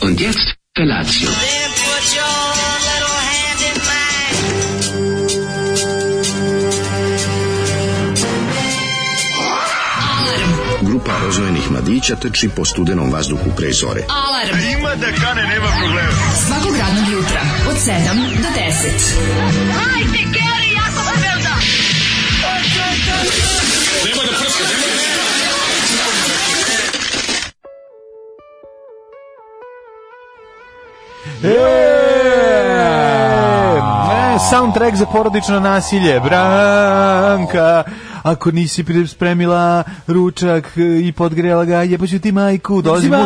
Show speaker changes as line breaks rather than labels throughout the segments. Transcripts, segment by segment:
Und jetzt Felatio.
Then put your little hand in mine.
Grupa rozvojenih mladića teči po studenom vazduhu pre zore.
Alarm. Ima da kane, nema problema. Svakog radnog jutra, od 7 do 10.
E, soundtrack za porodično nasilje, Branka. Ako nisi pri- spremila ručak e, i podgrela ga, jebaću ti majku. Dolazi muž,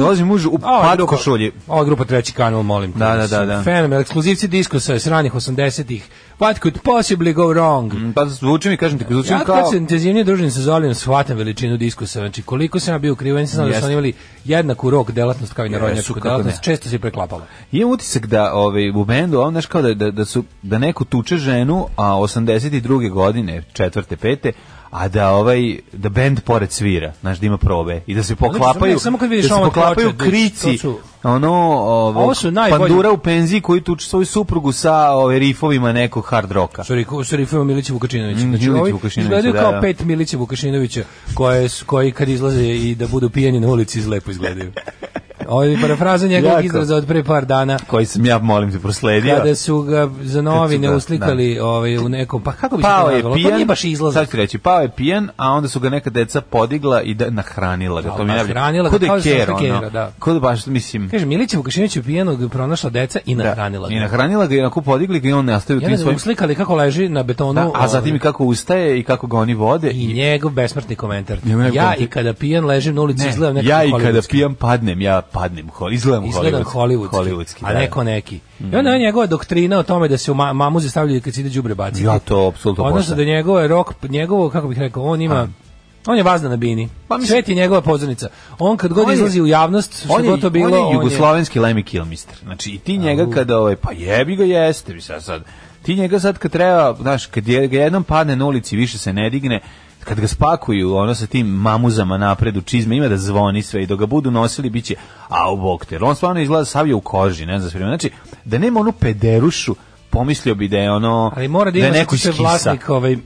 dolazi muž u
Ova
pad
grupa-
košulji.
Ova grupa treći kanal, molim. te.
Da, da, da, da.
Fenomen, ekskluzivci diskosa s ranih 80-ih. What could possibly go wrong? Znači,
Pa zvuči mi, kažem ti, zvuči mi
Ja kad
kao...
se intenzivnije družim sa Zolijem, shvatam veličinu diskusa. Znači, koliko sam ja bio krivo, nisam znao da su
Jeste.
oni imali jednaku rok delatnost kao i
Jesu,
narodnjačku
kako
delatnost.
ne.
Često se preklapalo.
Imam utisak da ovaj, u bendu, on znaš kao da, da, da, su, da neko tuče ženu, a 82. godine, četvrte, pete, a da ovaj da bend pored svira, znaš da ima probe i da se poklapaju,
ne, samo kad vidiš
da se
ovo
poklapaju
ploče, da-
krici.
to su-
Ono, ovo,
Ovo su najbolji-
pandura u penziji koji tuče svoju suprugu sa ove rifovima nekog hard roka.
Sorry, sorry, film Milića Vukašinovića.
Mm,
Znači,
Milića
ovi
Vukašinovića,
izgledaju
da,
kao
da.
pet Milića Vukašinovića koje, su- koji kad izlaze i da budu pijeni na ulici lepo izgledaju. Ovo je parafraza njegovog
Jako.
izraza od pre par dana.
koji sam ja, molim te, prosledio.
Kada su ga za novine
ga-
uslikali ovaj, u nekom, pa kako bi se to
Pao je
nazvalo?
pijan,
Pa nije baš izlaz.
Sad ću reći, pao je pijan, a onda su ga neka deca podigla i da, nahranila ga. To mi je najbolje.
nahranila ga,
Ko da je
kao da su
kero,
našli
ono?
kera, da.
Ko da baš, mislim...
Kaže, Milića Vukašinovića pijenog pronašla deca i
da,
nahranila ga.
I nahranila ga i onako podigli ga i on ne ostaje u
Ja ne
tim
znam,
svojim...
uslikali kako leži na betonu.
Da, a
ovaj,
zatim i kako ustaje i kako ga oni vode.
I njegov besmrtni komentar.
Njegov
Ja
komentar.
i kada pijan ležim na ulici,
Ne,
izgledam nekako
ja i kada
hollywoodski.
pijem padnem, ja padnem, ho- izgledam,
Izgledam hollywoodski,
hollywoodski,
a
da. Mm.
neko neki. I onda je njegova doktrina o tome da se u ma mamuze stavljaju kad se ide đubre baciti.
Ja to apsolutno
Odnosno
poštujem.
da njegov rok, njegovo, kako bih rekao, on ima... On je vazna na bini.
Pa mislim-
Svet je njegova pozornica. On kad god
On je-
izlazi u javnost, što
on je,
god to bilo,
on je
on je-
jugoslavenski Lemmy Kilmister. Znači, i ti njega kada, ovaj, pa jebi ga jeste, bi sad, sad. Ti njega sad kad treba, znaš, kad je, ga jednom padne na ulici, više se ne digne, kad ga spakuju, ono sa tim mamuzama napred u čizme, ima da zvoni sve i dok ga budu nosili, bit će, a u bokter. On stvarno izgleda sav je u koži, ne znam, sve vreme. znači, da nema onu pederušu, pomislio bi da je ono,
Ali mora da ima
je neko
zato što je
iz Kisa.
vlasnik ovaj,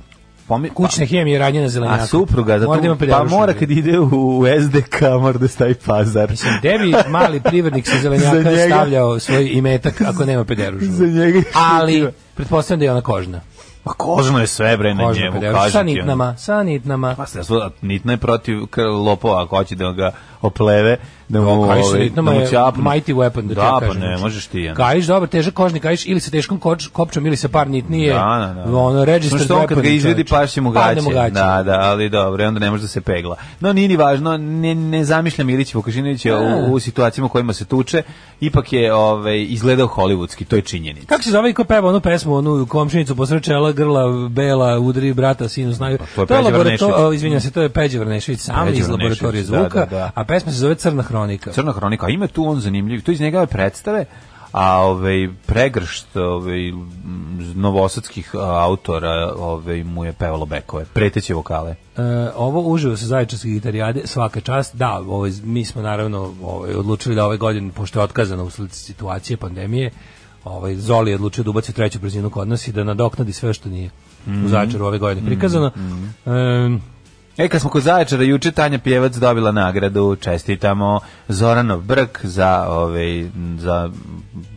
Pomi- pa-
kućne hemije radnje na zelenjaku.
A supruga, zato,
mora da ima
pa
pederušu.
mora kad ide u, u SDK, mora da stavi pazar.
Mislim, gde bi mali privrednik sa
Za
zelenjaka
njega.
stavljao svoj imetak ako nema pederušu?
Za njega je
Ali,
šutljiva.
pretpostavljam da je ona kožna.
Pa kožno je sve bre na
Kožna
njemu,
pederuša. Sa
kažem ti. ono.
nitnama, sa nitnama.
Pa sredstvo, a nitna je protiv kr- lopova, ako hoće da ga opleve, da mu,
O, kajiš sa
ovaj, da
nitnama
mu
je
ćapne.
mighty weapon, da, ti ja
da pa
kažem. znači,
ne možeš ti. ono.
Kajiš, dobar, težak kožni kajiš, ili sa teškom koč, kopčom, ili sa par nitnije.
Da, da, da.
Ono, registered
Znaš što on kad ga
weapon,
izvedi
čoveče.
pašće mu
Padne
gaće.
mu gaće.
Da, da, ali dobro, i onda ne može da se pegla. No, nije ni važno, ne, ne zamišljam Ilić Vukašinovića
E.
u, u situacijama u kojima se tuče, ipak je ovaj, izgledao hollywoodski, to je činjenica.
Kako se zove i ko peva onu pesmu, onu komšinicu posrećela, grla, bela, udri brata, sinu snaju.
Pa to je Peđa Vrnešević.
o, izvinjam se, to je Peđe Vrnešević, sam
Peđa
iz laboratorije
Vrnešević, da,
zvuka,
da, da.
a pesma se zove Crna hronika.
Crna hronika, a ima tu on zanimljiv, to iz njegove predstave, a ovaj pregršt ovaj m, novosadskih a, autora ovaj mu je pevalo bekove, preteće vokale.
E, ovo uživo sa zaječarske gitarijade, svaka čast. Da, ovaj, mi smo naravno ovaj, odlučili da ove godine, pošto je otkazano usled situacije pandemije, ovaj, Zoli je odlučio da ubaci treću brzinu kod nas i da nadoknadi sve što nije
Mhm.
u Zaječaru ove godine prikazano. E,
E, kad smo kod Zaječara, juče Tanja Pjevac dobila nagradu, čestitamo Zoranov Brk za, ovaj, za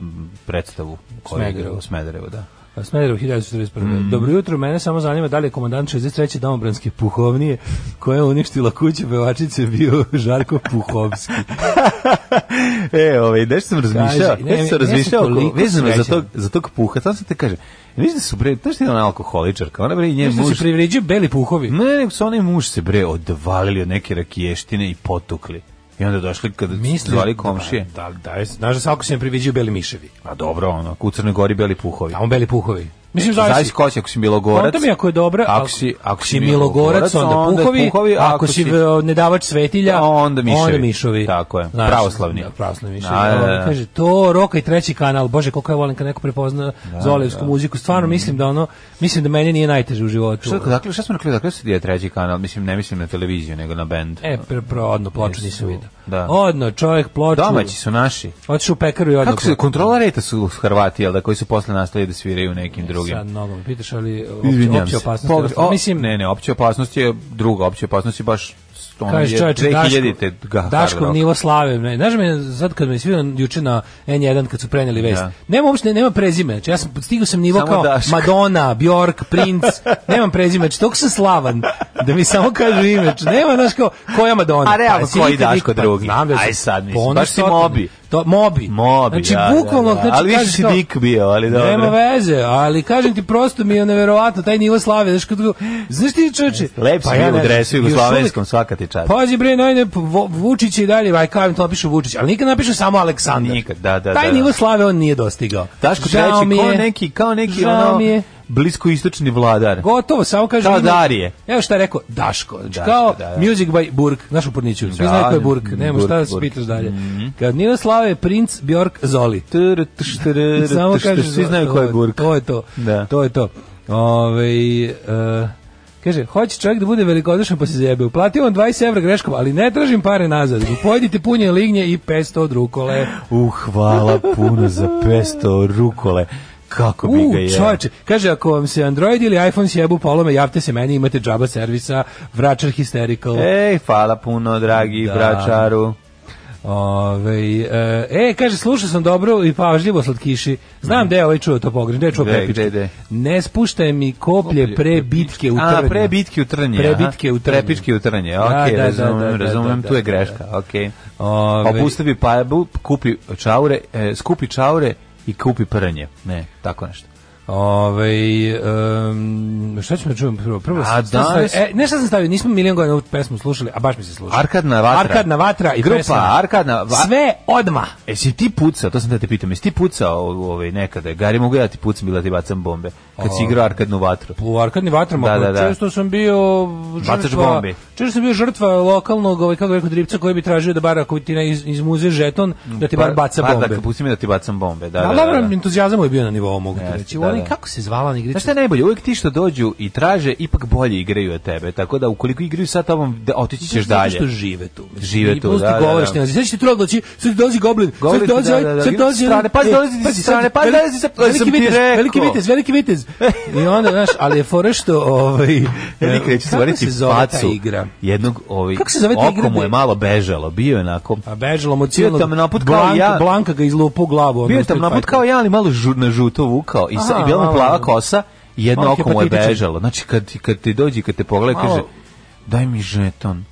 m, predstavu. koju je
Smederevu.
u Smederevu, da.
Smederevo 1941.
Mhm.
Dobro jutro, mene samo zanima da li je komandant 63. domobranske puhovnije koja je uništila kuću pevačice bio Žarko Puhovski.
e, ovaj, nešto sam razmišljao,
Kaže, ne,
nešto sam
ne,
razmišljao
ja sam
oko-
toliko
vezano za
srećan.
tog, za tog puha, sam se te kaže, vidiš da su bre, znaš ti je ona alkoholičarka, ona bre i njen
Što se
muž,
privređuju beli puhovi.
Ne, nego su onaj muž se bre odvalili od neke rakiještine i potukli. I onda došli kada
Misliš-
zvali komšije.
Da, da, da, znaš da svako se ne priviđaju beli miševi.
A dobro, ono, u Crnoj Gori beli puhovi.
Tamo beli puhovi. Mislim,
Zavisi
zavisi.
ko si, ako si Milogorac.
Onda mi ako je dobra,
ako si, ako si
Milogorac, onda puhovi, ako, si e, nedavač svetilja,
onda miševi.
onda mišovi.
Tako je, pravoslavni.
Da, pravoslavni miševi.
Da, da,
A,
da.
Kaže, to roka i treći kanal, bože, koliko ja volim kad neko prepozna zolevsku muziku,
Mhm.
stvarno mislim da ono, mislim da meni nije najteže u životu.
Šta, dakle, šta smo rekli, dakle se je treći kanal, mislim, ne mislim na televiziju, nego na band.
E, pre, pre, E, odno, ploču nisam vidio.
Da.
Odno, čovjek ploču.
Domaći su naši.
Otišu u pekaru i odno.
Kako se kontrola reta su Hrvati, jel da, koji su posle nastavili da sviraju u nekim drugim.
Sad mnogo me pitaš, ali opće,
Izvinjam
opće
se.
opasnost.
Pogreš-
Pogre,
o,
Mislim,
ne, ne, opća opasnost je druga, opća opasnost je baš ono
Kaže
je
čovječe,
2000-te ga
Daško,
hard
Daško
rock.
nivo slave. Ne, znaš me, sad kad me svi juče na N1 kad su preneli vest.
Da.
Nema uopšte, nema prezime. Znači, ja sam stigao sam nivo
Samo
kao
Daško.
Madonna, Bjork, Prince. nemam prezime, znači toliko sam slavan da mi samo kažu ime. Znači, nema, znaš kao, koja Madonna?
A realno,
jesi
koji
nikad-
Daško
pa,
drugi?
Znam da sam
Aj sad, mislim,
ponos
baš si
totalni.
Mobi.
To, mobi.
Mobi,
znači,
da,
bukvalno,
da, da.
znači,
ali više
kažeš
si
kao,
dik bio, ali dobro.
Nema veze, ali kažem ti prosto mi je neverovatno taj nivo slave, znaš kako znaš ti čoveče.
Lep si
Pa
bio u
ja ne znam,
dresu
još Pa, uvek-
jugoslavenskom, svaka ti čast.
Pazi bre, najde Vučić je i dalje, aj kao im to napišu Vučić, ali nikad napišu samo Aleksandar.
Nikad, da, da,
Taj
da, da.
nivo slave on nije dostigao.
Daško
Žao mi
treći, kao
je.
neki, kao neki
Žao
ono,
mi je.
bliskoistočni vladar.
Gotovo, samo kaže
Kao Darije.
Evo šta je rekao Daško. Znači,
Daško,
kao
da, da.
Music by Burk, naš u Porniću. Svi
Da,
znaju ko je Burk, nema šta da
Burk,
se
Burk.
pitaš dalje.
Mhm.
Kad Nivo Slave je princ Bjork Zoli.
Tr, tš, tr, tr,
Samo
tš, tr,
kaže
svi znaju ko je Burka.
To je to.
Da.
To je to. Ovaj e, kaže, hoće čovjek da bude velikodušan pa se zjebe. Uplatio on 20 evra greškom, ali ne tražim pare nazad. Pojedite punje lignje i 500 od rukole.
Uh, hvala puno za pesto rukole. Kako bi
U,
ga je.
čovječe, kaže, ako vam se Android ili iPhone sjebu polome, javte se meni, imate džaba servisa, vračar hysterical.
Ej, hvala puno, dragi
Da.
bračaru.
Ove, e, e, kaže, slušao sam dobro i pažljivo slatkiši. Znam mm. da je ovaj čuo to pogrešno, da je čuo
Mhm. Gde, gde,
prepički.
gde?
Ne spuštaj mi koplje pre bitke u
A,
trnju.
pre bitke u trnje.
Pre
aha.
bitke u trnju.
Pre bitke u trnje, ok,
Da, da, da,
razumem,
da, da,
razumem,
da,
tu je
da,
greška, Pa ok.
Ove,
Opustavi pajabu, kupi čaure, e, skupi čaure i kupi prnje. Ne, tako nešto.
Ove, um, šta ćemo da čujem prvo? prvo
A,
šta sam
danas-
stavio? E, ne šta sam stavio, nismo milion godina ovu pesmu slušali, a baš mi se slušali.
Arkadna vatra.
Arkadna vatra i
Grupa
pesma.
Arkadna va-
Sve odma.
Jesi ti pucao, to sam da te pitam, jesi ti pucao u- ovaj, nekada? Gari, mogu ja da ti pucam ili da ti bacam bombe? Kad si igrao arkadnu vatru.
U arkadnim vatrama,
Da, da, da.
često sam bio
Bacaš
žrtva,
bombi.
često sam bio žrtva lokalnog, ovaj, kako bih rekao, dripca koji bi tražio da bar ako ti ne iz, izmuze žeton, da ti bar baca
Bar-
bombe.
Pa, Da, pusti mi da ti bacam bombe. Da,
Da,
da,
ali
da, da.
dobro, entuzijazam mu je bio na nivou, mogu ti
Jeste,
reći.
da,
Oni,
da.
kako se zvala na igrica?
Znaš šta je najbolje, uvijek ti što dođu i traže, ipak bolje igraju od tebe, tako da ukoliko igraju sa tobom, de- otići ćeš
Zato
dalje.
što žive tu. Mislim,
Žive
i
tu,
plus ti
da, da,
govoriš
da.
ti naziv. Sad će ti troglo, će- sad dođe goblin,
Goblin
sad
ti,
dođe,
da,
ovaj,
da, da,
sad
idu sa
dođe,
strane,
ovaj,
pazi,
e,
dolazi ti sa
pazi,
strane,
sad,
pazi, dolazi sa-
veliki
sam ti
vitez,
rekao.
veliki vitez, veliki vitez. I onda, znaš, ali je fora što, ovaj,
Ja nikad neću
kako
stvoriti
se zove ta
pacu
igra?
jednog, ovaj,
Kako se zove ta igra
oko mu je
gde-
malo bežalo, bio je onako,
A bežalo mu
Bio
cijelo.
je tamnoput kao
Blanka-
ja.
Blanka ga izlupa u glavu. ono,
bio je
u Street
tam naput
Fighteru.
kao ja, ali malo žu, na žuto vukao i, sa,
Aha,
i bila mu
malo-
plava kosa, i jedno
malo
oko mu je
hepatitičan.
bežalo, znači kad, ti- kad ti dođe i kad te pogleda,
Malo-
kaže, daj mi žeton,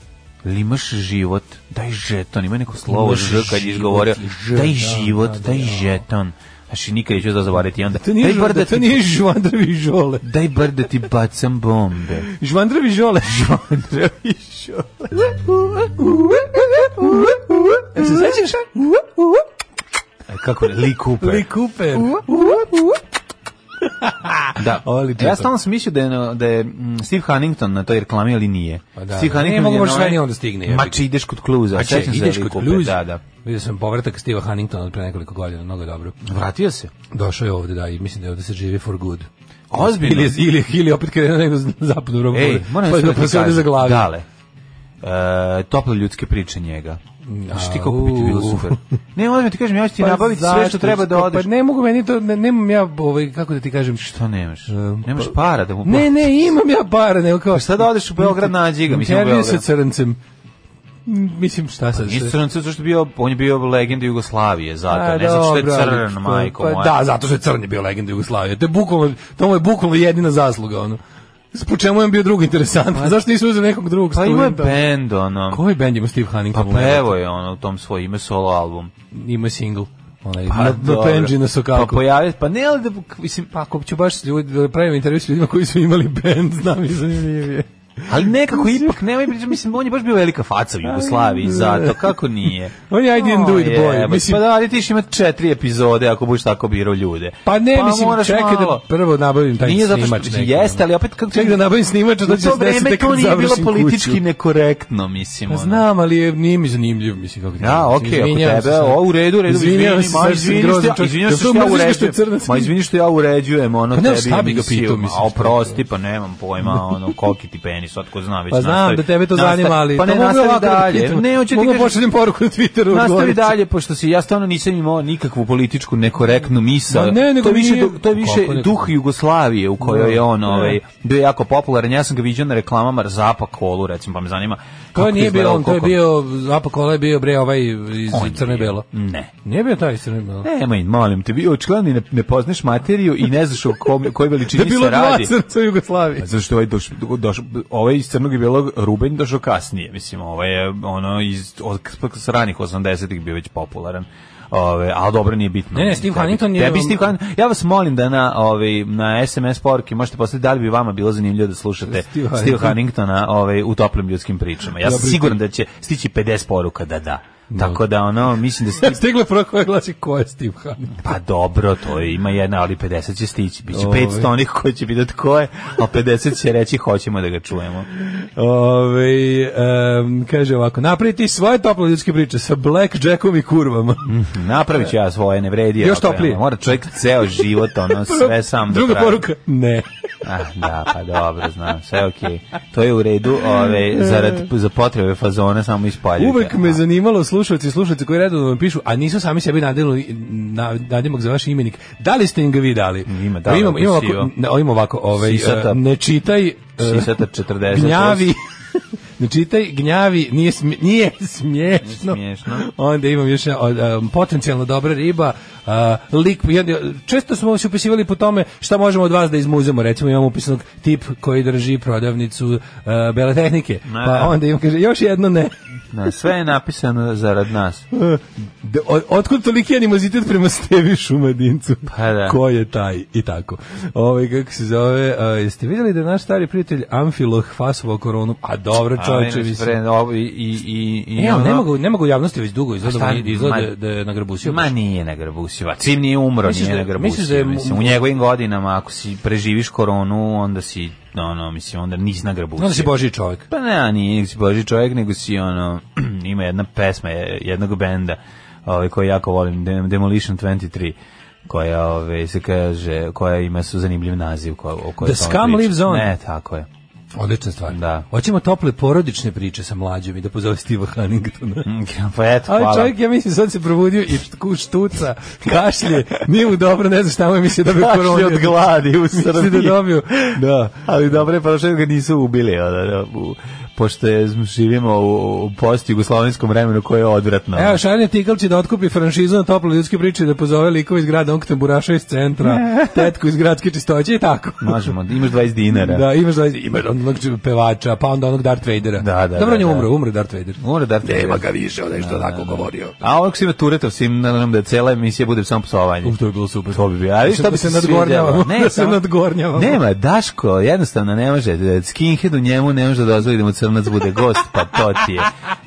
Ili imaš život, daj žeton, ima neko slovo
Imaš
ž kad je
život
izgovorio,
i ž,
daj
da,
život,
da, da,
daj
da.
žeton, znači nikad neću to zaboraviti, i onda,
To nije,
daj bar
žu-
da
to
ti
nije žvandrvi žole.
Daj bar da ti bacam bombe.
Žvandrvi žole.
Žvandrvi E,
Se sećaš?
Kako ne, Lee Cooper.
Li Cooper.
da.
Oli Cooper.
Ja stalno sam mislio da je, na- da je mm, Steve Huntington na toj reklami, ali nije.
Pa da,
Steve
da. Ne
Huntington
mogu
je
baš
na
sve
onaj-
ni onda stigne, Pa jebi
Ma
ga.
če ideš kod kluza.
A če,
sećam se
ideš
Lee
kod
Coopera,
Blues?
Da, da.
Vidio sam povratak Steva Huntingtona od pre nekoliko godina, mnogo je dobro.
Vratio se.
Došao je ovde, da, i mislim da je ovde se živi for good.
Ozbiljno?
Ili, je- ili, je- ili je opet krenuo negdje za zapadnu robu.
Ej, moram
pa,
nešto
da
da ti
pa se ovde
kažem.
zaglavi.
Dale. E, tople ljudske priče njega. Znaš ti kako bi ti bilo
u.
super. Ne, moram ti kažem, ja ću ti
Pa
nabaviti sve
zašto?
što treba da odeš.
Pa ne mogu meni to, ne, nemam ja, ovaj, kako da ti kažem, što
To nemaš.
pa-
Nemaš para da mu...
Ne, ne, imam ja para, nego kao...
Pa šta da odeš u Beograd, nađi ga, mislim, u
Intervju sa
Beograd.
crncem. M, Mislim, šta sad?
Nije
šta-
crnac zato što je bio, on je bio legenda Jugoslavije, zato,
A,
ne zato što je
Pa dobro, ali
crn,
što-
majko
pa
moja.
Da, zato što je crn je bio legenda Jugoslavije. To je bukvalno, to mu je bukvalno jedina zasluga, ono. S- Po čemu je on bio drugo interesantan? Zašto nisu uzeli nekog drugog
Pa ima je
studenta?
bend, ono.
Koji band ima Steve
Pa
Huntington?
pevo je ono u tom svoj ime solo album.
Ima single. Onaj,
Pa
na, na
dobro.
penđi na sokaku.
Pa pojavi, pa ne ali da, mislim,
Pa ako ću baš ljudi, pravim intervju s ljudima koji su imali band, znam i zanimljivije.
ali nekako ipak, nemoj pričati, mislim, on je baš bio velika faca u Jugoslaviji, zato, kako nije?
On je I didn't do it
O,
boy.
jebote,
Mislim,
pa da, ali ti ćeš imati četiri epizode ako budeš tako birao ljude.
Pa ne, mislim,
moraš
čekaj da
malo.
prvo nabavim taj
Nije zato što
snimač.
mislim,
neki,
jeste,
ono.
ali opet kako
Čekaj da nabavim snimač,
U
da će
to
se desiti
vreme
tek
to
kad
nije bilo
završim
politički
kuću.
nekorektno, mislim.
Pa
ono.
znam, ali je, nije mi zanimljiv, mislim, kako ti
Ja,
kažem.
okej, okay,
Izvinjavam
ako
se
tebe,
sad.
o, u redu, u redu,
Izvinjavam
izvini,
se,
ma
sad sam
izvini što,
grozan
ja-
čovjek.
izvini
Da
što,
to
što ja
mrziš što je
uređujem,
crnac.
ma izvini što ja uređujem, ono,
Pa ne,
tebi
šta bi ga
emisiju,
pitao,
ma,
mislim,
o,
što je
prosti,
to.
pa nemam pojma, ono, koliki ti penis tenis, otko zna već
Pa znam
nastavi-
da tebe to
nastavi-
zanima, ali
pa ne,
to mogu ja
nastavi
ovako da ti
dalje.
pitam.
ne, hoću ti
Mogu
kažem-
pošaljem poruku na Twitteru
Nastavi
odgovorit ću.
dalje, pošto si ja stvarno nisam imao nikakvu političku nekorektnu misao.
Ma ne,
to
nego
je više,
nije.
du- to je više
Kako ne-
duh Jugoslavije u kojoj je on ovaj, bio jako popularan. Ja sam ga viđao na reklamama Zapa kolu, recimo, pa me zanima. kako
To nije bio
izgledalo,
on, to je
koliko-
bio, Apakola je bio bre ovaj iz
On je
Crne-Belo.
bio. Ne.
Nije bio taj iz Crne-Belo.
E, Nemoj, molim te, bio očigledno i ne, ne poznaš materiju i ne znaš o kom, kojoj veličini se radi.
crnca u Jugoslaviji.
Zato što ovaj, doš, doš, ovaj iz Crnog i Belog Ruben došao kasnije, mislim, ovaj je ono iz od, s ranih 80-ih bio već popularan. Ove, ali dobro, nije bitno.
Ne, ne, Steve
Tebi-
Huntington je-
Tebi Steve Huntington, ja vas molim da na, ovaj, na SMS poruke možete poslati da li bi vama bilo zanimljivo da slušate Steve,
Steve Huntington.
Huntingtona ovaj, u toplim ljudskim pričama. Ja sam
Dobro.
siguran da će stići 50 poruka da da. Tako da, ono, mislim da Steve
Stigla je prva koja glasi ko je Steve Hanning.
pa dobro, to je, ima jedna, ali 50 će stići. Biće
Ovaj.
500 onih koji će vidjeti ko je, a 50 će reći hoćemo da ga čujemo.
Ove, em, kaže ovako, napraviti svoje tople ljudske priče sa Black Jackom i kurvama.
Napravit ću ja svoje, ne vredi.
Još
ako je,
toplije.
ono, Mora čovjek ceo život, ono, sve sam da
Druga
pravi.
poruka, ne.
Ah, da, pa dobro, znam, sve je okej. To je u redu, ove, zarad, za potrebe fazona samo Ah, ispaljujte.
E. Uvek me zanimalo slušalci i slušalci koji redovno vam pišu, a nisu sami sebi nadimali na, nadimak za vaš imenik. Da li ste im ga vi dali?
Ima, da,
imamo, imamo
sivo.
ovako, ne, ima ovako ovaj,
Sisata.
e, ne čitaj... e,
Sisata 40.
gnjavi ne čitaj gnjavi nije smje, nije smiješno
Nije smiješno.
onda imam još jedan, od, um, potencijalno dobra riba a, lik i onda- često smo se upisivali po tome šta možemo od vas da izmuzemo recimo imamo upisanog tip koji drži prodavnicu e, bele tehnike pa onda imam kaže još jedno ne
Na, sve je napisano zarad nas.
De, o- otkud toliki animozitet prema Stevi Šumadincu?
Pa da.
Ko je taj? I tako. Ovaj kako se zove, a, jeste vidjeli da je naš stari prijatelj Amfiloh fasovao koronu? A dobro, čovječe,
Ajme,
mislim.
spre- ovo i, i, i, i
Ne, E, ali ne
ono-
mogu, ne mogu u javnosti već dugo izgleda,
Šta,
da mu- izgleda
ma-
da- da je nagrabusio.
Ma nije nagrabusio, a čim nije umro
Misliš
nije
da- misliš da
nagrabusio.
je mu-
mislim, u njegovim godinama, ako si preživiš koronu, onda si, ono, mislim, onda nisi nagrabusio.
Onda si Božji čovjek.
Pa ne, a nije, nisi Boži čovjek, nego si, ono, ima jedna pesma je- jednog benda ovaj, koju jako volim, Dem- Demolition 23 koja ove, se kaže koja ima su zanimljiv naziv koja, o kojoj
The
samo
Scum
priča.
Lives On.
ne tako je
Odlična stvar.
Da.
Hoćemo tople porodične priče sa mlađom i da pozove Steve Hanningtona.
pa eto
Ali
hvala
čovjek, ja mislim, sad se probudio i štku štuca, kašlje, nije mu dobro, ne znam šta mu je mislio da bi
Kašlje
koronu.
od gladi u
Mislim da
Srbiji.
je dobio. Da.
Ali dobro je prošlo da ga nisu ubili, ono, da, u- pošto je, živimo u, u post-jugoslovenskom vremenu koje je odvratno.
Evo, Šarnja Tikal će da otkupi franšizu na tople ljudske priče i da pozove likova iz grada Onkta Buraša iz centra, tetku iz gradske čistoće i tako.
Možemo, imaš 20 dinara.
Da, imaš, da, imaš onog pevača, pa onda onog Darth Vadera.
Da, da,
Dobro,
da,
on je
da.
umro, umro je Darth Vader.
Mora da treba ga više, onaj što tako govorio. A onog svima Turetov, svim, nadam da je cela emisija bude samo psovanje.
Uf, to bi bilo super.
To bi bilo. A vidiš,
Da
to bi
se
se
nadgornjavamo,
svidjelo.
da se nadgornjavamo.
Nema, Daško, jednostavno ne može. Skinhead u njemu ne može da dozvoli da mu crnac bude gost, pa to ti je.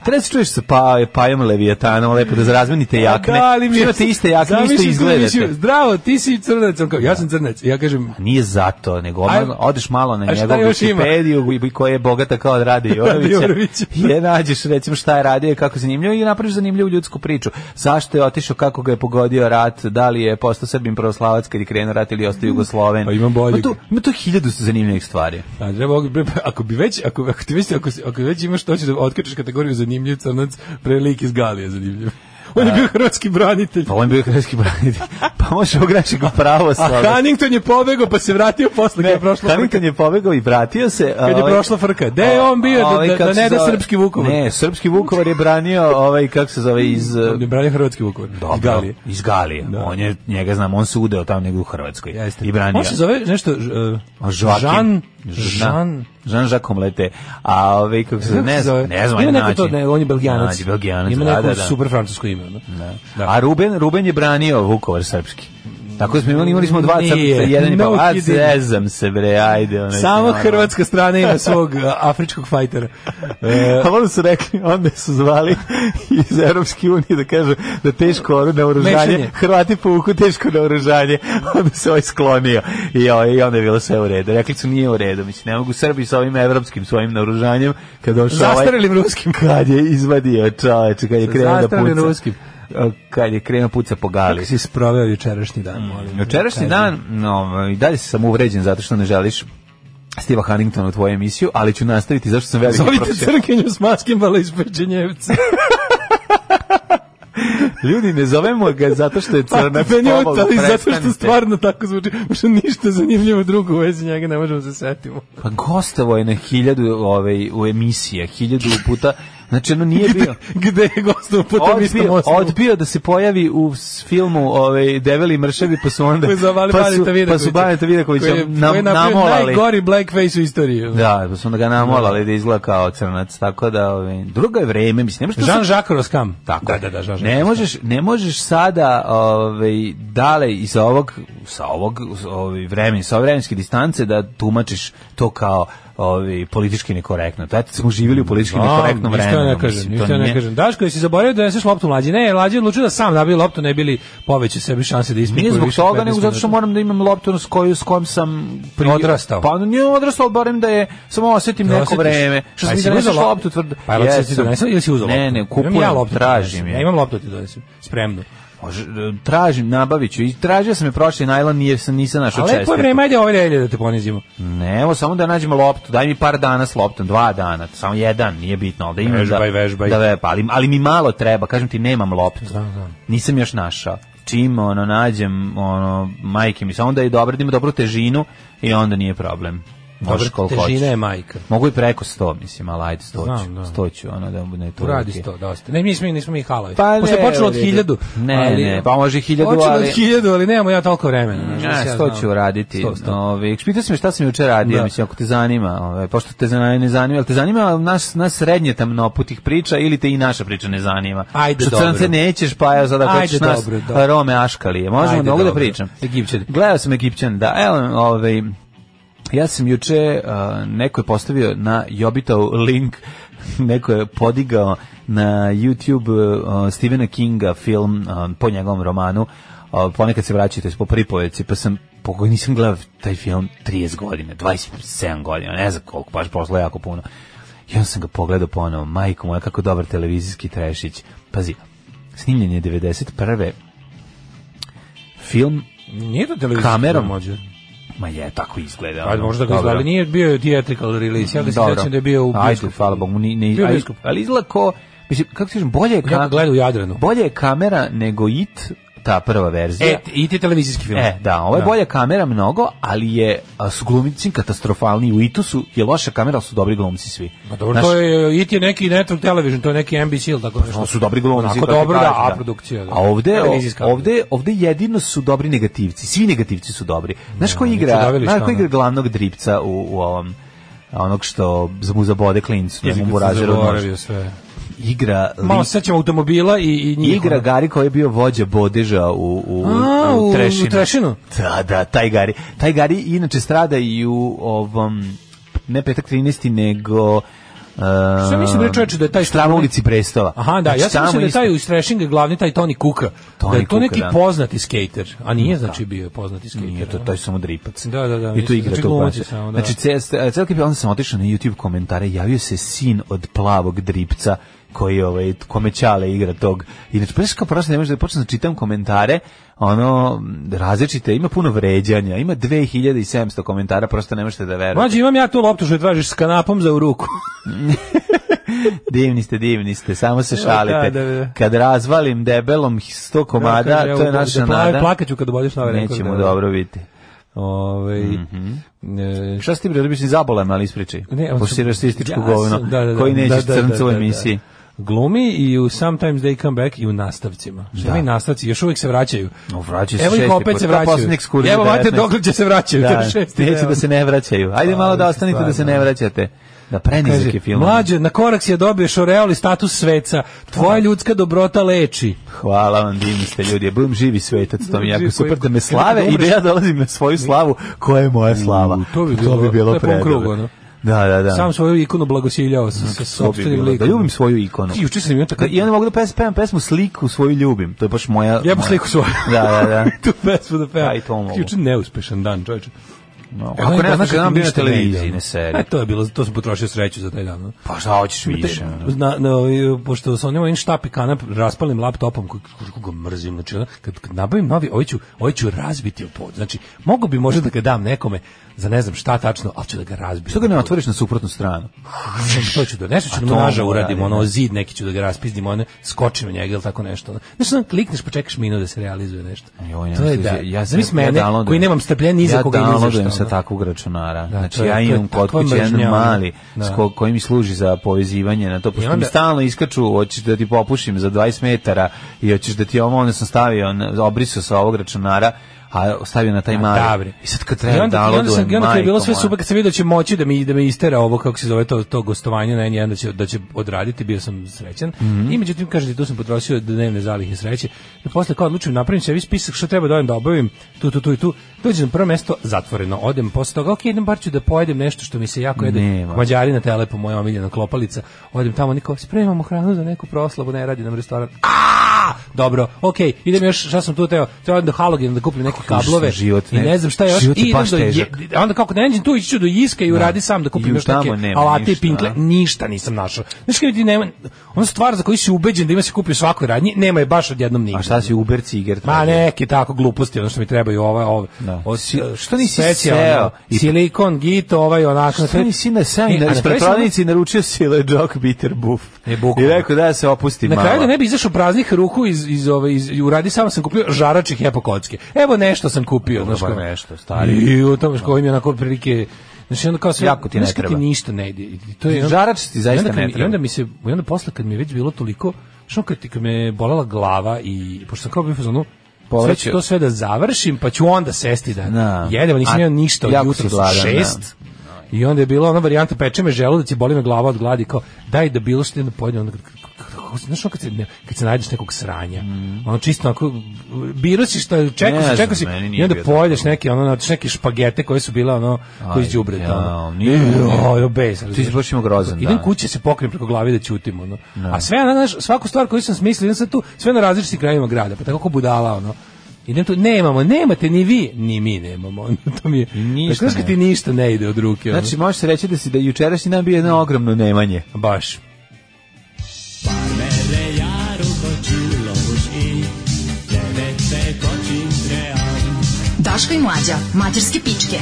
Treba se čuješ sa pa, pajom Leviatanom, lepo da razmenite jakne. Svi imate iste jakne, isto
Zamisli
izgledate.
emisiju, Zdravo, ti si crnac. On kao, ja sam crnac. Ja kažem,
Nije zato, nego
Aj,
odmah odeš malo na
a šta
njegovu
još ima?
Wikipediju i- koja je bogata kao od Rade Jorovića.
Jorovića.
je nađeš recimo šta je radio i kako zanimljivo i napraviš zanimljivu ljudsku priču. Zašto je otišao, kako ga je pogodio rat, da li je postao Srbin pravoslavac kad je krenuo rat ili je ostao Jugosloven.
Pa ima boljeg.
Ima tu, ima tu hiljadu zanimljivih stvari.
a treba ovog- bre, pa, ako bi već, ako, ako ti već, ako, si- ako već imaš to će da otkačeš kategoriju zanimljiv crnac, pre lik iz Galije zanimljiv. On je bio hrvatski branitelj.
Pa on je bio hrvatski branitelj. Pa može ogreši ga pravo
A Huntington je pobegao pa se vratio posle kad je prošlo.
Hamilton je pobegao i vratio se. a
Kad je
ovaj-
prošla frka. Gde je on bio da-
Ovaj,
da-
kako
da ne
se
da
zove?
srpski Vukovar?
Ne, srpski Vukovar je branio ovaj kako se zove iz eh,
On je branio hrvatski Vukovar. iz
Dobro,
Galije.
Iz Galije.
Da.
On je, njega znam, on se udeo tamo negdje u Hrvatskoj.
Jeste.
I branio.
On se zove nešto... Uh,
A Žvakin.
Žan...
Žna-
Žan...
Žan Žakom lete. A ovaj, kako se,
Kako se
ne
zove?
znam, ne znam,
Ima
ajde
neko to,
nađi.
ne, on je belgijanac.
Nađi, belgijanac,
Ima
da,
neko
da, da.
super francusko ime. ono. Da.
A Ruben, Ruben je branio Vukovar srpski. Tako smo imali, imali smo dva
Nije.
crnca, jedan je
No
no, pa, a
kidding.
zezam se bre, ajde. Onaj,
Samo
ono.
hrvatska strana ima svog uh, afričkog fajtera.
E, a onda su rekli, onda su zvali iz Europske unije da kažu da teško oru na oružanje,
Mešanje.
Hrvati povuku teško na oružanje, onda se ovaj sklonio i, ovaj, i onda je bilo sve u redu. Rekli su nije u redu, mislim, ne mogu Srbi sa ovim evropskim svojim naoružanjem, kad došao ovaj,
Zastarelim ruskim.
kad je izvadio čoveč, kad je krenuo da
Zastarelim
puca.
ruskim.
Kad je krenuo puca po gali.
Kako si sproveo jučerašnji dan, molim.
Jučerašnji ovaj,
Kaži.
dan, no, i dalje sam uvređen zato što ne želiš Steva Hanningtona u tvoju emisiju, ali ću nastaviti zašto sam veliki
Zovite
profesional.
crkinju s maskimbala iz Pečenjevca.
Ljudi, ne zovemo ga zato što je crna.
meni je ovo
pomalo,
ali zato što
Pa, prestanite.
stvarno tako zvuči, što ništa zanimljivo drugo u vezi njega ne možemo se setimo.
Pa gostovo je na hiljadu ovaj, u emisija, hiljadu puta. Znači, ono nije bio...
Gde je gostov po tom istom
Odbio,
osnovu?
odbio da se pojavi u s- filmu ovaj Develi i mršavi pa su onda
Pa su
pa su, pa su Baneta Vidakovića nam, namolali
najgori blackface u istoriji.
da pa su onda ga namolali da izgleda kao crnac tako da ovaj drugo je vreme mislim ne možeš to sad-
Jean-Jacques Roskam.
tako
Da,
je.
da, da, Jean-Jacques
ne možeš ne možeš sada ovaj dale iz ovog sa ovog ovaj vremena sa ove vremenske distance da tumačiš to kao ovaj politički nekorektno da smo živjeli u politički nekorektnom
ništa
vremenu
ne kažem,
mislim,
ništa
to
ne
nije-
kažem. Daško, jesi zaboravio da neseš loptu mlađi? Ne, mlađi je odlučio da sam nabije loptu, ne bili poveće sebi šanse da ispije.
Nije
koji
zbog
više
toga,
15
nego zato što
minuta.
moram da imam loptu s, koju, s kojom sam...
Odrastao.
Pa nije odrastao, barem da je, samo osetim
Da
neko
osjetiš.
vreme. Što
Pa
sam mi
jesi
da neseš
uzeo lop-
loptu tvrdo.
Pa jel ti
Jesam.
donesem ili si uzeo
Ne,
loptu?
ne,
Imam
kupujem,
ja loptu,
tražim
Ja
je.
imam loptu da ti donesem, spremnu.
Može, Tražim, nabavit ću. I tražio sam je prošli najlon, nije, sam- nisam našao
Ali lepo
česticu.
je vreme, ajde ove relje da te ponizimo.
Ne, evo samo da nađemo loptu. Daj mi par dana s loptom, dva dana, samo jedan, nije bitno. ali Da imam
Vežbaj,
da,
vežbaj.
Da vežba, ali, ali mi malo treba, kažem ti, nemam loptu. Nisam još našao. Čim ono, nađem, ono, majke mi, samo da je dobro, da ima dobru težinu i onda nije problem. Možeš
Dobro,
koliko
težina
hoćeš.
je majka.
Mogu i preko 100, mislim, ali ajde 100 ću,
Znam, da.
100 ću, ono da ne to.
Uradi
uvijek je.
sto, dosta. Ne, mi smo, nismo mi halovi.
Pa ne,
Pošto je počelo od
u redu.
hiljadu.
Ne,
ali-
ne, pa može i hiljadu,
Počelo
ali-
od hiljadu, ali nemamo ja toliko vremena. znaš, šta
Ne,
ja
što
znam.
ću raditi?
Sto, sto.
Ovaj pitao sam me šta sam juče radio,
Da.
mislim ako te zanima, ovaj pošto te zanima, ne zanima, ali te zanima nas nas srednje tamnoputih priča ili te i naša priča ne zanima.
Ajde,
što
dobro.
crnce nećeš, pa ja sada
Ajde,
hoćeš nas
dobro, dobro.
Rome Aškalije. Možemo
Ajde,
mogu da
dobro.
pričam.
Egipćani.
Gledao sam Egipćan, da. Evo, ovaj Ja sam juče, a, neko je postavio na Jobitov link, neko je podigao na YouTube a, Stephena Kinga film a, po njegovom romanu, a, ponekad se vraćate po pripoveci, pa sam po koji nisam gledao taj film 30 godina, 27 godina, ne znam koliko, baš prošlo je jako puno. I onda sam ga pogledao ponovo, majko moja, kako dobar televizijski trešić. Pazi, snimljen je 91. Film,
Nije to televizija.
Kamerom?
Može.
ma je, tako izgleda.
Ajde,
ono,
Pa možda ga
dobro.
izgledali. Nije bio je theatrical release. Ja ga se
Dobro.
sećam da je bio u
Ajde,
bioskopu.
hvala Bogu, ni, ni,
Bio u
ali,
bioskopu.
ali izgleda ko... Mislim, kako ti kažem, bolje je,
Ja ga
ka,
gledam u Jadranu.
bolje je kamera nego IT, ta prva verzija.
E, i ti televizijski film.
E, da, ovo je bolja kamera mnogo, ali je a, su glumicim katastrofalni. U itu su je loša kamera, ali su dobri glumci svi.
Ma Pa dobro,
Znaš,
to je, IT je neki network television, to je neki NBC ili tako nešto.
ono su dobri glumci.
Onako
kako ti
dobro, da,
kažeš,
a produkcija. Da.
A ovde,
Televizijska.
ovde, ovde jedino su dobri negativci. Svi negativci su dobri. Znaš ko
nisu
igra,
davili
znaš
šta,
ko
ne?
igra glavnog dripca u, u ovom onog što mu zabode klincu, da mu
Jezik,
burazeru nož.
zaboravio sve.
igra
Malo
lik-
se sećam automobila i, i njih. ono.
igra Gari koji je bio vođa bodeža u u
A, u- u
Trešinu.
Trešinu?
Da, da, taj Gari. Taj Gari inače strada i u ovom ne petak 13. nego uh,
Sve mislim bre čoveče da je taj što-
Strava ulici Prestova.
Aha, da,
Znači,
ja sam
tamo
mislio da je
isto.
taj u Strashing je glavni taj Tony Kuka.
Tony
da je to
Kuka,
neki
da.
poznati skater, a nije znači bio poznati skater.
Nije to,
da.
to je samo dripac.
Da, da, da,
I to
mislim,
igra
znači
to
glumac je
baš.
samo, da.
Znači, ce- cel klip, onda sam otišao na YouTube komentare, javio se sin od plavog dripca, koji ovaj kome ćale igra tog. I znači baš kao prosto ne možeš da počnem da čitam komentare, ono m, različite, ima puno vređanja, ima 2700 komentara, prosto ne možete da verujete.
Mlađe, imam ja tu loptu što je tražiš s kanapom za u ruku.
Divni ste, divni ste, samo se šalite.
da, da.
Kad razvalim debelom 100 komada,
kaže, evo,
to je
da-
naša
da plave-
nada.
Plakaću kad obodiš na ovaj rekord.
Nećemo
da.
dobro Mhm. biti.
Ovaj, e,
Šta si ti bre, si zabolem, ali ispričaj.
Ne, on
Pošto si
sam-
rasističko
ja
govno,
sam- da, da, da,
koji nećeš
da, da,
crncu u
da, da,
emisiji.
da. Glumi i u Sometimes They Come Back i u nastavcima. Što da. nastavci još uvijek se vraćaju.
No, vraćaju se
Evo ih
šesti
opet
put.
se
Ta
vraćaju.
poslednji ekskurzij
Evo, vate,
19.
dok će se vraćaju.
Da,
to je šesti,
neće
evo.
da se ne vraćaju. Ajde malo da
Ali
ostanite da se
stvarno.
ne vraćate. Da prenizak je
Kaže,
film.
mlađe, na korak si je dobio šoreol i status sveca. Tvoja ljudska dobrota leči.
Hvala vam, divni ste ljudi. Ja budem živi svetac, to mi je jako
Živi
super da me
svetac.
slave
Kad
i da ja
umreš-
dolazim na svoju slavu koja je moja slava.
U, to bi bilo- to je pun
predobro.
krug, ono.
Da, da, da.
Sam svoju ikonu blagosiljao sa, sa
To bi
sobstvenim
bilo. Da
likom.
ljubim svoju ikonu.
I juče sam imao tako...
Da, I onda mogu da pes- pevam pesmu Sliku svoju ljubim. To je baš moja...
Ja bih
moja-
sliku svoju. E,
Da, da, da.
tu pesmu da pevam.
Ja i to mogu.
Juče neuspešan dan, čovječe.
No, ako ne
znači
znaš da nam bio na televiziji, ne
E,
seri.
to je bilo, to sam potrošio sreću za taj dan. no.
Pa šta hoćeš više?
Te-
ono?
Na, na, ovaj, pošto sam onim onim štap i kanap raspalim laptopom, kako kako ga mrzim, znači ono, kad, kad nabavim novi, ovaj ću, ovaj ću razbiti u pod. Znači, mogu bi možda da ga dam nekome za ne znam šta tačno, ali ću da ga razbijem.
Što ga ne otvoriš na suprotnu stranu?
Znači, to ću da nešto ću
A
da
to
naža
mora,
uradim,
da.
ono zid neki ću da ga raspizdim, ono skočim u njega ili tako nešto. ono. Znaš, ono klikneš pa čekaš minut da se realizuje nešto.
Joj, ne
to je
misliš,
da,
ja,
zamisli
ja
mene
downloadujem-
koji nemam strpljenja ni za
ja
koga ni za
downloadujem
šta.
sa
ono.
takvog računara.
Da,
znači,
to je-
ja
to je
imam kod
takva
kuće jedan
mržnja, ono.
mali
Da.
s ko, koji mi služi za povezivanje na to, pošto mi
onda-
stalno iskaču, hoćeš da ti popušim za 20 metara i hoćeš da ti ovo, onda sam stavio, na- obrisao sa ovog računara, a stavio na taj mali.
Davre.
I sad kad treba
I onda, i onda, sam,
downloadujem,
i onda kad je bilo
majko
sve
moja.
super, kad sam vidio da će moći da mi, da me istera ovo, kako se zove to, to gostovanje na N1, da će, da će odraditi, bio sam srećan.
Mhm.
I međutim, kažete, tu sam potrošio dnevne zalihe sreće. I posle kao odlučujem, napravim sebi spisak što treba da odem da obavim, tu, tu, tu i tu. Dođem na prvo mesto, zatvoreno, odem posle toga, ok, idem bar ću da pojedem nešto što mi se jako jede.
Nema.
Mađari na telepo, moja omiljena klopalica. Odem tamo, niko, spremamo hranu za neku proslavu, ne radi nam restoran. A! Dobro, okej, idem još, šta sam tu teo, teo odem do halogena da kupim neke
Užasan
kablove
život,
i
ne.
ne znam šta još.
Život je
I idem
baš
do je-
težak.
onda kako ne nađem tu ići ću do Iska i uradi sam da
I
kupim još
tamo
neke
nema
alate i
ništa,
pinkle.
a?
Ništa nisam našao. Znaš kada ti nema, ona stvar za koju si ubeđen da ima se kupi u svakoj radnji, nema je baš odjednom nigde.
A šta si Uber Ciger?
Ma
tražio?
neke tako gluposti, ono što mi trebaju ovaj ovaj.
Da.
ovo-
Si- što nisi
specijalno,
seo? I-
Silikon, git, ovaj onako.
Što nisi na
E,
sami na
a kraju
ispred
sam-
prodavnice i naručio si Ledžok Bitter Buff?
E, bukvalno.
I rekao da se opusti
Na
malo.
kraju da ne bi izašao praznih ruku iz iz ove iz i uradi sam sam kupio žarače hepa kocke. Evo nešto sam kupio,
Dobro,
znači
bar nešto, stari.
I u tome što im je onako prilike Znači onda kao sve,
Jako ti ne
znaš kad
treba.
ti ništa ne ide. I to je,
Žarač ti zaista
i onda kad
ne
mi-
treba.
I onda mi se, i onda posle kad mi je već bilo toliko, što kad, ti- kad me je bolela glava i pošto sam kao bio u fazonu, sve
Povraćao.
ću to sve da završim, pa ću onda sesti da
Da.
jedem,
A,
ali nisam jeo ništa od
jako si
jutra
gladan,
šest.
da.
I onda je bila ona varijanta peče me želudac i boli me glava od gladi kao daj da bilo što jedno pojedem onda kad- kad- kako- znaš ono kad se ne, kad se nađeš nekog sranja. Ono čisto onako biro si šta
Mhm. Ne
čekaš,
znam,
čekaš si
meni nije
i onda
bio
pojedeš neke ono znači neke špagete koje su bile ono koji iz đubreta.
ja,
ono.
nije, nije.
Joj, bez.
Ti si baš imao grozan
Idem
dan.
kuće se pokrijem preko glave da ćutim ono. A sve ono, znaš, svaku stvar koju sam smislio, idem sad tu sve na različitim krajevima grada, pa tako ko budala ono. Idem tu, nemamo, nemate ni vi, ni mi nemamo. ono, to mi je,
ništa
Znaš kad ti ništa ne ide od ruke. ono.
Znači, može se reći da si da je jučerašnji dan bio jedno ogromno nemanje.
Baš.
Daško i mlađa, mađarske pičke.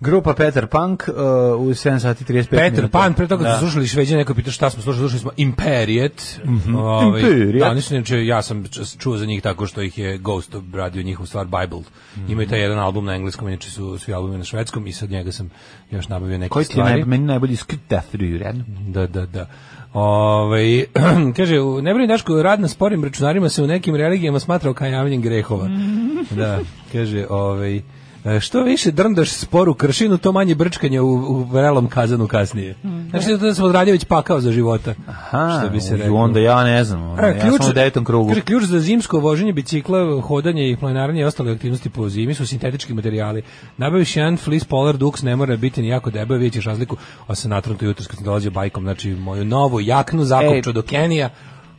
Grupa Peter Punk uh, u 7 sati 35
Peter
minuta.
Pan, Pa, pre toga
da.
da. slušali Šveđe, neko je pitao šta smo slušali, slušali smo Imperiet. Mm
Imperiet.
Da, oni su inače, ja sam čas- čuo za njih tako što ih je Ghost obradio njihovu stvar Bible. Imaju taj jedan album na engleskom, inače su svi albumi na švedskom i sad njega sam još nabavio neke
Koji ti je
stvari.
naj, meni najbolji skuta fruren?
Da, da, da. Ove, kaže, u- ne brini Daško, rad na sporim računarima se u nekim religijama smatra okajavanjem grehova. da, kaže, ovaj, e, što više drndaš sporu kršinu, to manje brčkanja u, u vrelom kazanu kasnije. Znači, to da smo odradio već pakao za života.
Ha,
što bi se reklo.
Onda ja ne znam.
E,
ja sam u devetom krugu.
Kaže, ključ za zimsko voženje bicikla, hodanje i planiranje i ostale aktivnosti po zimi su sintetički materijali. Nabaviš jedan fleece polar duks, ne mora biti ni jako debel, vidjet ćeš razliku. A sam natrnuto jutro kad sam dolazio bajkom, znači moju novu jaknu zakopču
Ej.
do Kenija,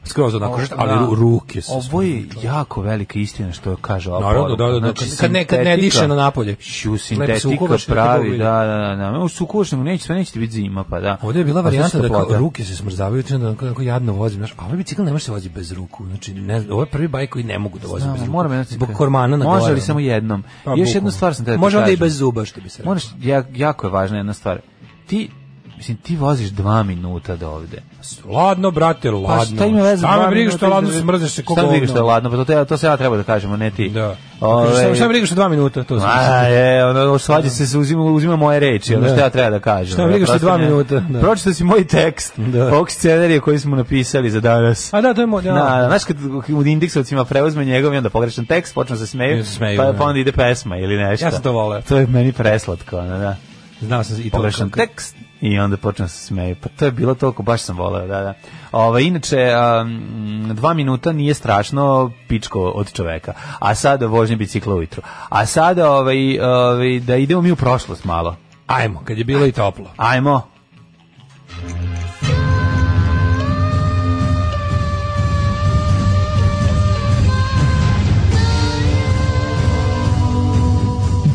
skroz onako,
Da.
ali ru, ruke su.
Ovo je jako velika istina što kaže ova
Naravno,
poruka.
da, da, da,
Znači,
kad ne- kad ne
sintetika-
diše na napolje.
Šu,
Lepo se
sintetika
ukovaš, lepo
pravi,
dobije.
da, da, da. da. U sukovaš, nego neće, sve neće ti biti zima, pa da.
Ovdje je bila
Pa sve
varijanta
su
da kao
toplota.
ruke se smrzavaju, znači da onako- onako jadno vozim, znaš, a ovaj bicikl ne može se voziti bez ruku. Znači, ne, ovo je prvi bajk koji ne mogu da vozim
Znam,
bez ruku.
moram jednom
Zbog
ciklati.
kormana na gore.
Može li
ono.
samo jednom?
Pa,
Još
bukvalno.
jednu stvar sam te da ti
Može onda i
kažem.
bez zuba, što bi se rekao.
Moraš, ja, jako je važna jedna stvar. Ti, mislim, ti voziš dva minuta do ovde.
Ladno, brate, ladno.
Pa šta ima veze?
Šta
dva
me briga
minuta
što ladno
između-
se mrzeš se koga
Šta me briga što je ladno? Pa to, te, to se ja treba da kažemo, ne ti.
Da.
Ove,
Šta, šta me briga što dva minuta, to znači. sam.
A, je, ono, svađa se, se uzima, uzima moje reči, ono
Da.
što ja treba da kažem. ono,
Šta me briga što je
Prosto
dva
ne-
minuta, da.
Pročitao si moj tekst,
Da.
ovog scenarija koji smo napisali za danas.
A da, to je moj, ja.
Na, znaš kad u indeksovcima preuzme njegov i onda pogrešan tekst, počne se smeju,
Ja se smeju,
pa,
da.
pa onda ide pesma ili nešto.
Ja sam to voleo.
To je meni preslatko, ono, da.
Znao sam i to.
Pogrešan
kako-
tekst i onda počne se smeju. Pa to je bilo toliko, baš sam voleo, da, da. Ove, inače, um, dva minuta nije strašno pičko od čoveka, a sada vožnje bicikla ujutru. A sada ovaj, ovaj, da idemo mi u prošlost malo.
Ajmo, kad je bilo i toplo.
Ajmo.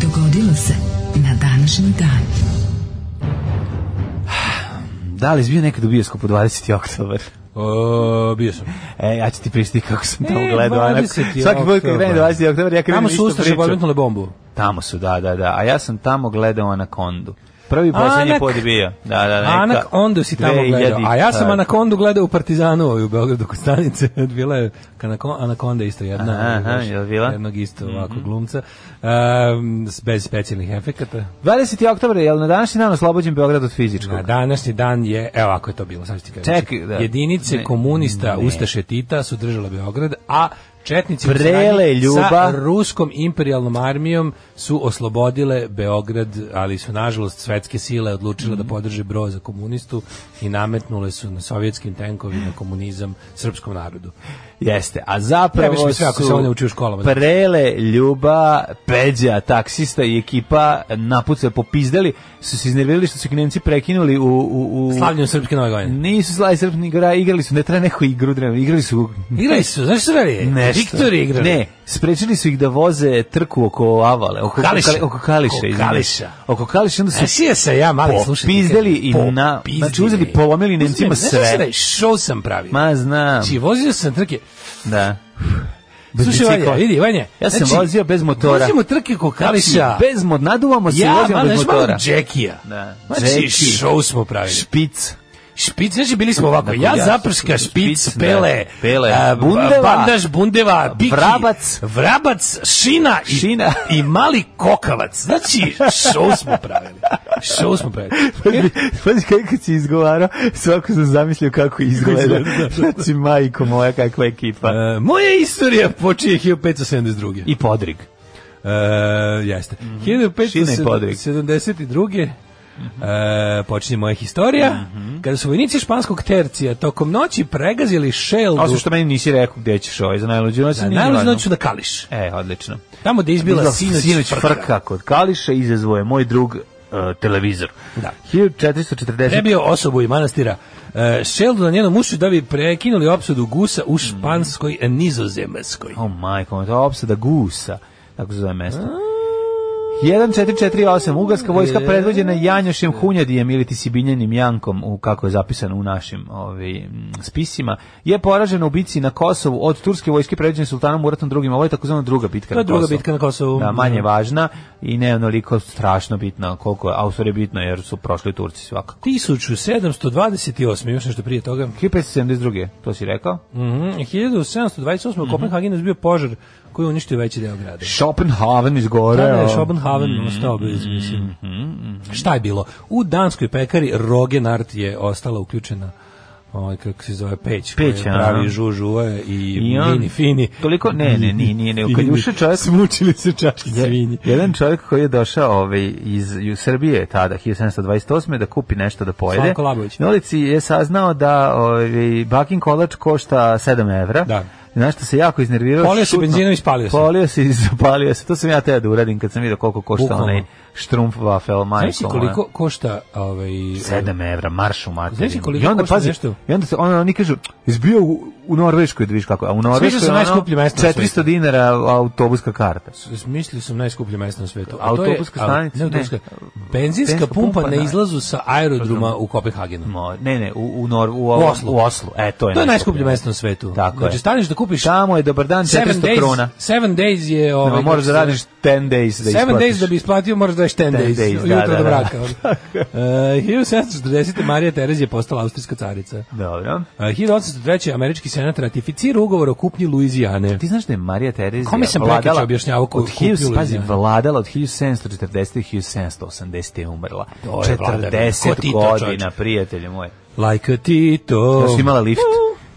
Dogodilo se
Da li bio nekad u bioskopu 20. oktobar?
O, bio sam.
E, ja ću ti prišti kako sam tamo
E,
gledao. onako.
20.
Svaki put kad
oktobar.
gledam 20. oktobar, ja krenem
Tamo su
istu
ustaše
priču.
podmetnule bombu.
Tamo su, da, da, da. A ja sam tamo gledao Anakondu. Prvi i poslednji
Anak-
pod je bio. Da, da, neka.
Anak Ondu si tamo
2000
gledao. A ja sam
kad.
Anakondu gledao u Partizanu ovaj, u Beogradu kod stanice. Bila je Anako- Anakonda isto jedna.
Aha, aha,
znaš,
jel bila? Mhm.
Jednog isto ovako glumca. Um, s- bez specijalnih efekata.
20. oktobar je, jel na današnji dan oslobođen Beograd od fizičkog?
Na današnji dan je, evo ako je to bilo, sad ću ti kažem. Znači,
Čekaj, da.
Jedinice
Ne,
komunista
ne.
Ustaše Tita su držale Beograd, a Četnici u
Vrele
saradnji sa
ljubav.
ruskom imperialnom armijom su oslobodile Beograd, ali su nažalost svetske sile odlučile
Mhm.
da podrže broj za komunistu i nametnule su na sovjetskim tenkovima komunizam srpskom narodu.
Jeste, a
Previše
zapravo
mi sve ako se
su
ovo ne uči u školama.
Prele, Ljuba, Peđa, taksista i ekipa napuce popizdeli, su se iznervirali što su ih Nemci prekinuli u... u, u...
Slavljenju srpske nove godine.
Nisu slavi srpni igra, igrali su, ne treba neku igru, treba, igrali su
Igrali su, znaš što su radili?
nešto.
Viktor igrali.
Ne, sprečili su ih da voze trku oko avale, oko
Kališa.
Kališa, oko Kališa,
Oko
izvinite.
Kališa. E,
Oko Kališa, onda su
A Znači, sije se ja mali slušaj.
Popizdeli i na- znači, uzeli, polomili Nemcima sve.
Show sam pravio.
Ma znam,
Znači, vozio sam trke.
da. Bez
Slušaj,
bicikla.
Vanja, vidi, Vanja. znači,
Ja sam vozio bez motora.
Vozimo trke ko kališa.
Znači, bez mod, naduvamo se i
ja,
vozimo
malo,
bez
znaš, malo
motora.
Džekija.
Da.
Znači,
Džeki.
show smo pravili.
Špic.
Špic, znači, bili smo ovako,
Dakle,
ja,
ja,
zaprska,
špic,
špic,
da.
pele,
Pele,
a,
bundeva,
bandaž, bundeva, biki,
vrabac.
vrabac, šina i,
Šina.
i mali kokavac. Znači, show smo pravili. Show smo pravili.
Pa Pazi kako si izgovarao, svako sam zamislio kako izgleda. Znači, majko moja, kakva ekipa.
E, moja istorija počinje 1572.
Pa- I Mhm. podrig.
E, jeste.
Šina i podrig.
1572. E, počinje moja historija.
Mhm.
Kada su vojnici španskog tercija tokom noći pregazili šeldu
Osim što meni nisi rekao gde ćeš ovaj za najluđu noć.
na
nije
najluđu
važno.
noću na Kališ.
E, odlično.
Tamo gde je izbila
Bila
sinoć, frka.
frka kod Kališa izazvo je moj drug e, televizor.
Da.
1440.
Prebio osobu i manastira e, šeldu na njenom ušu da bi prekinuli opsudu gusa
Mhm.
u španskoj e, nizozemskoj.
O majko, to je opsada gusa. Tako se zove mesto. 1448. Ugarska vojska
E.
predvođena Janjošem Hunjadijem ili ti Sibinjanim Jankom, u, kako je zapisano u našim ovi, mm, spisima, je poražena u bici na Kosovu od turske vojske predvođene sultanom Muratom II. Ovo je takozvana druga bitka
To
na
je
Kosovu.
druga bitka na Kosovu.
Da, manje
Mhm.
važna i ne onoliko strašno bitna koliko je, a u stvari bitno jer su prošli Turci svakako.
1728. još nešto prije toga.
1572. To si rekao?
Mhm, 1728.
Mhm.
u Kopenhagenu je bio požar koji je uništio veći deo grada.
Schopenhaven
Da,
izgoreo.
da, Schopenhaven
Mhm,
ostao bez, ono mislim. Šta je bilo? U danskoj pekari Rogenart je ostala uključena ovaj, kako se zove, peć, koja
Peć,
pravi
aha.
žužuve i,
I on
mini fini.
toliko- ne, ne, nije, nije, nego kad
Fini.
je ušao čovjek-
Smučili se čaški svinji.
Jedan čovjek koji je došao ovaj, iz ju- Srbije tada, 1728. da kupi nešto da pojede.
Slavko Labović.
Na ulici je saznao da ovaj, bakin kolač košta 7 evra.
Da.
Znaš što se jako iznervirao.
Polio se
šutno-
benzinom i spalio se.
Polio se i zapalio se. To sam ja teo da uradim kad sam vidio koliko košta
Bukvalno.
onaj štrumpf wafel majko.
Znaš li koliko košta ovaj,
7 evra, marš u materinu.
Znaš li koliko
I onda,
košta
pazi,
nešto?
I onda se, ono, oni kažu, izbio u, u Norveškoj da vidiš kako. je." A u Norveškoj
sam
ono,
najskuplje mesto na
400 dinara autobuska karta.
Mislio sam najskuplje mesto na svetu. A to je-
Autobuska
a,
stanica, ne.
Ne, autobuska. Benzinska
Benzinska
pumpa,
pumpa
na
na-
izlazu sa aerodroma u Kopenhagenu.
Mo- Ne, ne, u, u, Nor, u,
U
u,
Oslu.
Oslu. u Oslu. E, to je,
To je najskuplje mesto na svetu.
Tako
znači,
je.
staneš da kupiš
Tamo je dobar dan,
7
400 krona.
7 days je ovaj.
No, moraš da radiš 10 days da
7
isplatiš.
days da bi isplatio, moraš da je 10 days,
10
days
days, da,
jutro da,
da,
do
da.
braka. ono. E, 1740. Marija Terezija postala austrijska carica.
Dobro.
E, 1803. američki senat ratificira ugovor o kupnji Luizijane.
Ti znaš da je Marija Terezija
Kome sam prekjuče
vladala,
objašnjavao ko-
od
ko
hiljus-
kupila
pazi,
Lijana?
vladala od 1740. do 1780. je umrla.
To je vladavina. Ko
40
Tito,
godina,
čoveče.
prijatelje moje.
Like a Tito.
Još je imala lift.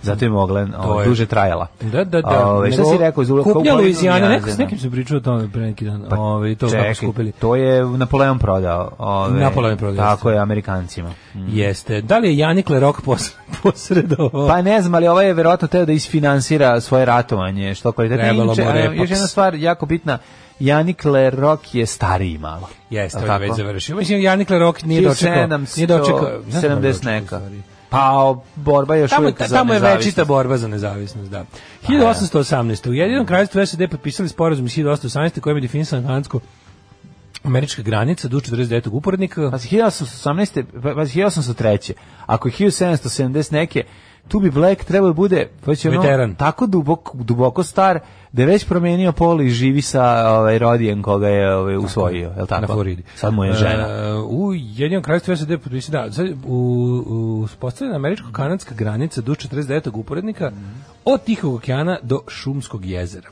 Zato je mogla, o,
je.
duže trajala.
Da, da, da.
Ove, ovaj, šta
Nego,
si rekao? Zula,
Kupnja Luizijane. Neko, s
Neko,
nekim sam pričao o tome pre neki dan.
Pa,
Ove, to kako
Čekaj,
skupili.
to je Napoleon prodao. Ove,
Napoleon je prodao,
Tako je, Amerikancima.
Jeste. Da li je Janik Lerok posre- posredovao?
Pa ne znam, ali ovaj je verovatno teo da isfinansira svoje ratovanje, što kvalitetno.
Trebalo mu
Inače, a,
repaks.
Još jedna stvar jako bitna, Janik Lerok je stariji malo.
Jeste,
Jel
on je već
tako?
završio. Mislim, Janik Lerok nije dočekao. Nije dočekao. znaš da je
70
dočekao,
neka.
u stvari?
Pa o, borba je još
Tamo,
uvijek
ta,
za
tamo je
nezavisnost. Pa
večita borba za nezavisnost, da. 1818. U jedinom kraljstvu SED potpisali sporazum iz 1818. kojim je definisano kanadsko američka granica do 49. uporednika.
Pazi, 1818. pa- Pazi, 1803. Ako je 1770 neke, tu bi Black trebao da bude već ono,
Veteran.
tako duboko, duboko star da je već promenio pol i živi sa ovaj, rodijem koga je ovaj, usvojio. Je li tako?
na Floridi.
Sad mu je žena.
E, u jedinom kraljstvu SAD potpisao da sad u, u uspostavljena američko-kanadska granica do 49. uporednika od Tihog okeana do Šumskog jezera.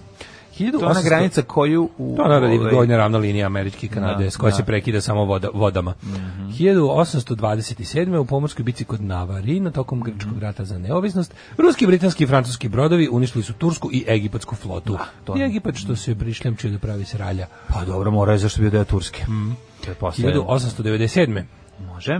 1800
to je ona granica koju... U,
To je naravno
ovaj,
gornja ravna linija Američke i Kanade,
Da,
s koja
da. Mhm.
se prekida samo voda, vodama. 1827. u pomorskoj bici kod Navarina, tokom
Mhm.
Grčkog rata za neovisnost, ruski, britanski i francuski brodovi uništili su tursku i egipatsku flotu.
to
I
je-
Egipat što se prišljamčio da pravi sralja.
Pa dobro, mora je zašto bi da je Turske.
Mhm.
Mm. To je posle.
1897.
Može.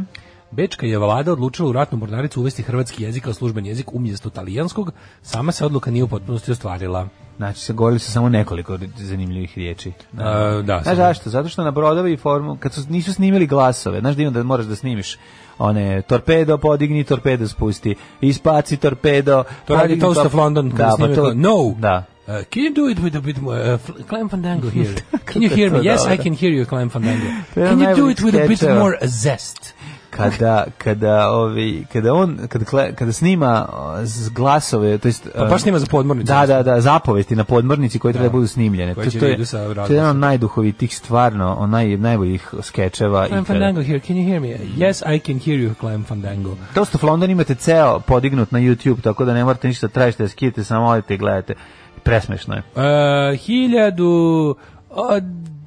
Bečka je vlada odlučila u ratnu mornaricu uvesti hrvatski jezik kao služben jezik umjesto talijanskog, sama se odluka nije u potpunosti ostvarila.
Znači, se govorili su samo nekoliko ri- zanimljivih riječi.
E, da,
Znaš
samo-
zašto? Zato što na brodovi i formu, kad su, nisu snimili glasove, znaš da ima da moraš da snimiš one, torpedo podigni, torpedo spusti, ispaci torpedo.
To radi
podigni
Toast
top-
of London kada
da, pa
snime
to,
kao, No!
Da.
Uh, can you do it with a bit more uh, fl- Clan Fandango here? Can you hear me?
to
Yes, I
dobro.
can hear you, Clan Fandango.
To je
Can you do it with a bit
najbolji
more uh, zest?
Kada, kada, ovi, kada on, kada, kle- kada snima o, z- glasove, to jest... e,
Pa baš snima za podmornicu.
Um, Da, da, da, zapovesti na podmornici koje treba da budu snimljene.
Koje
To,
će
to, je,
vidu sa
to je jedan od najduhovitih stvarno, onaj najboljih skečeva. i
Clan
kada-
Fandango here, can you hear me? Yes, I can hear you, Clan Fandango.
Dosta of London imate ceo podignut na YouTube, tako da ne morate ništa tražiti, da skijete, samo odite i gledate. Presmešno je.
Uh,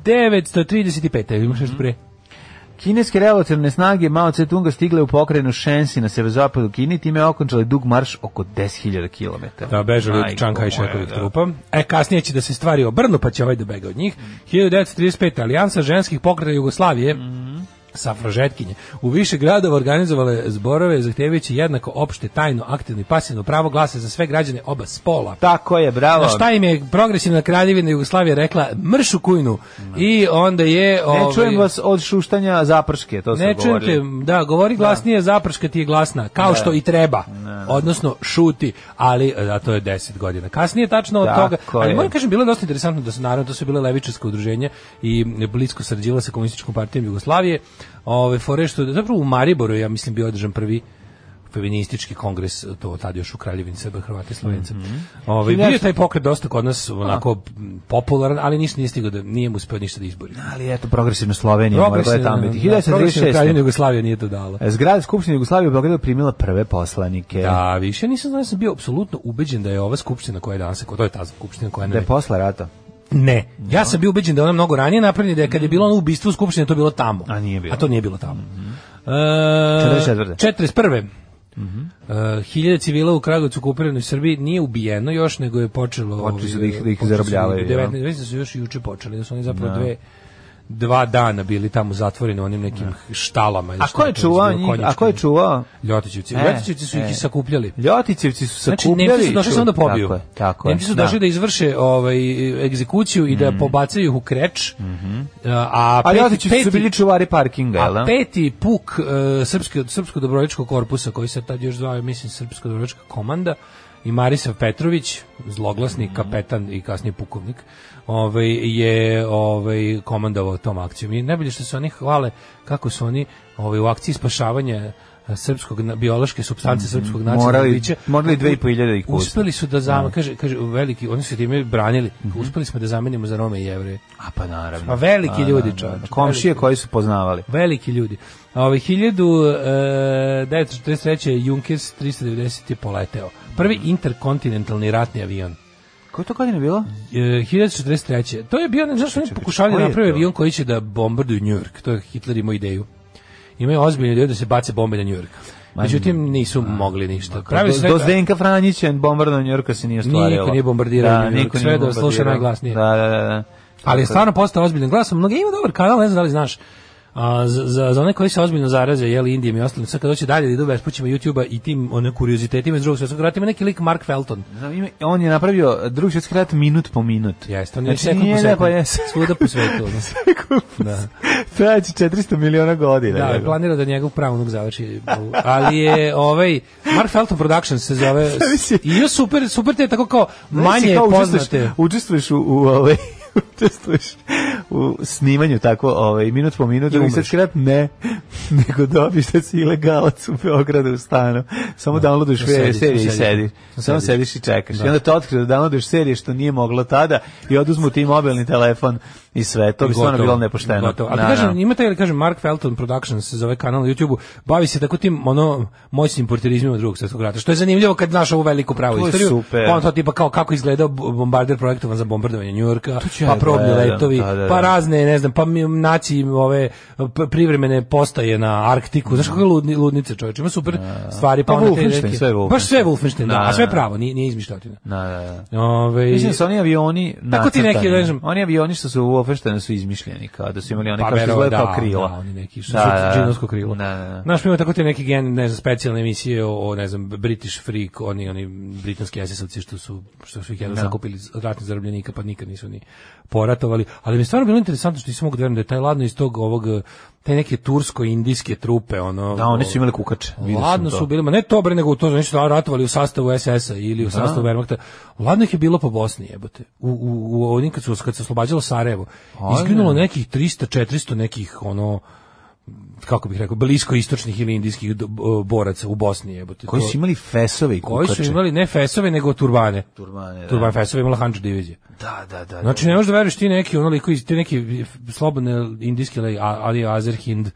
1935. Imaš
Mhm.
nešto pre?
Kineske revolucionarne snage Mao Tse-tunga stigle u pokrajinu Shensi na severozapadu Kini, time okončali dug marš oko 10.000 km.
Da, bežali od Čanka i Šekovih trupa. E, kasnije će da se stvari obrnu, pa će ovaj da bega od njih. 1935. Alijansa ženskih pokreta Jugoslavije, safražetkinje, u više gradova organizovale zborove zahtevajući jednako opšte, tajno, aktivno i pasivno pravo glasa za sve građane oba spola.
Tako je, bravo.
Na šta im je progresivna kraljevina Jugoslavija rekla mrš u kujnu i onda je...
Ne
ovaj,
čujem vas od šuštanja zaprške, to sam
ne čujem
govorili.
te, da, govori glasnije, zaprška ti je glasna, kao što i treba, odnosno šuti, ali e, a to je 10 godina. Kasnije tačno od
Tako
toga, ali
je.
moram kažem, bilo je dosta interesantno da su, naravno, to su bile levičarske udruženje i blisko sarađivala sa komunističkom partijom Jugoslavije, ove, fore što, zapravo u Mariboru, je, ja mislim, bio održan prvi feministički kongres, to tad još u Kraljevini Srba, Hrvata i Slovenca.
Mhm.
Ovaj, bio je taj pokret dosta kod nas onako m, popularan, ali ništa nije stigao da nije mu uspeo ništa da izbori.
Ali eto, progresivna Slovenija, mora gledati tamo biti.
Progresivna Kraljevina
1936.
Jugoslavija nije to dala.
E, Zgrada Skupštine Jugoslavije u Beogradu primila prve poslanike.
Da, više nisam znao, ja sam bio apsolutno ubeđen da je ova skupština koja je danas, to je ta skupština koja
Da
ne.
je posla rata.
Ne, ja sam bio ubeđen da je ona mnogo ranije napravljena, i da je kad je bilo ono ubistvo u skupštini, to je bilo tamo.
A nije bilo. Mhm.
A to nije bilo tamo. E,
44..
41.
Mhm.
E, hiljade civila u Kragovicu okupiranoj Srbiji nije ubijeno još, nego je počelo...
Počeli su
ovaj,
da ih- da ih
počeli su
zarobljavaju, ja.
19, mislim da su još juče počeli, da su oni zapravo dve dva dana bili tamo zatvoreni u onim nekim štalama. ili
A
šta
ko je
je to već
čuvao
bilo,
njih? A ko
konjičkim.
je čuvao?
Ljotićevci.
E,
Ljotićevci su
e.
ih i sakupljali.
Ljotićevci su
Znači,
sakupljali.
Nemci su došli samo da pobiju.
Tako je, tako je. Mhm.
Nemci su došli da, izvrše ovaj, egzekuciju i da pobacaju ih u kreč. A,
A
peti,
Ljotićevci Mhm. su bili
peti,
čuvari parkinga, jel?
a
da?
peti puk e, srpske, srpsko dobrovoljačkog korpusa, koji se tad još zvao, mislim, srpsko dobrovoljačka komanda, i Marisav Petrović,
Mhm.
zloglasni kapetan i kasnije pukovnik, ovaj, je ovaj, komandovao tom akcijom. I najbolje što se oni hvale kako su oni ovaj, u akciji spašavanja e, srpskog na- biološke supstance srpskog nacionalnog
Mhm. Morali-
bića
morali 2500 da ih puste.
uspeli su da zam kaže kaže veliki oni su time branili uspeli smo da zamenimo za Rome i Jevreje
A pa naravno.
Pa veliki
A,
ljudi,
da,
čoveče,
da. Komšije
Znači, veliki.
koji su poznavali.
veliki ljudi. A ovaj 1943. je Junkers 390 je poleteo. Prvi
Mhm.
interkontinentalni ratni avion.
Koje to godine bilo?
E, 1943. To je bio, ne znaš, oni pokušavali da
koji je
naprave
to?
avion koji će da bombarduju New York. To je Hitler imao ideju. Imaju ozbiljnu ideju da se bace bombe na New York. Međutim, nisu mogli ništa. Pravili su
Do, do
neka-
Zdenka Franjića, bombardovanje Njorka se nije ostvarilo.
Niko nije bombardirao Njujork,
niko
sve
nije
da sluša
bombardirao.
najglasnije.
Da, da, da, da.
Ali je stvarno postao ozbiljan glas. Mnogi ima dobar kanal, ne znam da li znaš. A, za, za, za one koji se ozbiljno zaraze, jeli Indijom i ostalim, sad kad hoće dalje da idu bespućima YouTube-a i tim one kuriozitetima iz drugog svjetskog rata, ima neki lik Mark Felton.
Znam, ima- on je napravio drugi svjetski rat minut po minut.
Jeste, on je
Znači,
sekund po
nije
sekund.
da, pa jes.
Svuda po svetu. ono. Da.
Trajaće 400 miliona godina.
Da,
jebote.
je planira da njegov pravnog završi. Ali je ovaj Mark Felton Productions se zove.
Zavisi.
I još super, super te tako kao
Znaš,
manje
kao učestvuješ-
poznate.
Učestvuješ u, u ovaj učestvuješ u u snimanju tako ovaj, minut po minut,
I
drugi
umreš.
sad krat ne, nego dobiš da si ilegalac u Beogradu u stanu. Samo da, downloaduješ
Da
serije
sediš,
serije i
sediš.
sediš.
Da
Samo
sediš.
sediš i čekaš.
Da.
I onda te otkrije da downloaduješ serije što nije moglo tada i oduzmu ti mobilni telefon i sve. To bi stvarno
Gotovo,
bilo nepošteno.
Gotovo. Ali
Da,
kažem,
da.
ima taj, kažem, Mark Felton Productions se zove kanal na YouTubeu, bavi se tako tim ono moćnim portirizmima drugog svetskog rata. Što je zanimljivo kad znaš ovu veliku pravu
To je
istoriju.
super.
Pa on to tipa kao kako izgledao b- bombarder projektovan za bombardovanje Njujorka,
ću
pa
ja
probni
gledam,
letovi,
da, da, da.
pa razne, ne znam, pa mi- naci ove p- privremene postaje na Arktiku. Znaš kako ludni, ludnice, čoveče, ima super stvari, pa,
Pa
onda te
Wolfenstein,
neke-
sve je
Baš sve je
Wolfenstein.
Wolfenstein, da,
Da,
a sve
da.
pravo, nije, nije izmišljotina. Ovaj-
Da, da, da.
Ove,
Mislim da su oni avioni
Tako ti neki,
nacrtani.
kažem-
Oni avioni što su u Ofeštenu su izmišljeni, kao da su imali oni kao što
vero-
izgleda kao krilo.
Pa Da, oni neki su
Da, da, da.
džinovsko krilo.
Da, da, da.
Znaš, mi imamo tako te neki gen, ne znam, specijalne emisije o, o, ne znam, British Freak, oni, oni britanski esisovci što su, što su ih jedno zakupili od ratnih zarobljenika, pa nikad nisu ni poratovali. Ali mi je stvarno bilo interesantno što nisam mogu da verujem da je taj ladno iz tog ovog, te neke tursko-indijske trupe, ono...
Da, oni su imali kukače. vidio sam
Ladno
to.
su bili, ma ne to bre, nego to, znači su ratovali u sastavu SS-a ili u sastavu Wehrmachta. Ladno ih je bilo po Bosni, jebote. U, u, u onim kad, su, kad se oslobađalo Sarajevo. Izginulo nekih 300-400 nekih, ono, kako bih rekao, blisko istočnih ili indijskih do- bo- boraca u Bosni, jebote.
Koji
To-
su imali fesove i
koji
kukače.
su imali ne fesove, nego turbane.
Turbane, da.
Turban fesove imala Hanđu divizija.
Da, da, da.
Znači, ne možeš da veruješ ti neki, ono liko iz, ti neki slobodne indijske, ali, ali Azer, Hind,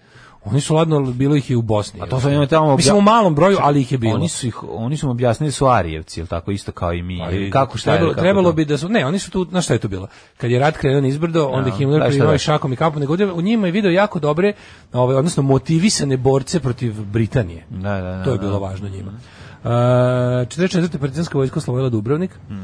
oni su ladno, bilo ih je u Bosni. A
to su oni tamo obja-
Mislim, u malom broju, ali ih je bilo.
Oni su ih, oni su mu objasnili su Arijevci, ili tako isto kao i mi.
Ali
ili kako šta je,
Pa trebalo,
kako
trebalo
to?
bi da su ne, oni su tu, na šta je to bilo? Kad je rat krenuo izbrdo, onda Himmler
da, šta
primao
da.
i šakom i kapom, nego ovdje u njima je video jako dobre, ovaj odnosno motivisane borce protiv Britanije.
Da, da, da,
to je
da.
bilo važno njima. Uh, 44. partizanska vojska oslovila Dubrovnik.
Mm.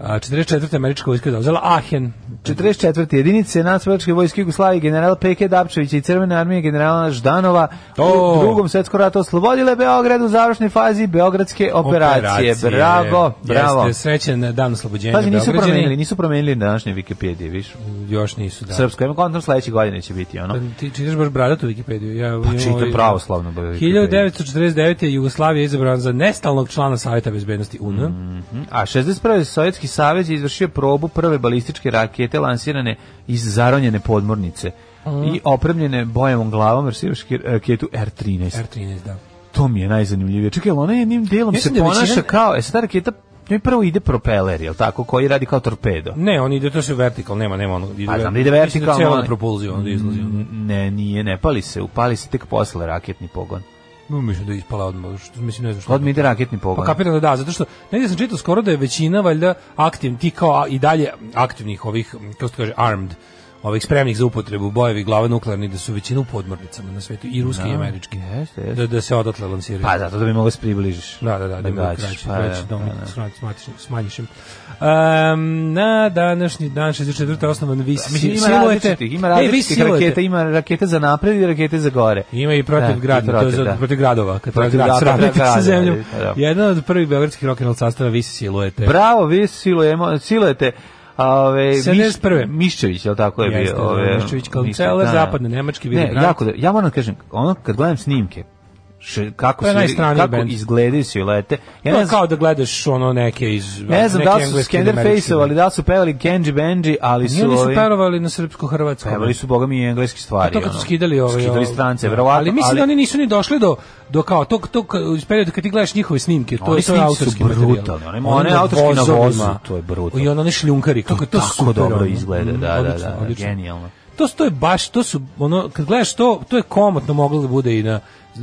A 44. američka vojska je zauzela Aachen.
44. jedinice nacionalne vojske Jugoslavije general P.K. Dapčević i Crvene armije generala Ždanova
O!
u drugom svetskom ratu oslobodile Beograd u završnoj fazi beogradske operacije. Bravo, bravo.
Jeste srećen dan oslobođenja.
Pazi, Pa nisu
Beograđani.
promenili, nisu promenili na današnje Wikipedije, viš.
Još nisu, da. Pa,
Srpsko, ima kontra sledeće godine će biti, ono.
Ti čitaš baš bradatu Wikipediju. Ja,
Pa čitam
ovaj-
pravoslavno. Wikipediju.
1949. je Jugoslavija izabran za nestalnog člana Savjeta bezbednosti UN. Mhm.
A 61. Sovjetski savez je izvršio probu prve balističke rakete lansirane iz zaronjene podmornice
Mhm.
i opremljene bojevom glavom versiraški raketu R-13.
R13, da.
To mi je najzanimljivije. Čekaj, ali ona jednim dijelom
Mislim
se
da je
ponaša
većina-
kao, e sad ta raketa, njoj prvo ide propeler, jel tako, koji radi kao torpedo.
Ne, on ide, to se vertikal, nema, nema ono. Ide,
Pa znam da ide
mislim
vertikalno,
cijela
ali- Mm.
na propulziju, onda izlazi. ono.
N- Ne, nije, ne pali se, upali se tek posle raketni pogon.
No, mislim da je ispala odmah, što, mislim, ne znam što.
Odmah ide raketni pogon.
Pa kapiram da da, zato što negdje sam čitao skoro da je većina valjda aktiv, ti kao a- i dalje aktivnih ovih, m, kako se kaže, armed, ovih spremnih za upotrebu bojevi glava nuklearni, da su većina u podmornicama na svetu, i ruski i američki.
jeste, jeste.
Da, da se odatle lansiraju.
Pa zato da bi mogao se približiš.
Da, da, da, da, da,
gađaš,
kraći,
pa
kraći
da,
dom,
pa da.
smanjiš, smanjiš im. Um, na današnji dan 64. osnovan vi
Mislim, Pa, ima
silujete.
različitih, ima
Ej, vi
različitih
silujete.
raketa, ima rakete za napred i rakete za gore.
Ima i protiv
Da,
grada,
i
to je
protiv,
za,
da.
protiv gradova, kad protiv
Protiv
grad
grada,
sravnite
grada,
sa zemljom.
da.
Jedan od prvih beogradskih rock and roll sastava vi silujete.
Bravo, vi silujemo, silujete. Ove,
71..
Miščević, je li tako je
Jeste,
bio? Ove,
Miščević kao
Miščević,
celer
da.
zapadne nemačke, Willy
Ne,
Brandt.
jako, da, ja moram da kažem, ono kad gledam snimke, še, kako,
To je
se,
najstraniji
kako
bend.
izgledaju silete, ja
to
ne
je
znam,
Pa kao da gledaš ono neke iz...
ne znam
neke
da li su
engleske
Skenderface-ovali,
ili
da li su pevali Kenji Benji, ali
Nije
su...
oni su
ovi-
perovali na srpsko-hrvatsko.
Pevali su, boga mi, i engleske stvari.
to kad su
ono.
skidali ove
Skidali
ove-
strance,
da.
verovatno.
Ali mislim da oni nisu ni došli do do kao tog tog iz perioda kad ti gledaš njihove snimke, to
Oni
je to je
snimci su
autorski
brutalni,
materijal.
oni- one
na
autorski na
vozovima.
vozu, to je brutalno.
I ono oni šljunkari, kako je to
tako
super,
dobro
ono.
izgleda,
Mm,
da, da,
odlično,
da,
odlično.
genijalno.
To su- to je baš, to su ono kad gledaš to, to je komotno moglo da bude i na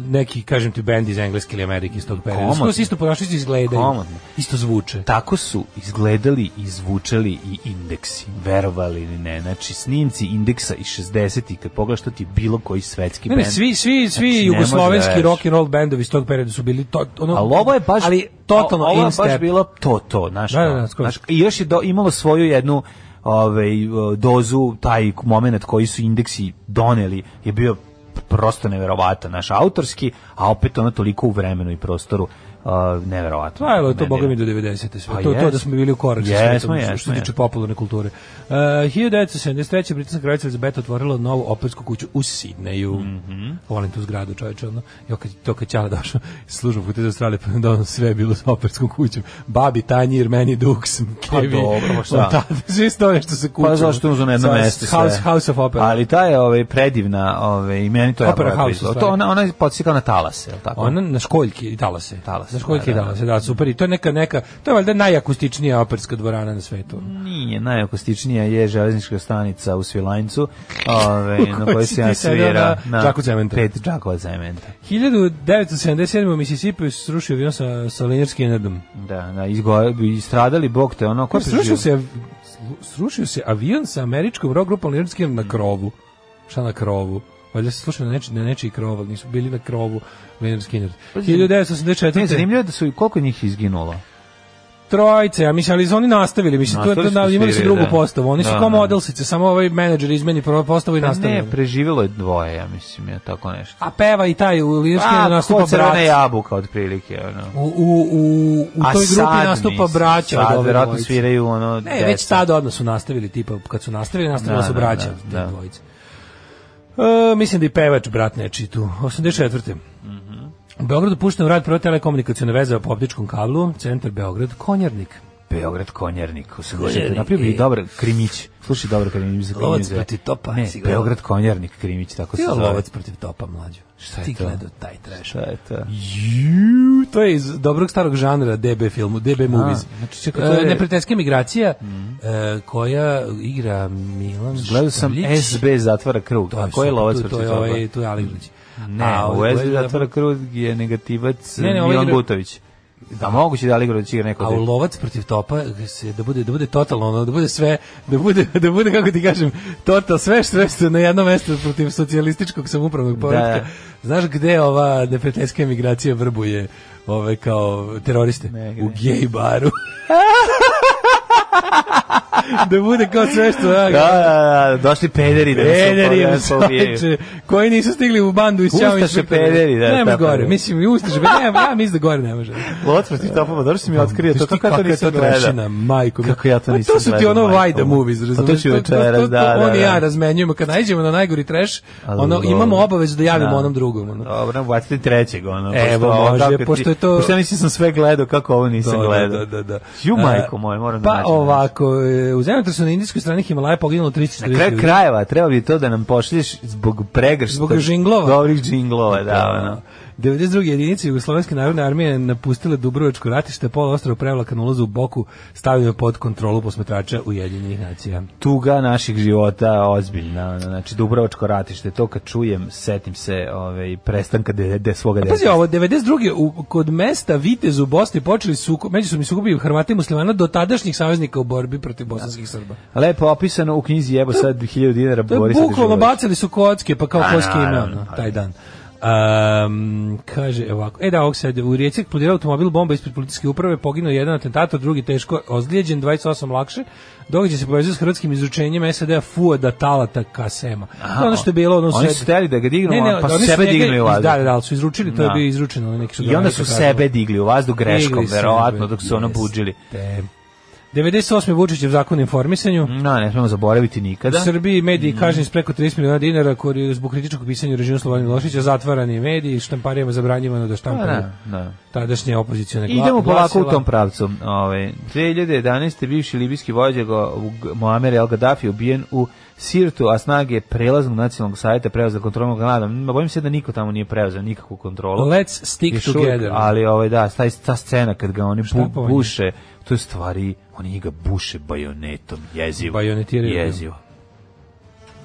neki kažem ti bend iz Engleske ili Amerike iz tog perioda.
Komotno.
Skoro se isto ponašaju, isto izgledaju.
Komotno.
Isto zvuče.
tako su izgledali i zvučali i indeksi, verovali ili ne. Znači, snimci indeksa iz 60-ih, kad pogledaš to ti je bilo koji svetski
Ne,
band.
ne, svi svi
Znači,
svi
ne može da
jugoslovenski
veruješ.
rock and roll bendovi iz tog perioda su bili to ono
Ali ovo je baš,
ali totalno
ovo je
in
baš
step.
bilo to, to, znaš.
Da, da, da,
ono,
skroz.
znaš, I još je do, imalo svoju jednu ovaj, dozu, taj moment koji su indeksi doneli je bio prosto neverovatan, naš autorski, a opet ono toliko u vremenu i prostoru Uh, neverovatno.
Trajalo je Pa, to,
Meni
boga mi, do 90. sve.
Pa
to, to
jest.
da smo bili u korak sa
Jesmo,
svetom, što- što
jesmo,
se tiče
jesmo.
popularne kulture. Uh, 1973. Britanska kraljica Elizabeta otvorila novu opersku kuću u Sidneju.
Mhm.
Volim tu zgradu, čoveče, ono. Jo, kad, to kad Ćala došao iz služnog puta iz Australije, pa da ono sve je bilo sa operskom kućom. Babi, tanjir, meni, duks, kevi.
dobro, pa šta?
od tada, Sve stoje što se kuće. ono.
Pa zašto uzmano jedno
Sa-
mesto sve?
House, house of Opera.
Ali ta je ovaj, predivna, ovaj, i meni to je
Opera
jako
House,
lepo
u
izgleda.
stvari.
To ona, ona je podsjekala na talase, je li tako?
Pa Ona na školjki i talase.
Talase,
Na školjki
da,
i
da,
talase, da, super. I to je neka, neka, to je valjda najakustičnija operska dvorana na svetu.
Nije, najakustičnija je železnička stanica u Svilajncu, ove, na kojoj se ja
Ti sedeo
svira
na džaku cementa.
pet džakova cementa.
1977. u Mississippi srušio avion sa, sa linarskim enerdom.
Da, da, izgo, bi stradali bog te ono, ko je preživio?
Pa Srušio se, av- srušio se avion sa američkom rock grupom linarskim na krovu. Šta na krovu? Valjda se slušao na, neči, na nečiji krov, ali nisu bili na krovu linarski enerd.
Ne,
1984.
zanimljivo je da su, koliko njih izginulo?
Trojice, ja mislim, ali su oni nastavili, mislim, to, to,
Nastavili su
imali su
sviraju,
drugu
da.
postavu, oni su
Da,
kao
da.
modelsice, samo ovaj menadžer izmeni prvo postavu i
Pa
nastavili.
ne, preživjelo je dvoje, ja mislim, je tako nešto.
A peva i taj u Lirski
A,
nastupa
ko crvena
brat.
jabuka, otprilike, ono.
U, u, u, u toj grupi nastupa
mislim,
braća. od
Sad
ove
verovatno
dvojice.
sviraju ono
Ne,
deca.
već tada odmah su nastavili, tipa, kad su nastavili, nastavili
Da,
su
da,
braća,
da,
te
da.
dvojice. E, mislim da i pevač, brat, nečiji tu. 84.
Mhm.
U Beogradu puštena u rad prva telekomunikacijona veza po optičkom kablu, centar Beograd, Konjarnik.
Beograd konjernik. u Srpskoj.
Konjernik,
Napravio bi
e.
dobar krimić. Slušaj, dobro krimić. za
Lovac
krimić za-
protiv topa,
Ne,
si gledao?
Beograd konjernik krimić, tako se
Bio
zove.
lovac protiv topa, mlađo. Šta
je
Ti
to?
gledao taj trash.
Šta je to?
Ju, to je iz dobrog starog žanra DB filmu, DB movies.
znači, čekaj, to je-
E, neprijateljska migracija e, koja igra Milan
Gledao sam
Štrlić.
SB zatvara krug. A ko je
super,
lovac
tu-
protiv
To je,
toga?
ovaj, tu je Aliglić.
Ne,
ovaj
u SB zatvara krug je negativac
Ne, ne, ovaj
Milan
igra-
Gutović. Da, moguće da li igra da će igra neko
A u
drugi.
lovac protiv topa se da bude da bude totalno ono, da bude sve da bude da bude kako ti kažem total sve što jeste na jedno mesto protiv socijalističkog samoupravnog poretka.
Da.
Znaš gde ova neprijateljska emigracija vrbuje ove kao teroriste
Negde.
u gej baru. da bude kao sve što ja,
Da, da, da, došli pederi da nas
Pederi,
pobijaju, pobijaju.
čoveče, koji nisu stigli u bandu iz
Ustaše
Ćao inspektora.
pederi, da,
Nema
tako
gore,
je.
mislim, i ustaše, pe- ne, ja mislim da gore ne može.
Lovac protiv topa, pa dobro si mi otkrio to,
Znaš ti
to kako ja to
kakva je
nisam
to trešina,
gledao.
majko. mi.
Kako ja to
Pa
nisam
To su ti
gledao,
ono
majko
Vajda
moja.
movies,
Pa to
razumiješ?
ću večeras,
to-
da,
to
da,
On i
da.
ja razmenjujemo, kad naiđemo na najgori treš, ono,
dobro.
imamo obavezu da javimo
Da.
onom drugom. Ono.
Dobro, ubacite trećeg, ono.
Evo,
pošto ovo
može,
kako ti-
pošto je to-
Pošto ja mislim sam sve gledao, kako ovo nisam
Da,
gledao.
Da, da, da.
Ju,
E,
majko moja, moram da
Pa
nađem
ovako, e, u zemljotresu na indijskoj strani Himalaja poginulo 340
Na kraju krajeva treba bi to da nam pošlješ zbog pregršta.
Zbog žinglova.
Dobrih džinglova, da, ono.
92. jedinice Jugoslovenske narodne armije napustile Dubrovačko ratište, pola ostrava prevlaka na ulazu u Boku stavljeno pod kontrolu posmetrača Ujedinjenih nacija.
Tuga naših života ozbiljna, ono, znači Dubrovačko ratište, to kad čujem, setim se ove, prestanka de, de svoga
A
deta.
Pazi ovo, 92. U, kod mesta Vitez u Bosni počeli suko, međusobni sukobi Hrvata i muslimana do tadašnjih saveznika u borbi protiv bosanskih Srba.
Lepo opisano u knjizi Jebo sad 1000 dinara
To je
Borisa
bukvalno
Dežulovića.
bacili su kocke, pa kao
A,
ko s kime,
naravno,
ono,
pa
taj dan. Um, kaže ovako, e da, ovog sad, u Rijeci eksplodirao automobil bomba ispred policijske uprave, poginuo jedan atentator, drugi teško ozlijeđen, 28 lakše, događaj se povezuje s hrvatskim izručenjem SAD-a Fuada Talata Kasema. to je ono što je bilo, ono
Oni
sve-
su hteli da ga dignu,
Ne, ne,
a pa
oni
su
su
sebe
njega
dignuli u
iz-
vazduh.
Da, da, ali su izručili, to je
Da.
bio izručeno. na Neki su
I onda su
granica
sebe digli u vazduh greškom,
Digli su,
verovatno, dok su ono budžili.
Jeste. 98. Vučićev zakon o informisanju.
No, ne smemo zaboraviti
U
nikada.
Srbiji
Mm.
mediji kažnjeni s preko 30 miliona dinara koji je zbog kritičkog pisanja u režimu Slobodana Miloševića zatvarani mediji, štamparijama zabranjivano da
Pa
štampaju
da, da.
tadašnje opozicione gla-
Idemo polako u
glasila.
tom pravcu. Ove, 2011. bivši libijski vođa go- G- Muammar El Gaddafi ubijen u Sirtu, a snage prelaznog nacionalnog savjeta preuzeo kontrolnog Kanada. Bojim se da niko tamo nije preuzeo nikakvu kontrolu.
Let's stick
Još uvijek,
together.
ali ovaj, da, ta, ta scena kad ga oni bu,
Štampovanje.
buše, to je stvari, oni ga buše bajonetom, jezivo.
Bajonetiraju ga.
Jezivo.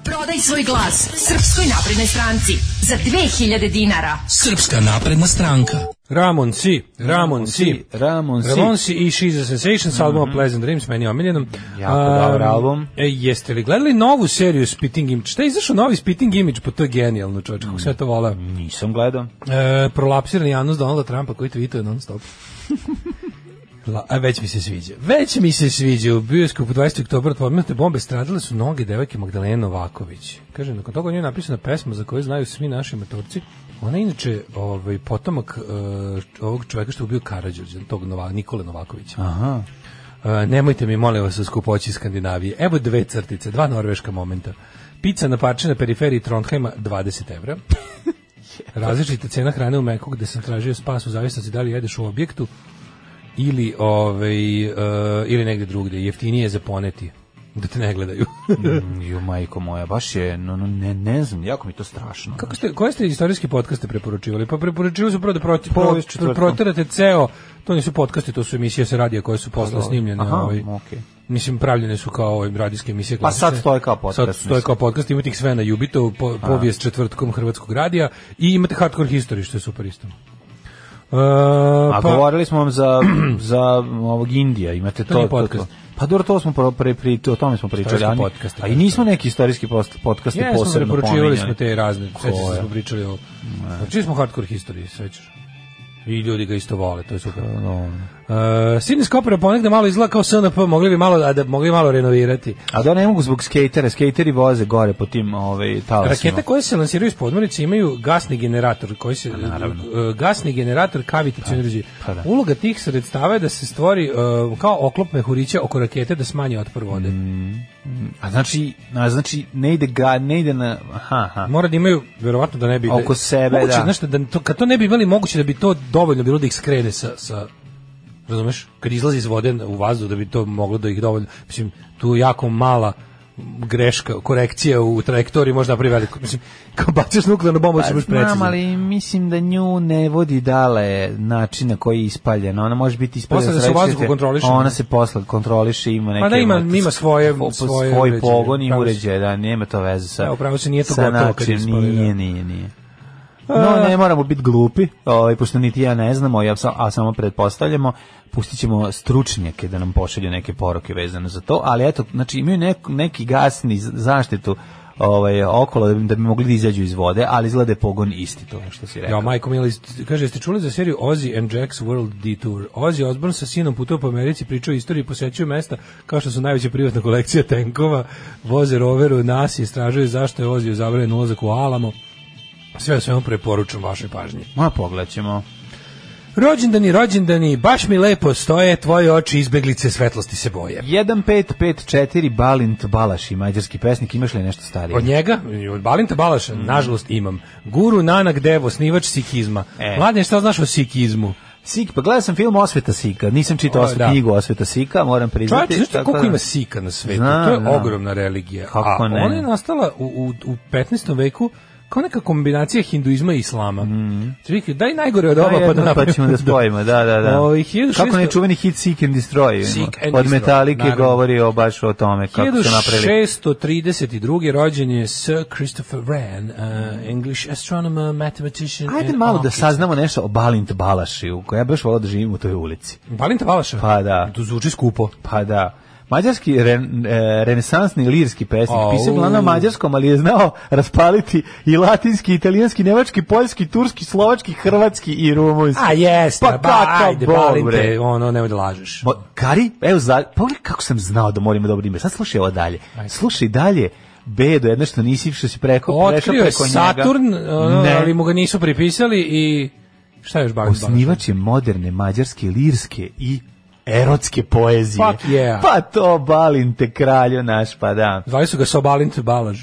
Prodaj svoj glas Srpskoj naprednoj stranci za 2000 dinara.
Srpska napredna stranka.
Ramon C, Ramon C,
Ramon C. Mhm.
Ramon C i She's a Sensation sa albumom Pleasant Dreams, meni je omiljenom.
Jako
A,
dobar album.
E, jeste li gledali novu seriju Spitting Image? Šta je izašao novi Spitting Image? Pa to je genijalno, čovječ,
Mm.
kako sve to volao.
Nisam gledao.
E, prolapsirani anus Donalda Trumpa koji tweetuje non stop. La- a već mi se sviđa. Već mi se sviđa. U bioskopu 20. oktobra od pomenute bombe stradale su noge devojke Magdalene Novaković. Kaže, nakon toga nju je napisana pesma za koju znaju svi naši maturci. Ona je inače ovaj, potomak eh, ovog čoveka što je ubio Karadžorđa, tog Nova, Nikole Novakovića.
Aha.
E, nemojte mi, molim vas, o skupoći Skandinavije. Evo dve crtice, dva norveška momenta. Pizza na parče na periferiji Trondheima, 20 evra. Različita cena hrane u Meku, gde sam tražio spas u zavisnosti da li jedeš u objektu ili, ovaj, e, ili negde drugde. Jeftinije je za poneti, da te ne gledaju.
Mm, Ju, majko moja, baš je, no, no, ne, ne znam, jako mi je to strašno.
Kako ste, koje ste istorijski podcaste preporučivali? Pa preporučivali su prvo da proti,
Po
pro,
ovih četvrtkom.
proterate ceo, to nisu podcasti, to su emisije sa radija koje su posle snimljene.
Pa Aha,
ovaj,
okej.
Mislim, pravljene su kao ovaj, radijske emisije.
Pa sad
klasične.
stoje kao podcast,
Sad stoje kao podcast, imate ih sve na Jubito, po, povijest četvrtkom Hrvatskog radija i imate Hardcore History, što je super isto. E, Pa,
A govorili smo vam za, za ovog Indija, imate to.
nije
to- to.
podcast.
Pa dobro, to smo pro- pre, pri, o tome smo pričali.
Istorijski
a ni-
podcast,
a i nismo neki istorijski post, podcaste
Jesmo,
posebno
preporučivali smo
pominjali.
te razne, sveći
Koje?
smo pričali o... Znači smo Hardcore History, sećaš. I ljudi ga isto vole, to je super. Uh, Sidney Skopera ponegde malo izgleda kao SNP, mogli bi malo, a da, mogli malo renovirati.
A da ne mogu zbog skatera, skateri voze gore po tim ovaj, talasima.
Rakete koje se lansiraju iz podmornice imaju gasni generator koji se e, gasni generator kavitacioni uređaj.
pa da.
Uloga tih sredstava je da se stvori e, kao oklop mehurića oko rakete da smanje otpor
Mm.
vode.
A znači, a znači ne ide ga, ne ide na aha, aha.
Mora da imaju verovatno da ne bi
Oko sebe,
moguće,
da.
znaš šta, da to, kad to ne bi imali moguće da bi to dovoljno bilo da ih skrene sa sa razumeš? Kad izlazi iz vode u vazduh da bi to moglo da ih dovoljno mislim tu je jako mala greška, korekcija u trajektoriji možda napravi veliku. Mislim, kao baciš nuklearnu bombu, ćeš baš precizno.
Pa ali mislim da nju ne vodi dale način na koji je ispaljena. Ona može biti ispaljena.
Posle da
sa
se u
različite-
vazduhu kontroliše.
Ona se posle kontroliše, ima neke...
da, ima-
motice,
ima svoje-
po- po-
svoje
svoj
uređaje.
pogon i
Pravo si.
uređaj, da, nema to veze sa...
Da, upravo si, nije to
sa
gotovo kad je
načinom,
ispaljena.
Nije, nije, nije. No, ne moramo biti glupi, ovaj, pošto niti ja ne znamo, ja sam, a samo pretpostavljamo, pustit ćemo stručnjake da nam pošalju neke poruke vezane za to, ali eto, znači imaju nek, neki gasni z- zaštitu ovaj, okolo da bi, da bi mogli da izađu iz vode, ali izgleda je pogon isti, to je što si rekao.
Ja, Majko Mili, kaže, jeste čuli za seriju Ozzy and Jack's World Detour? Ozzy Osbourne sa sinom putuje po Americi, pričao o istoriji, posećuje mesta kao što su najveća privatna kolekcija tenkova, voze roveru, nas i istražuje zašto je Ozzy zabranjen ulazak u Alamo. Sve o svemu preporučam vašoj pažnji.
Ma pogledat ćemo.
Rođendani, rođendani, baš mi lepo stoje, tvoje oči izbeglice svetlosti se boje.
1554 Balint Balaši, mađarski pesnik, imaš li nešto starije?
Od njega, od Balinta Balaša, nažalost imam. Guru Nanak Dev, osnivač sikizma.
E.
Mladen, šta znaš o sikizmu?
Sik, pa gledao sam film Osveta Sika, nisam čitao
O,
osve,
da.
knjigu Osveta Sika, moram priznati.
Čovječe, znaš ti
tako
koliko
da-
ima sika na svetu?
Znam,
to je
znam.
ogromna religija.
Kako
A
ne?
ona je nastala u, u, u 15. veku kao neka kombinacija hinduizma i islama. Mm. daj najgore od
Da,
oba pa da
Mhm. jedno, pa
napravimo.
ćemo da spojimo, da, da, da.
Ovi, 1600
Kako ne čuveni hit Seek and Destroy.
Seek and
Od
Destroy,
Metalike
naravno.
govori o baš o tome kako su napravili.
1632. rođen je Sir Christopher Wren, uh, English astronomer, mathematician
Ajde
and
malo da
architect.
saznamo nešto o Balint Balaši, u kojoj ja baš volao da živim u toj ulici.
Balinta Balaša?
Pa da.
To zvuči skupo.
Pa da. Mađarski ren, e, renesansni lirski pesnik,
Au.
pisan uglavnom na mađarskom, ali je znao raspaliti i latinski, italijanski, nemački, poljski, turski, slovački, hrvatski i rumunski.
A jeste,
Pa
ba,
kakav
ajde,
bol,
Balinte,
bre.
ono, nemoj da lažeš.
Mo, Kari, evo, za, pogledaj kako sam znao da moramo dobro ime. Sad slušaj ovo dalje. Slušaj dalje Bedo, jedno što nisi, što si preko, prešao
Otkrio je
preko njega.
Saturn, ono,
Ne.
ali mu ga nisu pripisali i šta je još Balint Balaša?
Osnivač je moderne mađarske lirske i erotske poezije.
Fuck yeah.
Pa to Balinte kralju naš, pa da.
Zvali su ga Sobalint Balaž.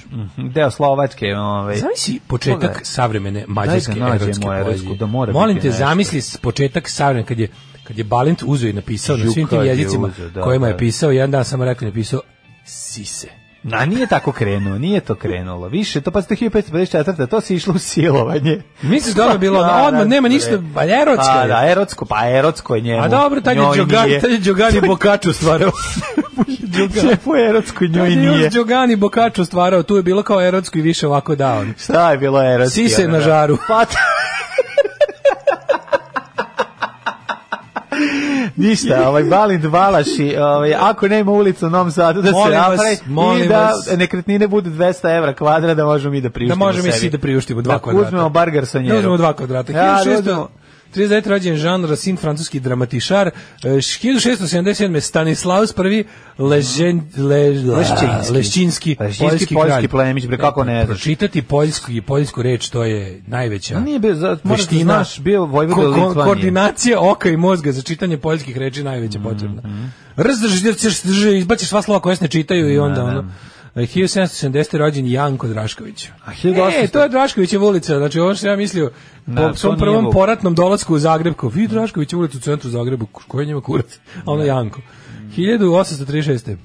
Deo Slovačke, ovaj.
Zamisli početak
Koga?
savremene mađarske
Daj da nađemo
erotske
erotsku,
poezije.
da mora
Molim
biti
te,
nešto.
zamisli s- početak savremene, kad je, kad je Balint uzeo i napisao na
Ju,
svim
kad
tim
je
jezicima
uzeo, da,
kojima
da.
je pisao, jedan dan samo rekao i napisao sise.
A nije tako krenuo, nije to krenulo. Više, to pa 1554. To se išlo u silovanje.
Misliš da ono je bilo,
Da,
odmah
da,
nema
bre.
ništa, pa erotska
Pa
je.
da, erotsko, pa erotsko je njemu.
A dobro, tad je
Njoj
Đogani,
nije.
tad je Đogani Bokaču stvarao.
Šefu erotsko njoj
Tad je
nije.
još Đogani Bokaču stvarao, tu je bilo kao erotsko i više ovako down.
Šta je bilo erotski?
Sise
ono,
na
da?
žaru.
Pa t- Ništa, ovaj Balint Valaši, ovaj, ako nema ulicu u Novom Sadu da se
Molim vas,
napravi i
molim
da
vas.
nekretnine bude 200 evra kvadra da možemo i da priuštimo
Da možemo i
sebi.
svi da priuštimo dva
Da
kvadrata.
uzmemo bar garsonjeru.
Da uzmemo dva kvadrata.
Ja, da
1600
uzmemo.
39. rođen Jean Racine, francuski dramatišar. E, 1677. Stanislaus prvi Ležen, le,
Leščinski.
Leščinski, Leščinski,
Leščinski, Pa poljski plemić, bre, kako ne znaš.
E, Pročitati poljsku i poljsku reč, to je najveća.
Pa Nije bio, za, moraš da
Veština.
znaš, bio Vojvoda
Ko- ko-
Litvanije.
Koordinacija oka i mozga za čitanje poljskih reči najveća
Mhm.
potrebna. Razdrži, izbaciš sva slova koja se ne čitaju i onda ono... 1770. rođen Janko Drašković.
A 1800?
E, to je Draškovićeva ulica. Znači, ovo što ja mislio
Ne,
po
to
svom
nije
prvom
Vuk.
poratnom dolasku u Zagreb, kao vi Draškovićeva ulica u centru Zagrebu, koji je njima kurac? A ono Janko. 1836.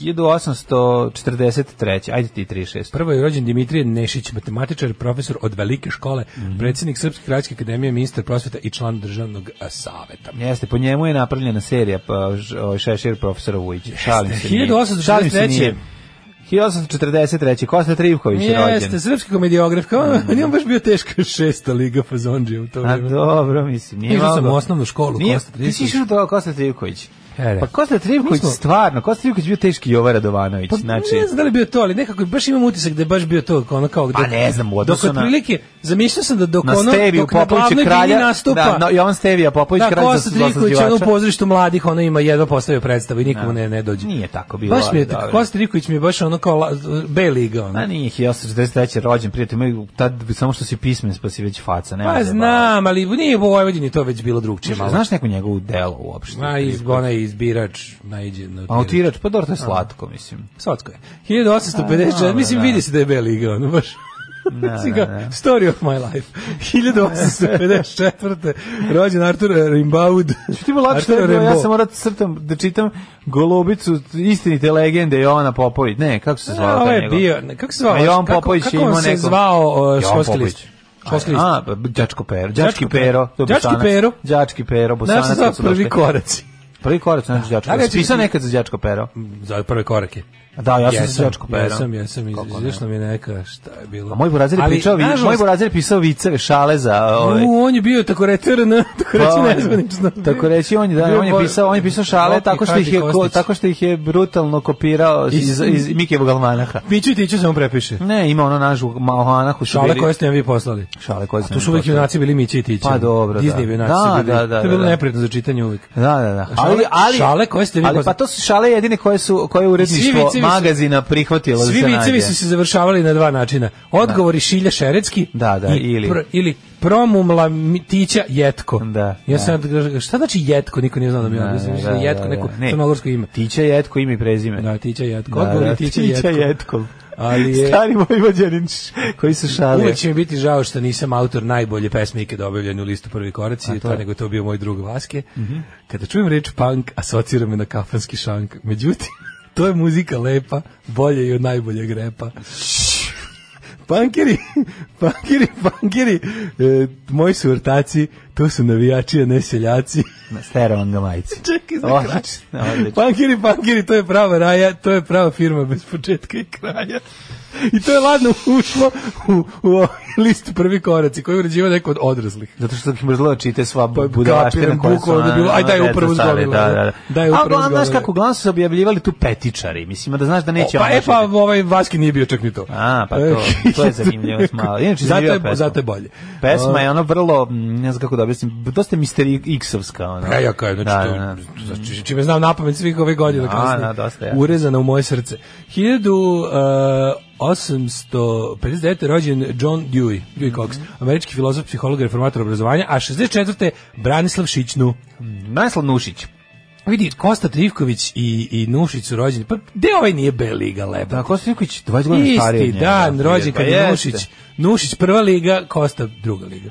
1843. Ajde ti 36.
Prvo je rođen Dimitrije Nešić, matematičar, profesor od velike škole,
Mhm.
predsjednik Srpske kraljevske akademije, ministar prosveta i član državnog a, saveta.
Jeste, po njemu je napravljena serija pa, ž- ovaj, Šešir profesora Vujić. Šalim se. nije.
1843.
Šalim se, nije. 1843. Kosta Trivković je
Jeste,
rođen. Mhm.
srpski komediograf, kao mm. njemu baš bio teška šesta liga fazonđija u to
A
vrijeme.
dobro, mislim, nije
Išao sam
mogao.
u osnovnu školu,
Nije,
Kosta
Ti si
Trivković.
išao do Kosta Trivković.
E, da.
Pa Kosta
Mi
Trivković,
smo-
stvarno, Kosta Trivković je bio teški Jovo Radovanović.
Pa,
znači,
ne znam da li je bio to, ali nekako baš imam utisak da je baš bio to, ono kao... Gde,
Pa ne znam, u odnosu
dok
na-
otprilike, zamišljao sam da dok
na
ono,
Steviju
dok na
Popovića
glavnoj
kralja,
bini nastupa...
da, no, Jovan Stevija Popović
Da,
kralj za-
Kosta
za
Trivković, ono u
osazdivača.
pozorištu mladih, ono ima jedva postavio predstavu i nikomu ne, ne dođe.
Nije tako bilo,
Baš mi je,
ali dobro.
Kosta Trivković mi je baš ono kao la- B liga, ono.
A nije 1843. rođen, prijatelj moj, tad bi- samo što si pismen, pa si već faca. Nema
Pa znam, ali nije u Vojvodini to već bilo drugčije malo.
Znaš neko njegovu delo uopšte?
Ma, iz, onaj izbirač, najđe na
A otirač, pa dobro, to je slatko, mislim.
Sotsko je. 1854,
A,
mislim,
da.
vidi se da je B liga, ono baš. Mislim kao, Story of my life. 1854. rođen Artur Rimbaud.
Što Znači, ti bilo lakše,
Arturo
nego ja
Rimbaud.
sam morao da crtam, da čitam Golubicu, istinite legende Jovana Popović. Ne, kako se
A,
zvao
Ovo
taj
je
njegov?
bio, ne, kako se zvao?
A Jovan
kako-
Popović
kako
je imao
on se
nekog-
zvao uh,
Jovan
školski
Popović.
list? Školski list.
A, b- pa, đačko pero, đački
Đačko pero.
pero, to je
Đački
bosanac.
pero.
Đački pero,
Znaš se
bosanac.
zvao
kako su
prvi
došli.
koraci?
Prvi korak, znači đačko.
Da,
Da,
reći ću
Pisao
ti-
nekad za đačko pero.
Za prve korake.
Da, ja sam za
jesam,
đačko pero.
jesam, pa jesam, iz-
Kako ne?
izašla mi je neka, šta je bilo.
A moj burazer je
Ali,
pričao, vi- moj
nažalost,
burazer je pisao viceve, šale za ovaj, ove.
U, on je bio tako return, tako
Pa, on
reći
je-
nezvanično.
Tako reći on je da
Bio
on je
bo-
pisao on je pisao šale
Roki
tako što ih je
Hadži
ko-
Kostić.
tako što ih je brutalno kopirao iz iz, iz Mikijevog almanaha.
Piću i tiću samo prepiše.
Ne, ima ono naš malhanah u Sibiri.
Šale koje ste nam vi poslali.
šale koje
Tu su uvijek junaci bili Mići i Tići.
Pa dobro, da.
Disney je bio junaci
Da,
su bili.
da, da,
To je bilo
da.
neprijatno za čitanje uvijek.
Da, da, da.
Šale- šale koje ste vi
Ali pa
poznali.
to su šale jedine koje su koje je uredništvo
vicevi su-
magazina prihvatilo da
Svi
se nađe.
vicevi su se završavali na dva načina. Odgovori Šilja Šerecki
Da, da,
i
ili-
pro- ili promumla mi- Tića Jetko.
Da,
Ja
da.
sam šta znači Jetko? Niko nije znao da mi je objasni. Mislim da je Jetko neko
Ne.
crnogorsko ime.
Tića Jetko ime i prezime.
Da, Tića Jetko.
Da,
Odgovori
da,
Tića Jetko. Ali je-
Stari vojvođanin š- koji su šale.
Uvek će mi biti žao što nisam autor najbolje pesme ikada objavljene u listu prvi koraci, to, nego je Mhm. to bio moj drug Vaske. Kada čujem reč punk, asocira me na kafanski šank. Međutim, to je muzika lepa, bolje i od najboljeg repa. Pankiri, pankiri, pankiri, e, moji su ortaci, to su navijači, a ne seljaci.
Na sterevan ga majici.
Čekaj, za kraj.
znači, Odlično, odlično.
znači, Pankiri, pankiri, to je prava raja, to je prava firma bez početka i kraja. I to je ladno ušlo u, u ovaj list prvi koraci koji je uređivao neko od odraslih.
Zato što ih mrzlo da čite sva
Pa,
budalaština
kapiram,
koja su...
bukvalno da je bilo,
ono,
aj, daj
deca
upravo
stavili,
zgodila,
Da, da,
da.
da.
Daj
A
upravo
uglavnom, znaš
zgodila.
kako, uglavnom su se objavljivali tu petičari, mislim, da znaš da neće...
O, pa
ono
e pa
čitati.
ovaj Vaski nije bio čak ni to. Znači,
A, pa to, to je zanimljivo malo. Inače,
zato,
zanimljiva
je,
pesma.
zato je bolje.
Pesma je ono vrlo, mm, ne znam kako da objasnim, dosta misteri X-ovska. Ono.
Prejaka je, znači,
Da,
to,
da.
znači čime znam napamet svih ove godine
Da,
kasnije.
da, dosta je.
Urezana u moje srce. uh, 1859. rođen John Dewey, Dewey Cox,
Mhm.
američki filozof, psiholog, reformator obrazovanja, a 64. Branislav Šićnu.
Najslav Nušić.
Vidi, Kosta Trivković i, i Nušić su rođeni. Pa, gde ovaj nije B liga leba?
Da, Kosta Nikolić, 20 godina stariji.
Isti
od njega.
dan, rođen
Pa
kad je
jeste.
Nušić. Nušić prva liga, Kosta druga liga.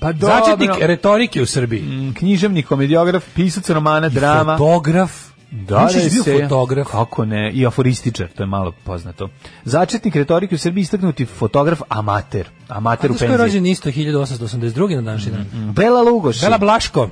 Pa
Začetnik
dobro.
retorike u Srbiji.
Mm, Književnik, komediograf, pisac romana, drama.
Fotograf.
Da,
Nušić
da,
bio
se-
fotograf.
Kako ne, i aforističar, to je malo poznato. Začetnik retorike u Srbiji istaknuti fotograf amater, amater u
Zato što je
penziji.
rođen isto 1882. na današnji dan.
Bela Lugoš, Bela,
Bela Blaško.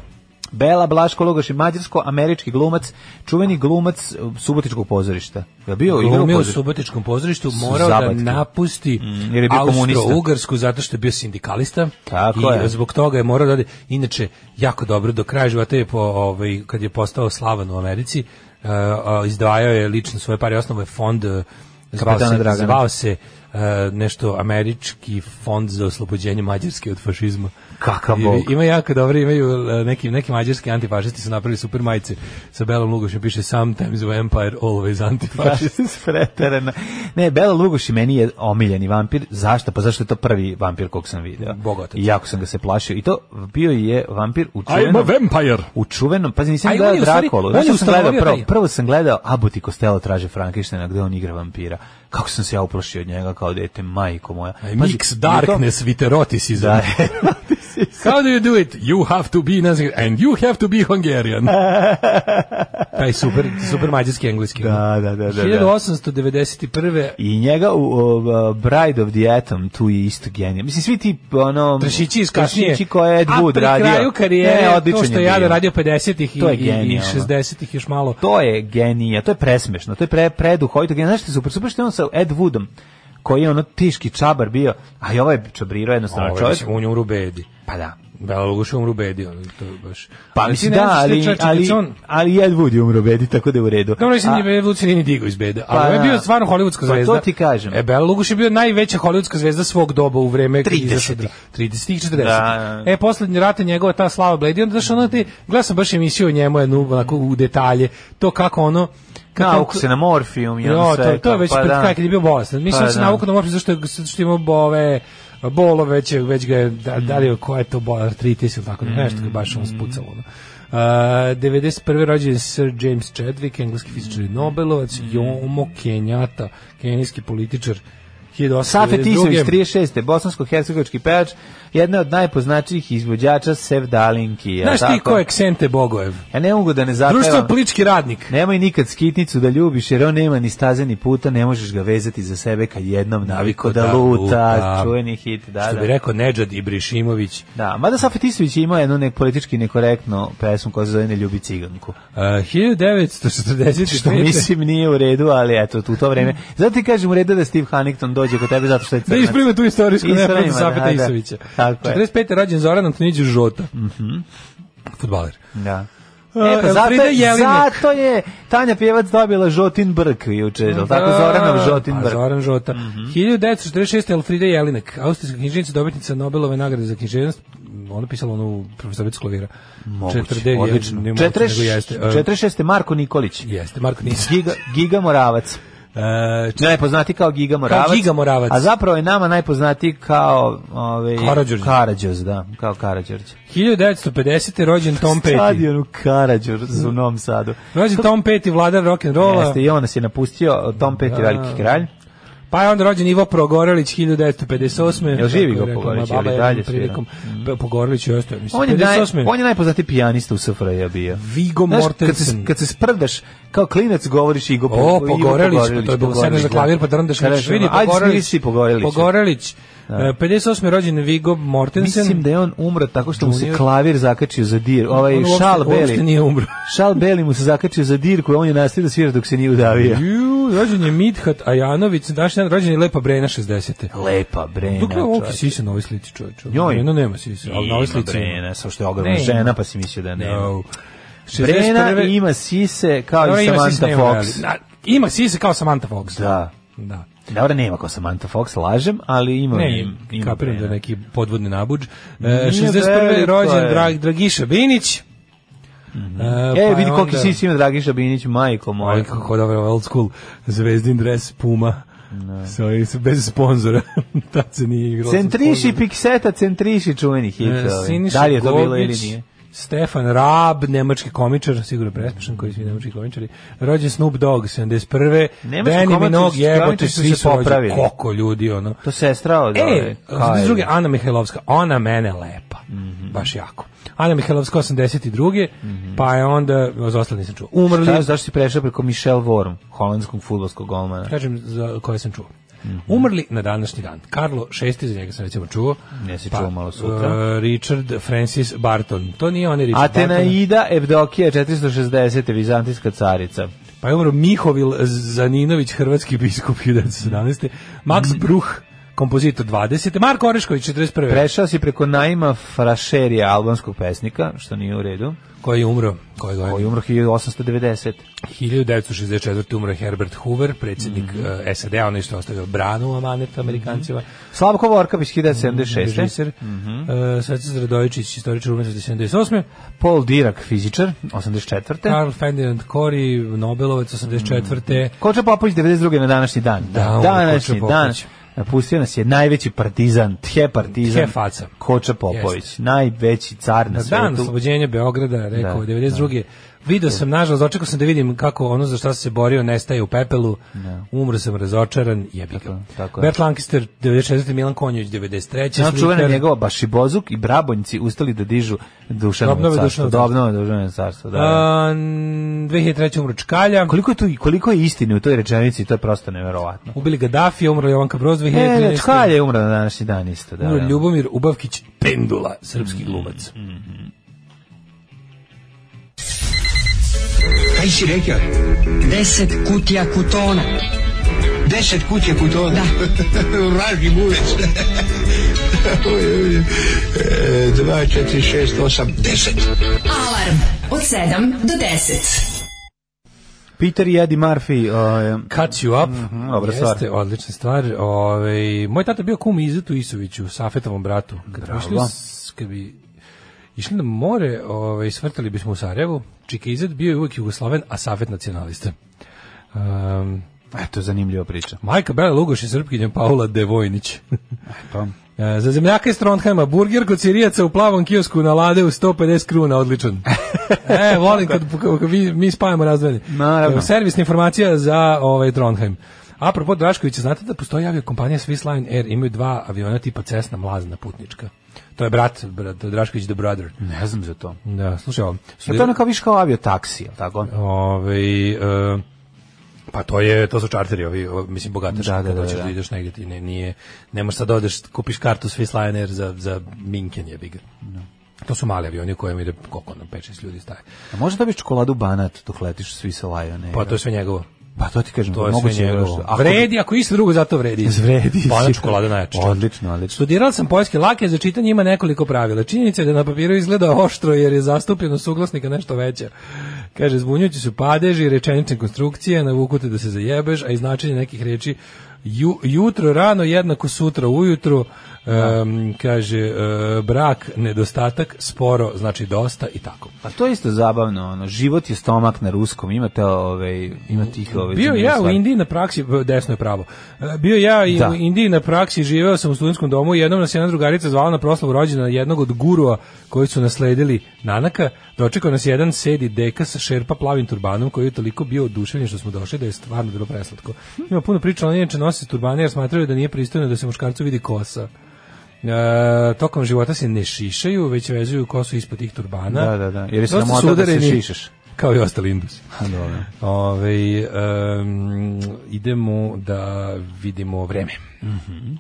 Blaško Lugoš je mađarsko-američki glumac, čuveni glumac e, Subotičkog pozorišta. Je bio igrao u
Glumio u
pozorištu?
Subotičkom pozorištu, morao
Zabatke.
da napusti
Mm, jer je bio komunista.
Austro-Ugarsku zato što je bio sindikalista.
Tako
I
je.
zbog toga je morao da ode. Inače, jako dobro, do kraja života je po, ovaj, kad je postao slavan u Americi, eh, a, izdvajao je lično svoje pare, osnovo je fond eh, zvao
Kapetana
se,
Dragana.
zvao se e, nešto američki fond za oslobođenje Mađarske od fašizma.
Kakav
I-
bog.
Ima jako dobro, imaju e, neki, neki mađarski antifašisti su napravili super majice sa belom lugošem, piše sometimes vampire, always antifašist.
Preterana. Ne, Bela Lugoš i meni je omiljeni vampir. Zašto? Pa zašto je to prvi vampir kog sam video.
Bogotac.
I jako sam ga se plašio. I to bio je vampir u
I'm a
čuvenom...
vampire!
U čuvenom, pazi, nisam
A i on
gledao
je u stvari-
Drakulu.
on
Znaš
je
šta sam gledao
ustanovio
prvo?
taj-
Prvo sam gledao Abbott i Costello traže Frankensteina gde on igra vampira. Kako sam se ja uplašio od njega kao dete, majko moja.
I
Pazi,
mix
i to-
darkness with eroticism.
Da.
How do you do it? You have to be nothing and you have to be Hungarian. Taj super, super mađarski engleski.
Da, da, da, da, da.
1891.
I njega u o, o, Bride of the Atom tu je isto genija. Mislim, svi ti, ono...
Trešići iz kasnije.
Trešići koje je Ed Wood
A
radio.
pri kraju karijere,
Ne,
to
odličan
što
je
je Jada
bio.
radio 50-ih i,
To je
i, i
genijalno.
60-ih još malo.
To je genija, to je presmešno, to je pre, preduhovito. Znaš što je super? Super što je on sa Ed Woodom, koji je ono tiški čabar bio, a i ovaj je čabriro jednostavno
Ovo,
čovjek.
mislim, on je umru bedi.
Pa da.
Bela Lugoš je umru bedi, on, to je baš...
Pa
Ali
mislim
ti ne
da,
znaš šta je
ali,
čovječe, kad
ali,
se on-
ali i Ed Wood je umro bedi, tako da je u redu.
Dobro, mislim
A-
da je Lucian nije digao iz bede, ali
Pa,
on je
da.
bio stvarno hollywoodska
Pa,
zvezda.
to ti kažem.
E, Bela Lugoš je bio najveća hollywoodska zvezda svog doba u vreme
30-ih.
30-ih, 40-ih.
Da, da.
E, poslednji rat je njegova ta slava bledi, onda znaš, ono ti, gledao sam baš emisiju o njemu, jednu, onako, u detalje, to kako ono,
Navuku se na morfijum i ono
Jo,
sve.
to, to je već
pa
pred
da.
kraj kad je bio bolestan. Mislim
Pa
da se
da.
navukao na morfin zašto, je- zato što je imao bove, bolo već, je- već ga je, da,
Mm.
da li je koja je to bol, artritis ili tako, nešto ga je baš ono spucalo. Ono. Uh, 91. rođen je Sir James Chadwick, engleski fizičar i Nobelovac,
Mm.
Jomo Kenjata, kenijski političar, 1892.
Safe Tisović, 36. bosansko-hercegovički pevač, jedna od najpoznačijih izvođača Sevdalinki. je li
Znaš ti
tako?
ko je Ksente Bogojev?
Ja ne mogu da ne
Društvo
zapevam.
politički radnik.
Nemoj nikad skitnicu da ljubiš, jer on nema ni staze ni puta, ne možeš ga vezati za sebe kad jednom naviko da,
Da
luta,
luta.
čuveni hit, da,
Što
da.
bi rekao Nedžad Ibrišimović,
Da, mada Safe Tisović je imao jednu nek politički nekorektnu pesmu koja se zove Ne ljubi ciganku.
uh, 1940.
Što mislim nije u redu, ali eto, u to vreme. Zato ti kažem u redu da Steve Huntington dođe kod tebe zato što je
Da
crnac.
isprime tu istorijsku
Ispravimo,
nepravdu
da,
Sapeta
da.
Isovića.
Tako je.
45. je rođen Zoran Antonić Žota. Mhm. Fudbaler.
Da.
E,
E, pa zato,
Elfrida
je,
Jelinek.
zato je Tanja Pjevac dobila žotin brk juče, da, tako Zoranov Mhm. žotin
Pa,
brk.
Zoran Žota. 1946. Elfrida Jelinek, austrijska književnica, dobitnica Nobelove nagrade za književnost. Ona pisala onu profesoricu klavira.
Moguće,
Četrde-
odlično.
ne moguće,
Četreš-
nego jeste. E,
46. Marko Nikolić.
Jeste, Marko Nisi.
Giga, Giga Moravac.
E, pa
Najpoznati kao Giga Moravac.
Giga Moravac.
A zapravo je nama najpoznatiji kao ovaj
Karađorđe.
Karađorđe, da, kao Karađorđe.
1950. je rođen Tom Petty.
Stadion u Karađorđe u Novom Sadu.
Rođen Tom Petty, vladar rock'n'rolla.
Jeste, i on nas je napustio, Tom Peti, veliki kralj.
Pa je onda rođen Ivo Progorelić 1958.
Jel živi
Kako je
Ivo
rekla
Progorelić,
moja baba
ili dalje Mm.
jednom prilikom. Pa, Progorelić je ostao, mislim.
On je, naj,
58.
on je najpoznatiji pijanista u SFRJ bio.
Vigo
Znaš, kad se,
Mortensen.
kad se sprdaš, kao klinac govoriš Igo
O, Pogorelić, pa to je bilo sedneš za klavir, pa drndeš, vidiš, vidi, Pogorelić.
Pogorelić. Pogorelić.
Pogorelić. E, 58. je rođen Vigo Mortensen.
Mislim da je on umro tako što mu se
Junior.
klavir zakačio za dir. Ovaj
On uopšte-
šal
uopšte
beli.
nije umro.
Šal beli mu se zakačio za dir koji on je nastavio da svira dok se nije udavio.
Ju, rođen je Midhat Ajanović, današnji dan rođen je Lepa Brena 60.
Lepa brena.
Dok je ovdje
čovječe.
sisa na ovoj slici čovječe?
Njoj.
Njeno nema sisa, ali na ovoj
Ima
slici ima.
brena, samo što je ogromna
Ne, ima.
žena, pa si mislio da nema.
No.
Brena
61..
ima sise kao
Dobro,
i
ima sisa,
Samantha
nema,
Fox.
ali- Na- Ima sisa kao Samantha Fox.
Da.
Da.
Dobro, nema kao Samantha Fox, lažem, ali ima
Ne,
im- e. ima
kapiram da
brena.
je neki podvodni nabuđ. E,
Nije
61. je
veliko
rođen
je.
Drag, Dragiša Binić. E,
E,
je
vidi koliki
onda-
sis ima Dragiša Binić, majko
Oj,
moja.
kako dobro, old school, zvezdin dres Puma. Sa, ovim- bez sponzora. Tad se nije igrao. sa
Centriši
sponzorom.
pikseta, centriši čuveni hit.
E,
ovaj.
Siniša
da li je to bilo
Gogić,
ili nije?
Stefan Rab, nemački komičar, sigurno presmešan koji svi nemački komičari. Rođen Snoop Dogg 71.
Nemački
Danny
komičar-
Minogue, jebote,
komičari su
svi
se
su rođeni.
popravili.
Koliko ljudi, ono.
To sestra od ovaj,
E,
ove, Kaje.
s druge, Ana Mihajlovska, ona mene lepa,
Mhm.
baš jako. Ana Mihajlovska 82. Pa je onda, za ostalo nisam čuo, umrli,
Šta, zašto si prešao preko Michelle Worm, holandskog futbolskog golmana?
kažem za koje sam čuo.
Mhm.
Umrli na današnji dan. Karlo VI, za njega sam recimo čuo. Pa,
Ja si čuo malo sutra.
e, Richard Francis Barton. To nije onaj Richard Barton.
Atenaida Evdokija 460. Vizantijska carica.
Pa je umro Mihovil Zaninović, hrvatski biskup 1917. Max Bruh, kompozitor 20. Marko Orešković 41.
Prešao si preko naima Frašerija, albanskog pesnika, što nije u redu,
koji je umro, koje godine?
koji je umro 1890.
1964. umro je Herbert Hoover, predsjednik mm -hmm. uh, SAD-a, onaj što je ostavio branu amanet Amerikancima.
Slavko Vorkapić 1976.
Režiser. Mm -hmm. uh, Sveca Zradovičić, istoričar umetnosti 78.
Paul Dirac, fizičar, 84.
Karl Ferdinand Kori, Nobelovac 84.
Koča Popović 92. na današnji dan.
Da, umro
današnji
Koča
dan.
Popović.
Napustio nas je najveći partizan, tje partizan,
Tje faca.
Koča Popović, najveći car na,
Na
svetu.
dan oslobođenja Beograda, rekao,
Da,
92. Video sam, nažalost, očekao sam da vidim kako ono za šta sam se borio nestaje u pepelu. Umro sam razočaran, jebi ga.
tako je.
Bert Lancaster, 94. Milan Konjović, 93.
Znači, čuvena je
slikar.
njegova Bašibozuk i Brabonjci ustali da dižu Dušanovo
Dobnove
carstvo.
Dušanovo
Dobnove Dušanovo carstvo, da. da.
A, n- 2003. umro Čkalja.
koliko, je tu, koliko je istine u toj rečenici, to je prosto neverovatno.
Ubili Gaddafi, umro Jovanka Broz
E,
2013.
Čkalj je umro na današnji dan isto, da.
Umro
da.
Ljubomir Ubavkić Pendula, srpski glumac.
Kaj si rekao?
Deset kutija kutona.
Deset kuće kutona. Vraži gulec. Oj, oj, oj. E, Dva, četiri, šest, osam, deset.
Alarm od 7 do 10.
Peter i Eddie Murphy, o,
Cut You Up,
Mhm, dobra
jeste,
stvar.
odlična stvar. Ove, moj tata je bio kum Izetu Isoviću, Safetovom bratu. Kad bi išli, u s- kad bi išli na more, ove, svrtali bismo u Sarajevu. Čika Izet bio je uvijek Jugosloven, a Safet nacionalista. Um,
Pa eto, zanimljiva priča.
Majka Bela Lugoš je srpkinja Paula Devojnić.
Pa.
E, Za zemljaka iz Trondheima, burger kod sirijaca u plavom kiosku na lade u 150 kruna, odličan. e, volim kad, kad mi, mi spajamo razdvojeni.
Naravno.
E, Servisna informacija za ovaj Trondheim. Apropo Draškovića, znate da postoji avio kompanija Swiss Line Air, imaju dva aviona tipa Cessna, mlazna putnička. To je brat, brat Drašković the brother.
Ne znam za to.
Da, slušaj ovo.
Je E, to ono kao viš kao avio taksi, jel tako?
Ovaj e, pa to je to su čarteri ovi o, mislim bogataš
Da, da,
da, da,
da,
da,
da.
ideš negdje ti ne nije ne možeš sad da odeš kupiš kartu Swiss Lion Air za za Minken je big. To su mali avioni u kojima ide koliko nam 5 6 ljudi staje.
A možda dobiš čokoladu Banat dok letiš svi sa Lion Air?
Pa to je sve njegovo.
pa to ti kažem,
To je
E, moguće
sve
je
njegovo.
da- Ako-
vredi, ako isto drugo, zato vredi.
Zvredi.
Pa ona
si.
čokolada najjača.
Odlično, odlično.
Studirala sam poljske lake, za čitanje ima nekoliko pravila. Činjenica je da na papiru izgleda oštro jer je zastupljenost suglasnika nešto veća. Kaže, zbunjujući su padeži, rečenične konstrukcije, navukute da se zajebeš, a i značenje nekih reči ju- jutro rano jednako sutra ujutru, em, kaže, e, brak, nedostatak, sporo, znači dosta i tako.
Pa to je isto zabavno, ono, život je stomak na ruskom, imate ovaj, ima tih ovaj...
Bio
zanimljivih
ja u
stvari.
Indiji na praksi, b- desno je pravo. E, Bio ja i
Da.
u Indiji na praksi, živeo sam u studentskom domu i jednom nas je jedna drugarica zvala na proslavu rođena jednog od gurua koji su nasledili Nanaka. Dočekao nas je jedan sedi deka sa šerpa plavim turbanom koji je toliko bio oduševljen što smo došli da je stvarno bilo preslatko. Ima puno priča, oni inače nosi turbane jer smatraju da nije pristojno da se muškarcu vidi kosa. E, tokom života se ne šišaju, već vezuju kosu ispod tih turbana.
Da, da, da, jer je
Dosta
sramota
su
da se
udareni,
šišaš.
Kao i ostali indusi.
A, dobro.
Ove, um, Ovaj, idemo da vidimo vreme. Mhm.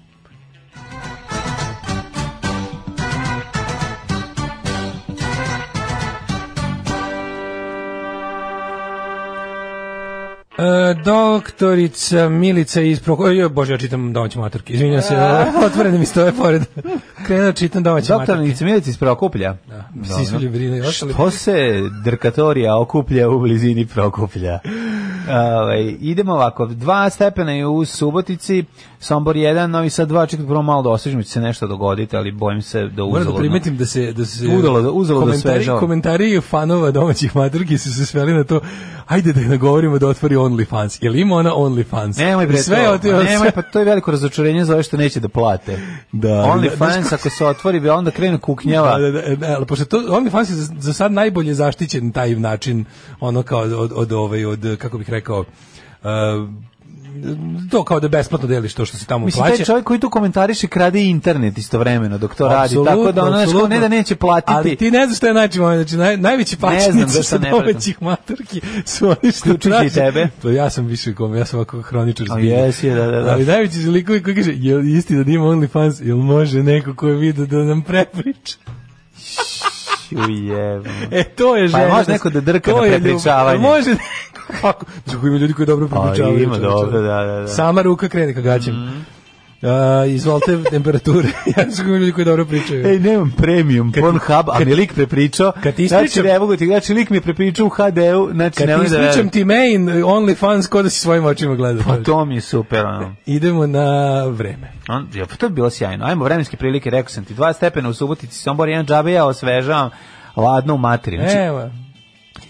E, doktorica Milica iz Proko... Joj, bože, ja čitam domaće maturke. Izvinjam se, otvorene mi stoje pored. Krenuo da čitam domaće
Doktor
maturke.
Nicimilic iz Prokuplja. Da,
Svi su ljubrini. ostali-
Što se drkatorija okuplja u blizini Prokuplja? Ovaj, idemo ovako, dva stepena je u Subotici, Sombor 1, Novi Sad 2, čekaj prvo malo da osvežim, će se nešto dogoditi, ali bojim se da
Moram da
uzaludno.
primetim da se da se
Uzaludno- uzaludno
komentari,
svežao.
komentari fanova domaćih maturki su se sveli na to. Ajde da je nagovorimo da otvori OnlyFans. Jel ima ona OnlyFans?
Nemoj bre
sve
to.
otišlo.
Nemoj, pa to je veliko razočarenje za ove što neće da plate.
Da.
OnlyFans pa- ako se otvori, bi onda krenu kuknjava.
Da, da, da, da, ali pošto to OnlyFans je za, za sad najbolje zaštićen taj način, ono kao od, od, od ovaj, od, kako bih rekao, uh, to kao da besplatno deliš to što se tamo
Mislim, taj
plaća.
čovjek koji tu komentariše krade i internet istovremeno dok to radi, tako da
Apsolutno,
ono znaš, kao ne
apsolutno.
da neće platiti.
Ali ti ne znaš šta je najveći moment, znači naj, najveći
znam,
pačnici
zašto
sa
ne pratim.
domaćih maturki su oni što
Uključujući i
traže.
tebe.
To ja sam više kom, ja sam ovako hroničar
A
zbilja.
jesi, da, da, da.
Ali najveći su likovi koji kaže, jel isti da ima OnlyFans, jel može neko ko je vidio da nam prepriča?
Ujebno.
E, to je
Pa
žena.
može neko da drka
to
na
je ljubav.
prepričavanje. Pa
Može neko. Kako? Tako Pa, ima ljudi koji dobro prepričavaju.
ima,
čoveče.
dobro, da, Mhm. da, da.
Sama ruka krene ka gaćem. Mm A, izvolite temperature. ja sam govorio ljudi koji dobro pričaju.
Ej, nemam premium
Kad-
Pornhub, a
kad-
mi lik prepričao.
kad ti
Znači,
ispričam-
ne mogu ti, znači, lik mi je prepričao u HD-u, znači,
Kad
ne
ti
mogu da
ispričam
verujem.
E, ti main, OnlyFans, ko da si svojim očima gledao.
Pa to mi je super, ono.
Idemo na vreme.
On, ja, pa to je bilo sjajno. Ajmo, vremenske prilike, rekao sam ti, 2 stepena u Subotici, Sombor, jedan džabe, ja osvežavam, ladno u materi. Znači,
Evo,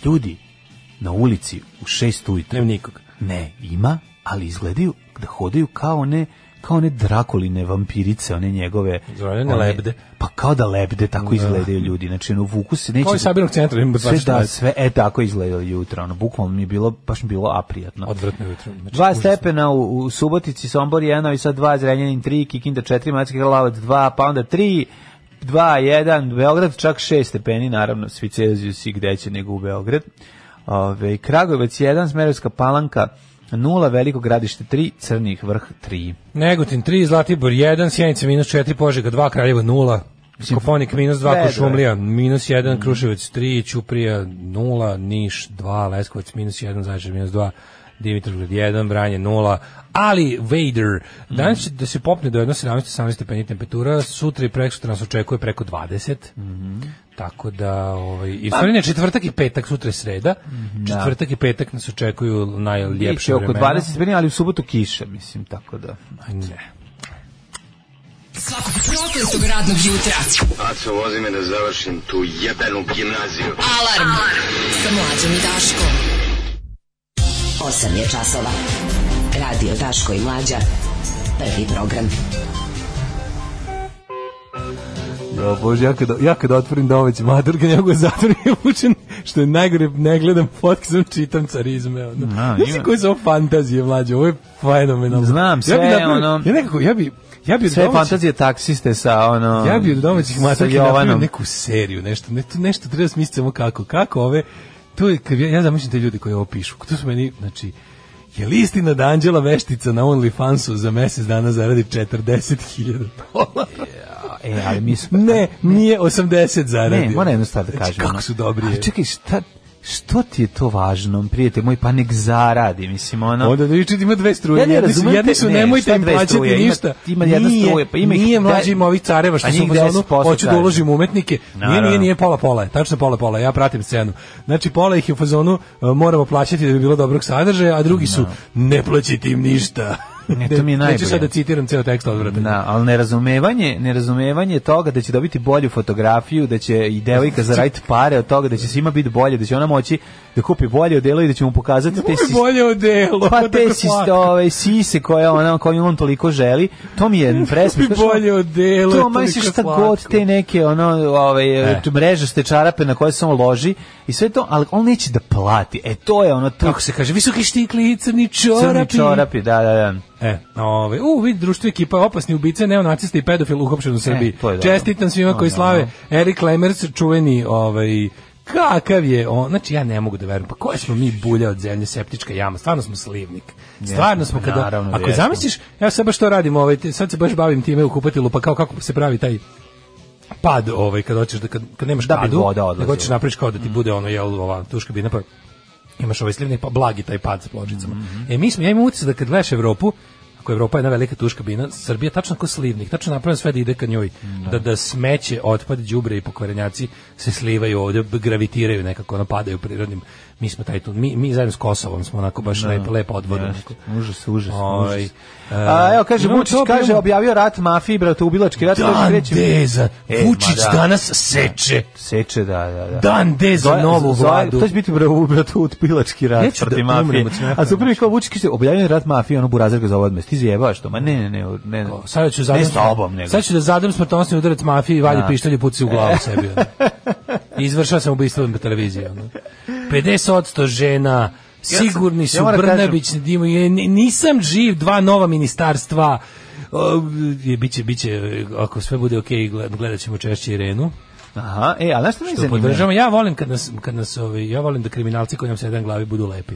ljudi na ulici u 6 ujutru,
nema nikog.
Ne, ima, ali izgledaju da hodaju kao one kao one drakoline vampirice, one njegove
Zvaljene
one-
lebde.
Pa kao da lebde tako izgledaju ljudi. Znači, ono, vuku se neće...
Kao iz sabirnog centra, ima
sve,
24
da,
sati.
sve, e, tako je izgledalo jutro. Ono, bukvalno mi je bilo, baš mi je bilo aprijatno.
Odvratno jutro. Znači,
Dva
užasno.
stepena u, u Subotici, Sombor 1, i sad 2, Zrenjanin 3, Kikinda 4, Mački Kralavac 2, pa onda 3, 2, 1, Beograd čak 6 stepeni, naravno, svi Celzijus i gde će nego u Beograd. Ove, Kragovac 1, Smerovska palanka 0, Veliko gradište 3, Crnih vrh 3.
Negotin 3, Zlatibor 1, Sjenica minus 4, Požega 2, Kraljevo 0, Skoponik minus 2,
Vedro je. Mm.
Košumlija minus 1, Kruševac 3, Ćuprija 0, Niš 2, Leskovac minus 1, Zajčar minus 2, Dimitrovgrad 1, Vranje 0, ali Vader,
Mm.
danas će da se popne do 1,17-18 stepeni temperatura, sutra i preksutra nas očekuje preko 20,
Mhm.
tako da, ovaj, i u stvari ne, četvrtak i petak, sutra je sreda, četvrtak i petak nas očekuju najljepše
Biće Mhm, oko
vremena.
20 stepeni, ali u subotu kiša, mislim, tako da.
Ne.
Svakog prokletog radnog jutra.
Aco, vozi me da završim tu jebenu gimnaziju.
Alarm. Sa mlađom i Daškom.
8 je časova. Radio Daško i Mlađa. Prvi program.
Jo, bože, ja kada, ja kada otvorim domaći mater, kad ja ga zatvorim, ja učen, što je najgore, ne gledam podcast, sam čitam carizme. Ono.
Na,
ja
ima.
sam koji su ovo fantazije, mlađe, ovo je fenomenalno.
Znam, sve,
ja bi napravio-
ono-
Ja nekako, ja bi, ja bi od
Sve
domaćih-
fantazije taksiste sa, ono...
Ja bi od domaćih
sa
matorki napravio
Jovanom.
neku seriju, nešto, nešto, nešto treba smisliti samo kako, kako ove, to je, kad ja, ja zamišljam te ljude koji ovo pišu, to su meni, znači, je li istina da Anđela Veštica na OnlyFansu za mesec dana zaradi 40.000 dolara?
E, ali mi smo...
Ne, nije 80 zaradio.
Ne, moram jednu stvar da
Znači,
kažem. ono.
Kako su dobri.
Ali
je.
čekaj, šta, što ti je to važno, prijatelj moj, pa nek zaradi, mislim, ono...
Onda da vičete ima dve struje.
Ja ne
jedni su,
razumem
jedni
te-
su
ne,
nemojte
šta
im
dve
plaćati
struje? Ima-
ništa.
ima jedna
Nije-
struje, pa ima ih
Nije
de-
mlađi ima ovih careva što
A
su u
njih
fazonu,
10%
hoću da
traže.
uložim u umetnike. Nije,
Naravno.
nije, nije, pola pola je, tačno pola pola, ja pratim scenu. Znači pola ih je u fazonu, e, moramo plaćati da bi bilo dobrog sadržaja, a drugi su, ne plaćati im ništa.
Ne, to mi je
Neću
najbolje.
sad da citiram ceo tekst odvratan.
Da, ali nerazumevanje, nerazumevanje toga da će dobiti bolju fotografiju, da će i devojka zaraditi pare od toga, da će svima biti bolje, da će ona moći da kupi bolje odelo i da će mu pokazati te
Ovo je
sis-
bolje odelo.
pa te siste, ove, sise koje ona, koje on toliko želi, to mi je presmešno.
Kupi bolje odelo,
To
toliko
misliš šta
slatko.
god te neke ono, ove,
E.
mreže ste čarape na koje se on loži i sve to, ali on neće da plati. E, to je ono, to
Kako se kaže, visoki štikli, crni čorapi.
crni čorapi, da, da, da.
E, ove, u, vidi društvo ekipa opasni ubice, neonacista i pedofil uhapšen u Srbiji.
E, to je dobro.
Čestitam svima koji
No, no,
slave. Erik Lemers, čuveni, ovaj, kakav je on, znači ja ne mogu da verujem, pa koje smo mi bulja od zemlje, septička jama, stvarno smo slivnik. Stvarno smo kada,
pa naravno,
ako
jesmo.
zamisliš, ja sad baš to radim, ovaj, te- sad se baš bavim time u kupatilu, pa kao kako se pravi taj pad ovaj kad hoćeš da kad, kad nemaš
Da bi
padu,
voda odlazila. Mm.
nego hoćeš napraviš kao da ti bude ono jel ova tuška bina pa imaš ovaj slivni pa blagi taj pad sa pločicama. E mi smo ja imam utisak da kad gledaš Evropu ako je Evropa jedna velika tuška bina, Srbija je tačno kao slivnik, tačno napravljeno sve da ide ka njoj. Da, da smeće, otpad, đubre i pokvarenjaci se slivaju ovde, b- gravitiraju nekako, napadaju prirodnim. Mi smo taj tu, mi, mi zajedno s Kosovom smo onako baš lepo, lepo odvodno.
Jeste. Užas, užas,
Ovaj,
užas.
e,
A, evo, kaže,
imamo
Vučić
to,
kaže,
imamo-
objavio rat mafiji, brate, ubilački rat. kaže,
Dan
kreće-
Deza,
E, ma
Vučić
da.
danas seče.
Seče, da, da, da.
Dan D za
Zoja-
novu
Zoja-
vladu.
To će biti bravo, bratu, utpilački rat
Neću da
protiv mafije.
umrem od smeha,
A su prvi kao Vučić kaže, objavljen rat mafije, ono burazir ga za ovaj odmest. Ti zjebaš to? Ma ne, ne, ne, ne. ne.
Sada ću
Ne
zadam,
s tobom, nego.
sad ću da zadam smrtonosni udarac mafiji, valje
Da.
pištolje, puci u glavu sebi. ono. Izvršao sam ubistvo na televiziji. Ono. 50% žena,
sam-
sigurni su
ja moram
Brnabić, Dimo, je- ni- nisam živ, dva nova ministarstva, o, je, biće, biće, ako sve bude okej, gled- gledat ćemo češće Irenu.
Aha, e, a znaš što mi je
To
zanimljivo?
podržavam. Ja volim kad nas, kad nas ovi, ja volim da kriminalci koji nam se jedan glavi budu lepi.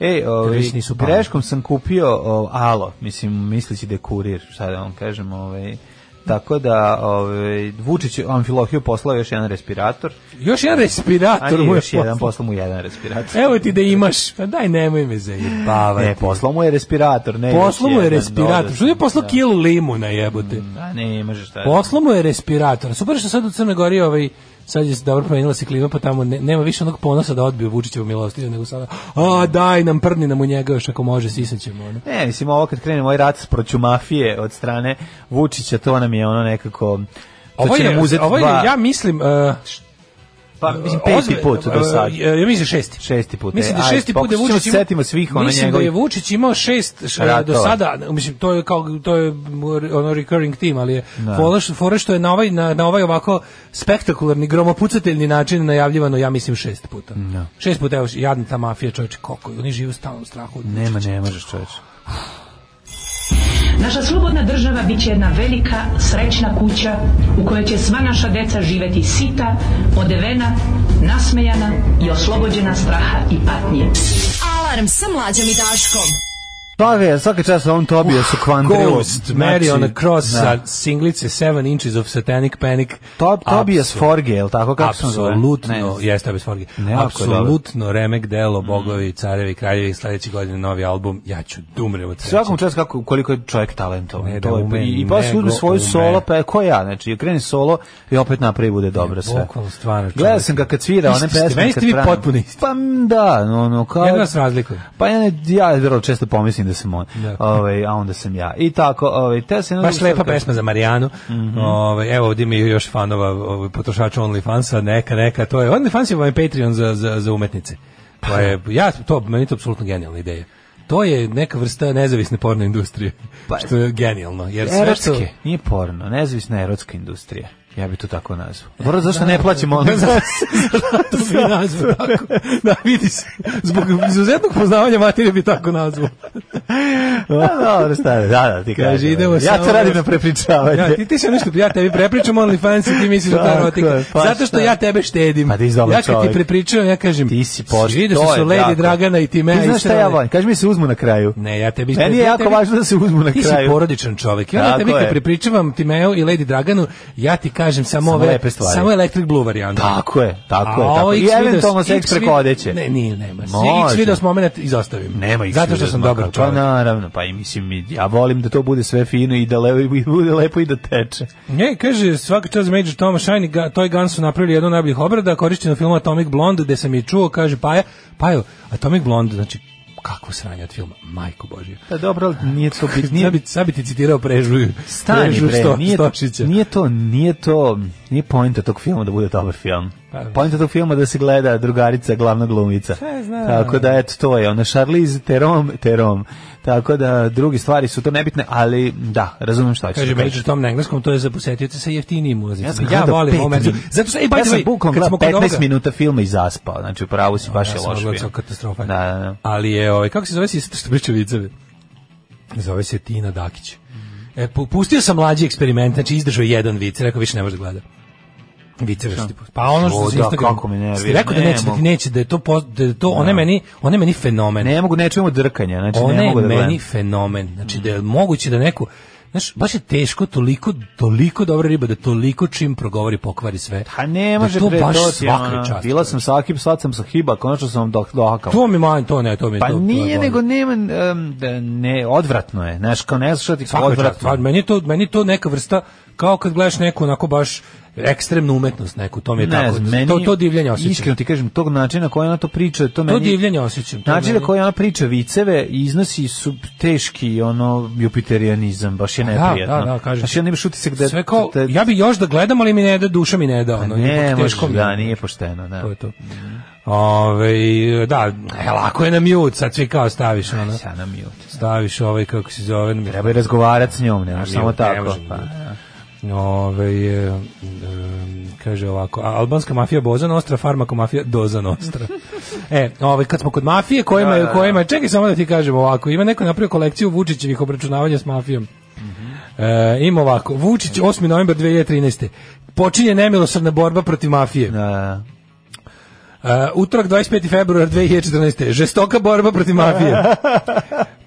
E, ovaj,
Teroristi nisu pametni.
greškom sam kupio o, alo, mislim, misleći da je kurir, šta da vam kažem, ovaj, Tako da ovaj Vučić je Amfilohiju poslao još jedan respirator.
Još jedan
A
respirator
nije,
mu je
još jedan
poslao.
poslao mu jedan respirator.
Evo ti da imaš. Pa daj, nemoj me zajebavati.
Ne, poslao mu je respirator, ne.
Poslao
još
mu je
jedan,
respirator.
dobro.
Što je poslao kilu limuna, jebote?
Da, ne, može šta.
Poslao mu je respirator. Super što sad u Crnoj Gori ovaj sad je dobro promenila se klima, pa tamo ne- nema više onog ponosa da odbio Vučićevu milostinju, nego sada, a daj nam, prni nam u njega još ako može, sisat ćemo. Ono.
Ne, mislim, ovo kad krene moj rat proću mafije od strane Vučića, to nam je ono nekako... To
Ovo
će
Ovaj je,
nam uzeti
ovo je,
dva,
ja mislim, uh,
pa, mislim, peti
ozbe-
put do sad.
uh, ja mislim šesti.
Šesti put,
Mislim da
e, ajde,
šesti put da je
pokušat ćemo
Vučić
se
imao-
setimo svih ono
Mislim da je
njegovih-
Vučić imao šest š- do
Ratova.
sada, mislim to je kao to je ono recurring team, ali je fora što- fora što je na ovaj na, na ovaj ovako spektakularni gromopucateljni način najavljivano ja mislim šest puta. Šest puta evo jadna ta mafija čoveče koliko oni žive u stalnom strahu. od
Nema,
Vučića.
ne možeš čoveč.
Naša slobodna država bit će jedna velika, srećna kuća u kojoj će sva naša deca živeti sita, odevena, nasmejana i oslobođena straha i patnje.
Alarm sa mlađom i Daškom.
Svaka, je- svaka čast ovom Tobija su kvandrilu.
Uh, Ghost, Mary on a Cross sa singlice 7 Inches of Satanic Panic.
Tob, Tobias
Apsolutno.
Forge, je li tako Pa kako se on zove?
Apsolutno,
Ne.
jeste bez forge.
Ne, jako je Mm. dobro.
Apsolutno remek delo Bogovi, carevi, kraljevi, sledeće godine novi album. Ja ću dumrem od sreće.
Svakom čast kako koliko je čovjek talentovan.
Ne,
to
da
je,
ume,
I, i pa
nego
sudu svoju
ume.
solo, pa je ko ja, znači, kreni solo i opet napravi bude dobro sve.
bukvalno, stvarno, čovjek.
Gledao sam ga kad svira one
Isti ste,
pesme.
meni
kad
ste vi
pravim.
potpuno isti.
Pa m, da, no, no, kao...
Jedva se razlikuju.
Pa ja, ne, ja vrlo često pomislim da sam on,
Da.
ovaj, a onda sam ja. I tako, ovaj, te se...
Baš lepa pesma za Marijanu.
Mhm.
Ovaj, evo ovdje mi je još fanova ovaj, potrošača OnlyFansa, neka, neka, to je. OnlyFans je ovaj Patreon za, za, za umetnice.
Pa
To je, ja, to, meni je to apsolutno genijalna ideja. To je neka vrsta nezavisne porno industrije,
Pa-
što je genijalno. Jer sve što-
Erotske, nije porno, nezavisna erotska industrija. Ja bi to tako nazvao. Vrlo zašto ne plaćamo ono?
to bi nazvao tako. Da, vidi se. Zbog izuzetnog poznavanja materije bi tako nazvao.
Da, dobro, stare, da, da, ti
Kaže,
kažem.
idemo
ja
samo-
to radim na prepričavanje.
Ja, ti, ti se nešto, ja tebi prepričam OnlyFans i ti misliš da ta
Tako
erotika.
je, pa
Zato što
šta?
ja tebe štedim.
Pa ti si dobar
ja kad ti
čovjek.
prepričam, ja kažem,
Ti si pošten.
Vidio
to
se
je
su Lady
tako.
Dragana i ti me.
Ti znaš šta ja volim? Kaži mi se uzmu na kraju.
Ne, ja tebi...
Meni je
ja
jako
tebi-
važno da se uzmu na
ti
kraju.
si porodičan čovjek. I onda
Tako
tebi kad
je.
prepričavam Timeo i Lady Draganu, ja ti kažem samo,
Samo
ove,
lepe stvari.
samo Electric Blue varijantu.
Tako je, tako
A
je. Tako.
ovo
I
X video-
eventualno
X
seks
vid-
preko odeće.
Ne, nije, nema.
Može.
X video s moment izostavim.
Nema ih
Zato što
svi
sam
razmaka.
dobar
Pa
čovjek.
naravno, pa i mislim, i ja volim da to bude sve fino i da lepo, i bude lepo i da teče.
Ne, kaže, svaka čast Major Tom Shine i Ga- Toy Gun su napravili jednu od najboljih obrada, korišćeno film Atomic Blonde, gde sam i čuo, kaže, Paja, Pajo, Atomic Blonde, znači, kakvo sranje od filma, majko Božje.
Pa dobro, ali nije to bit,
Nije
nije
bi, sad bi ti citirao prežuju.
Stani
prežu
bre,
Sto-
nije,
Stošića.
nije to, nije to, nije poenta tog filma da bude dobar film.
Pa, da.
Poenta tog filma da se gleda drugarica, glavna glumica.
ja znam.
Tako da, eto, to je. Ona Charlize Terom, Terom. Tako da, drugi stvari su to nebitne, ali da, razumem šta ću.
Kaže Major Tom na engleskom, to je za posetioce sa jeftinijim ulazicama.
Ja sam gledao pet
ovu
minuta.
mericu. Zato što, ej, by
ja
the
sam
way,
bukvalno
kad
gledao
smo kod
15
ovoga-
minuta filma i zaspao. Znači, u pravu si, baš je
sam
loš
odgledao
film.
katastrofa.
Da, da, da.
Ali je, ovaj, kako se zove sista što priča vicevi? Zove se Tina Dakić.
Mhm.
E, pu- pustio sam mlađi eksperiment, znači izdržao je jedan vic, rekao više ne možeš da gleda. Viceve što ti pusti. Pa ono što
O,
se
da,
Instagram.
kako me nervira.
Ste rekao da
Ne
neće, da ti
mogu.
neće, da je to, poz- da je to one meni, one meni fenomen.
Ne mogu, ne čujemo drkanja. Znači,
Ona
ne
je
mogu da
meni
gledam. Mhm.
fenomen. Znači da je moguće da neko Znaš, baš je teško, toliko, toliko dobra riba da toliko čim progovori pokvari sve.
Ha Pa ne
Da
može
to
bre,
baš
to ti je
svaka
ono,
čast.
Bila sam sa Akib, sad sam sa Hiba, konačno sam dok dohakao.
To mi man, to ne, to mi je
Pa
to- to je
nije,
bolno.
nego nema, em, da ne, odvratno je, znaš, kao ne znaš šta ti
Svaka čast, stvarno, meni je to meni je to neka vrsta kao kad gledaš neku onako baš ekstremnu umetnost neku, to mi je
Ne
tako.
znam, meni,
to to divljenje osjećam.
Iskreno ti kažem, tog načina na koji ona to priča, to
to
meni...
divljenje osjećam. to
Način na
meni-
koji ona priča viceve i iznosi su teški ono jupiterijanizam, baš je
Pa da,
neprijatno.
da, da, kažem
Znaš, i
ti.
onda imaš utisak da...
sve kao,
da-
ja bi još da gledam, ali mi ne da, duša mi ne da, ono,
ne,
ipak
može,
teško mi je.
da, nije pošteno, da.
To je to. Ove, da, e, lako je na mute, sad svi kao staviš, ono,
Sada na mute.
staviš ovaj, kako se zove,
Treba i razgovarati s njom, ne možeš samo
Ne
tako.
može,
Pa,
ne.
da.
Ove, e, e, kaže ovako, a- albanska mafija Boza Nostra, farmako mafija Doza Nostra. e, ove, kad smo kod mafije, kojima, je- kojima, je- čekaj samo da ti kažem ovako, ima neko napravio kolekciju Vučićevih obračunavanja s mafijom.
Mhm.
E, ima ovako, Vučić 8. novembar 2013. Počinje nemilosrdna borba protiv mafije.
Da, da.
Uh, utorak 25. februar 2014. Žestoka borba protiv mafije.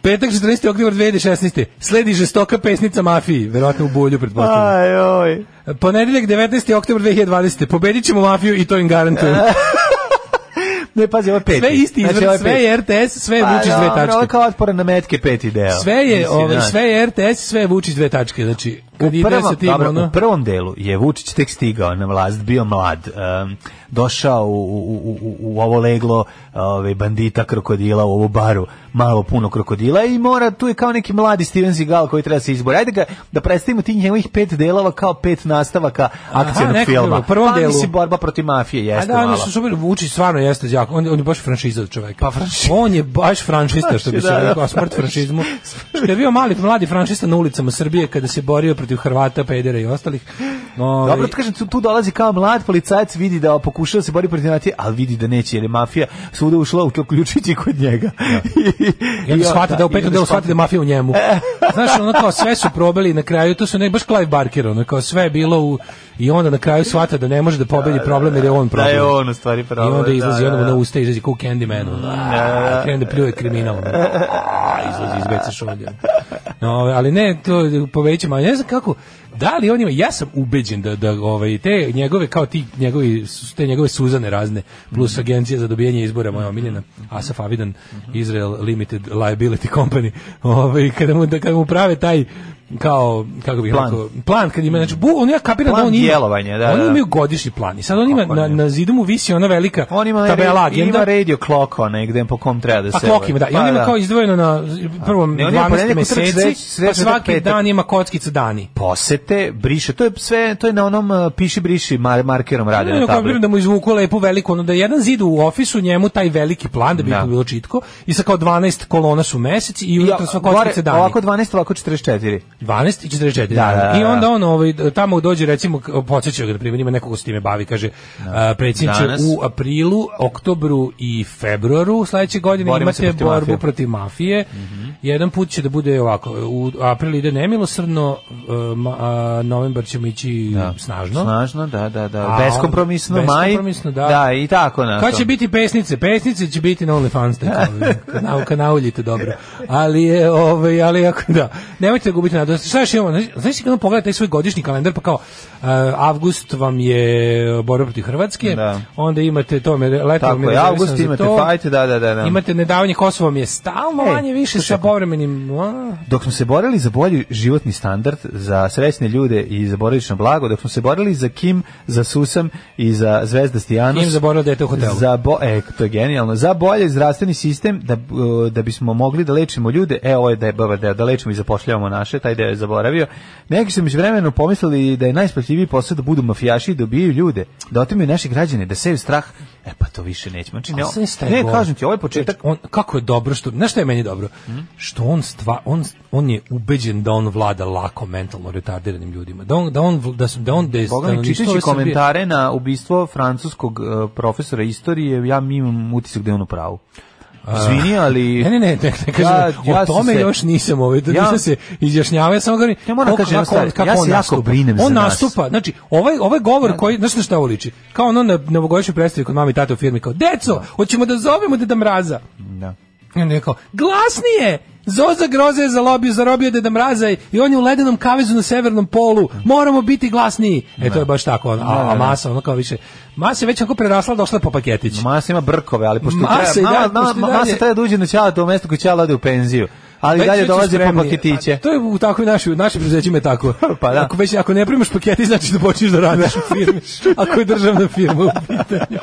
Petak 14. oktobar 2016. Sledi žestoka pesnica mafiji, verovatno u bolju
Pa-
pretpostavljam. Uh,
oj.
Ponedeljak 19. oktobar 2020. Pobedit ćemo mafiju i to im garantujem.
Ne, pazi, ovo je peti.
Sve isti izvor,
ovo je
sve
peti.
je RTS, sve je
Znači, ovaj Pa,
E, Vučić dve
dobro, Ovo je
tačke.
kao otpore na metke peti deo.
Sve je,
Mislim,
ovaj,
znaš.
sve je RTS, sve je Vučić dve tačke. Znači, kad
U
ide
prvom,
sa tim,
dobro,
ono...
u prvom delu je Vučić tek stigao na vlast, bio mlad, em, došao u, u, u, u- u ovo leglo ove, bandita krokodila, u ovu baru, malo puno krokodila i mora, tu je kao neki mladi Steven Seagal koji treba se izbori. Ajde ga, da predstavimo tih njegovih pet delova kao pet nastavaka akcijnog
nekako,
filma.
u prvom
pa,
delu.
mislim, borba protiv mafije
A
jeste
da,
mala.
oni su super, Vučić stvarno jeste jako, on, on je baš franšiza od čoveka.
Pa, franšiza.
On je baš franšista, što bi se
Da, da,
rekao, a smrt franšizmu. Što je bio mali, mladi franšista na ulicama Srbije kada se borio protiv Hrvata, Pedera i ostalih. Ovaj,
Dobro, ti kažem, tu, tu dolazi kao mlad policajac, vidi da pokušava da se bori protiv mafije, ali vidi da neće, jer je mafija svuda ušla, uključujući i kod njega.
I onda shvate da u petom delu shvate da je
shvati-
mafija u njemu.
E.
Znaš, ono kao sve su probali i na kraju, to su ne, baš Clive Barker, ono kao sve je bilo u, i onda na kraju shvate da ne može da pobedi problem jer je on
Da
problem.
je on u stvari
I
problem.
onda izlazi,
da,
onda
ono da,
mu
da.
na usta izlazi kao u Candymanu. Mm, Krene da pljuje kriminal. ono. A, Izlazi iz WC šolje. No, ovaj, ali ne, to povećamo. Ja ne znam kako, da li on ima, ja sam ubeđen da, da ovaj, te njegove, kao ti njegovi, su- te njegove suzane razne, plus agencija za dobijanje izbora, moja omiljena, Asaf Avidan, Israel Limited Liability Company, ovaj, kada, mu, da, kada mu prave taj, kao, kako bih
Plan.
rekao, plan kad ima, znači, bu, on ja kapiram da
Plan
on ima,
djelovanja, da,
oni
da.
imaju godišnji plan i sad on ima,
Kako
na,
ne.
na zidu mu visi ona velika
On ima,
tabela agenda.
ima radio kloko negde po kom treba da
A
se...
klok ima, da. I on
Pa
ima kao izdvojeno na prvom
Ne, on ima
12
ponedjeljak, utorak, sreć-
meseci, pa
sreć, utorak,
svaki
petak.
dan ima kockica dani.
posete, briše, to je sve, to je na onom uh, piši briši mar, markerom rade
Ne,
na
ne, Ono kao
tabli.
da mu izvuku lepu veliku, ono da je jedan zid u ofisu njemu taj veliki plan da bi
Da.
bilo čitko i sa kao 12 kolona su meseci i unutra sva kockica dani.
Ovako 12, ovako 44.
12 i 44
Da,
dana.
da, da.
I onda on ovaj, tamo dođe recimo, k- podsjećaju ga da primjer, ima nekog ko se time bavi, kaže da. predsjedniče
Danas.
u aprilu, oktobru i februaru sledeće godine
Borimo se
imate
protiv
borbu
mafije." Mhm.
protiv mafije. Jedan put će da bude ovako, u aprilu ide nemilosrdno, e, ma- a novembar ćemo ići snažno.
Snažno, da, da, da.
A,
Beskompromisno, maj.
beskompromisno, da.
Da, i tako ono. na
Kad će biti pesnice? Pesnice će biti na OnlyFans. Na, kanauljite dobro. Ali je, ovaj, ali ako da, nemojte da gubiti nadu. Šta još imamo? Znaš ti kad on pogleda taj svoj godišnji kalendar, pa kao, uh, avgust vam je borba protiv Hrvatske,
Da.
onda imate to, me, leto
Tako
vam je
je,
rezervisano
avgust
za
imate
to.
fajte, da, da, da, E, da.
Imate nedavanje Kosova vam je stalno
Ej,
manje više sa povremenim... a,
Dok smo se borili za bolji životni standard, za srećne ljude i za boravično blago, dok smo se borili za Kim, za Susam i za Zvezda Stijanos.
Kim zaboravio dete u hotelu.
Za bo, e, to je genijalno. Za bolji zdravstveni sistem da, e, da bismo mogli da lečimo ljude. E, ovo je da je dobar deo, da lečimo i zapošljavamo naše, taj deo je zaboravio. Neki su mi vremenu pomislili da je najsplatljiviji posao da budu mafijaši i dobijaju ljude, da otimaju naše građane, da seju strah. E pa to više neće. Znači, ne,
A sve šta je
ne
gore.
kažem ti, ovo je početak.
Znači, On, kako je dobro što, znaš šta je meni dobro?
Hmm?
Što on stva, on, on je ubeđen da on vlada lako mentalno retardiranim ljudima. Da on, da on, vl- da su, da on, da je
Boga mi,
stanovništvo
čitajući
ove Srbije-
komentare na ubistvo francuskog e, profesora istorije, ja mi imam utisak da je on u pravu. Izvini, ali...
Ne, ne, ne, ne, ne kažem,
Ja- ja
o
sam
tome
se-
još nisam ovaj, da
Ja-
nisam se izjašnjavao, ja samo govorim,
Ja moram
kako-
kažem jednu
kako on-
stvar, ja se
on
jako
nastupa.
brinem za
On
nas.
nastupa, znači, ovaj, ovaj govor koji, znaš na šta ovo liči, kao ono na novogodišnjoj predstavi kod mami i tate u firmi, kao, deco, hoćemo da zovemo Deda Mraza.
Da.
I onda je kao, glasnije! Zoza Groza je zalobio, zarobio Deda Mraza i on je u ledenom kavezu na severnom polu. Moramo biti glasniji. E, to je baš tako. ono, a, a masa, ono kao više. Masa je već ako prerasla, došla je po paketić.
Masa ima brkove, ali pošto
Masa i
treba,
dalje-
nama- nama-
pošto i
masa
dalje-
treba da uđe na ćala do mesta koje ćala ode u penziju. Ali
Već
dalje
već
dolazi po
spremni.
paketiće.
Pa, To je u takvoj našoj, u našim preduzećima je tako.
Pa da.
Ako, već, ako ne primaš paketi, znači da počneš da radiš u firmi. Ako je državna firma u pitanju.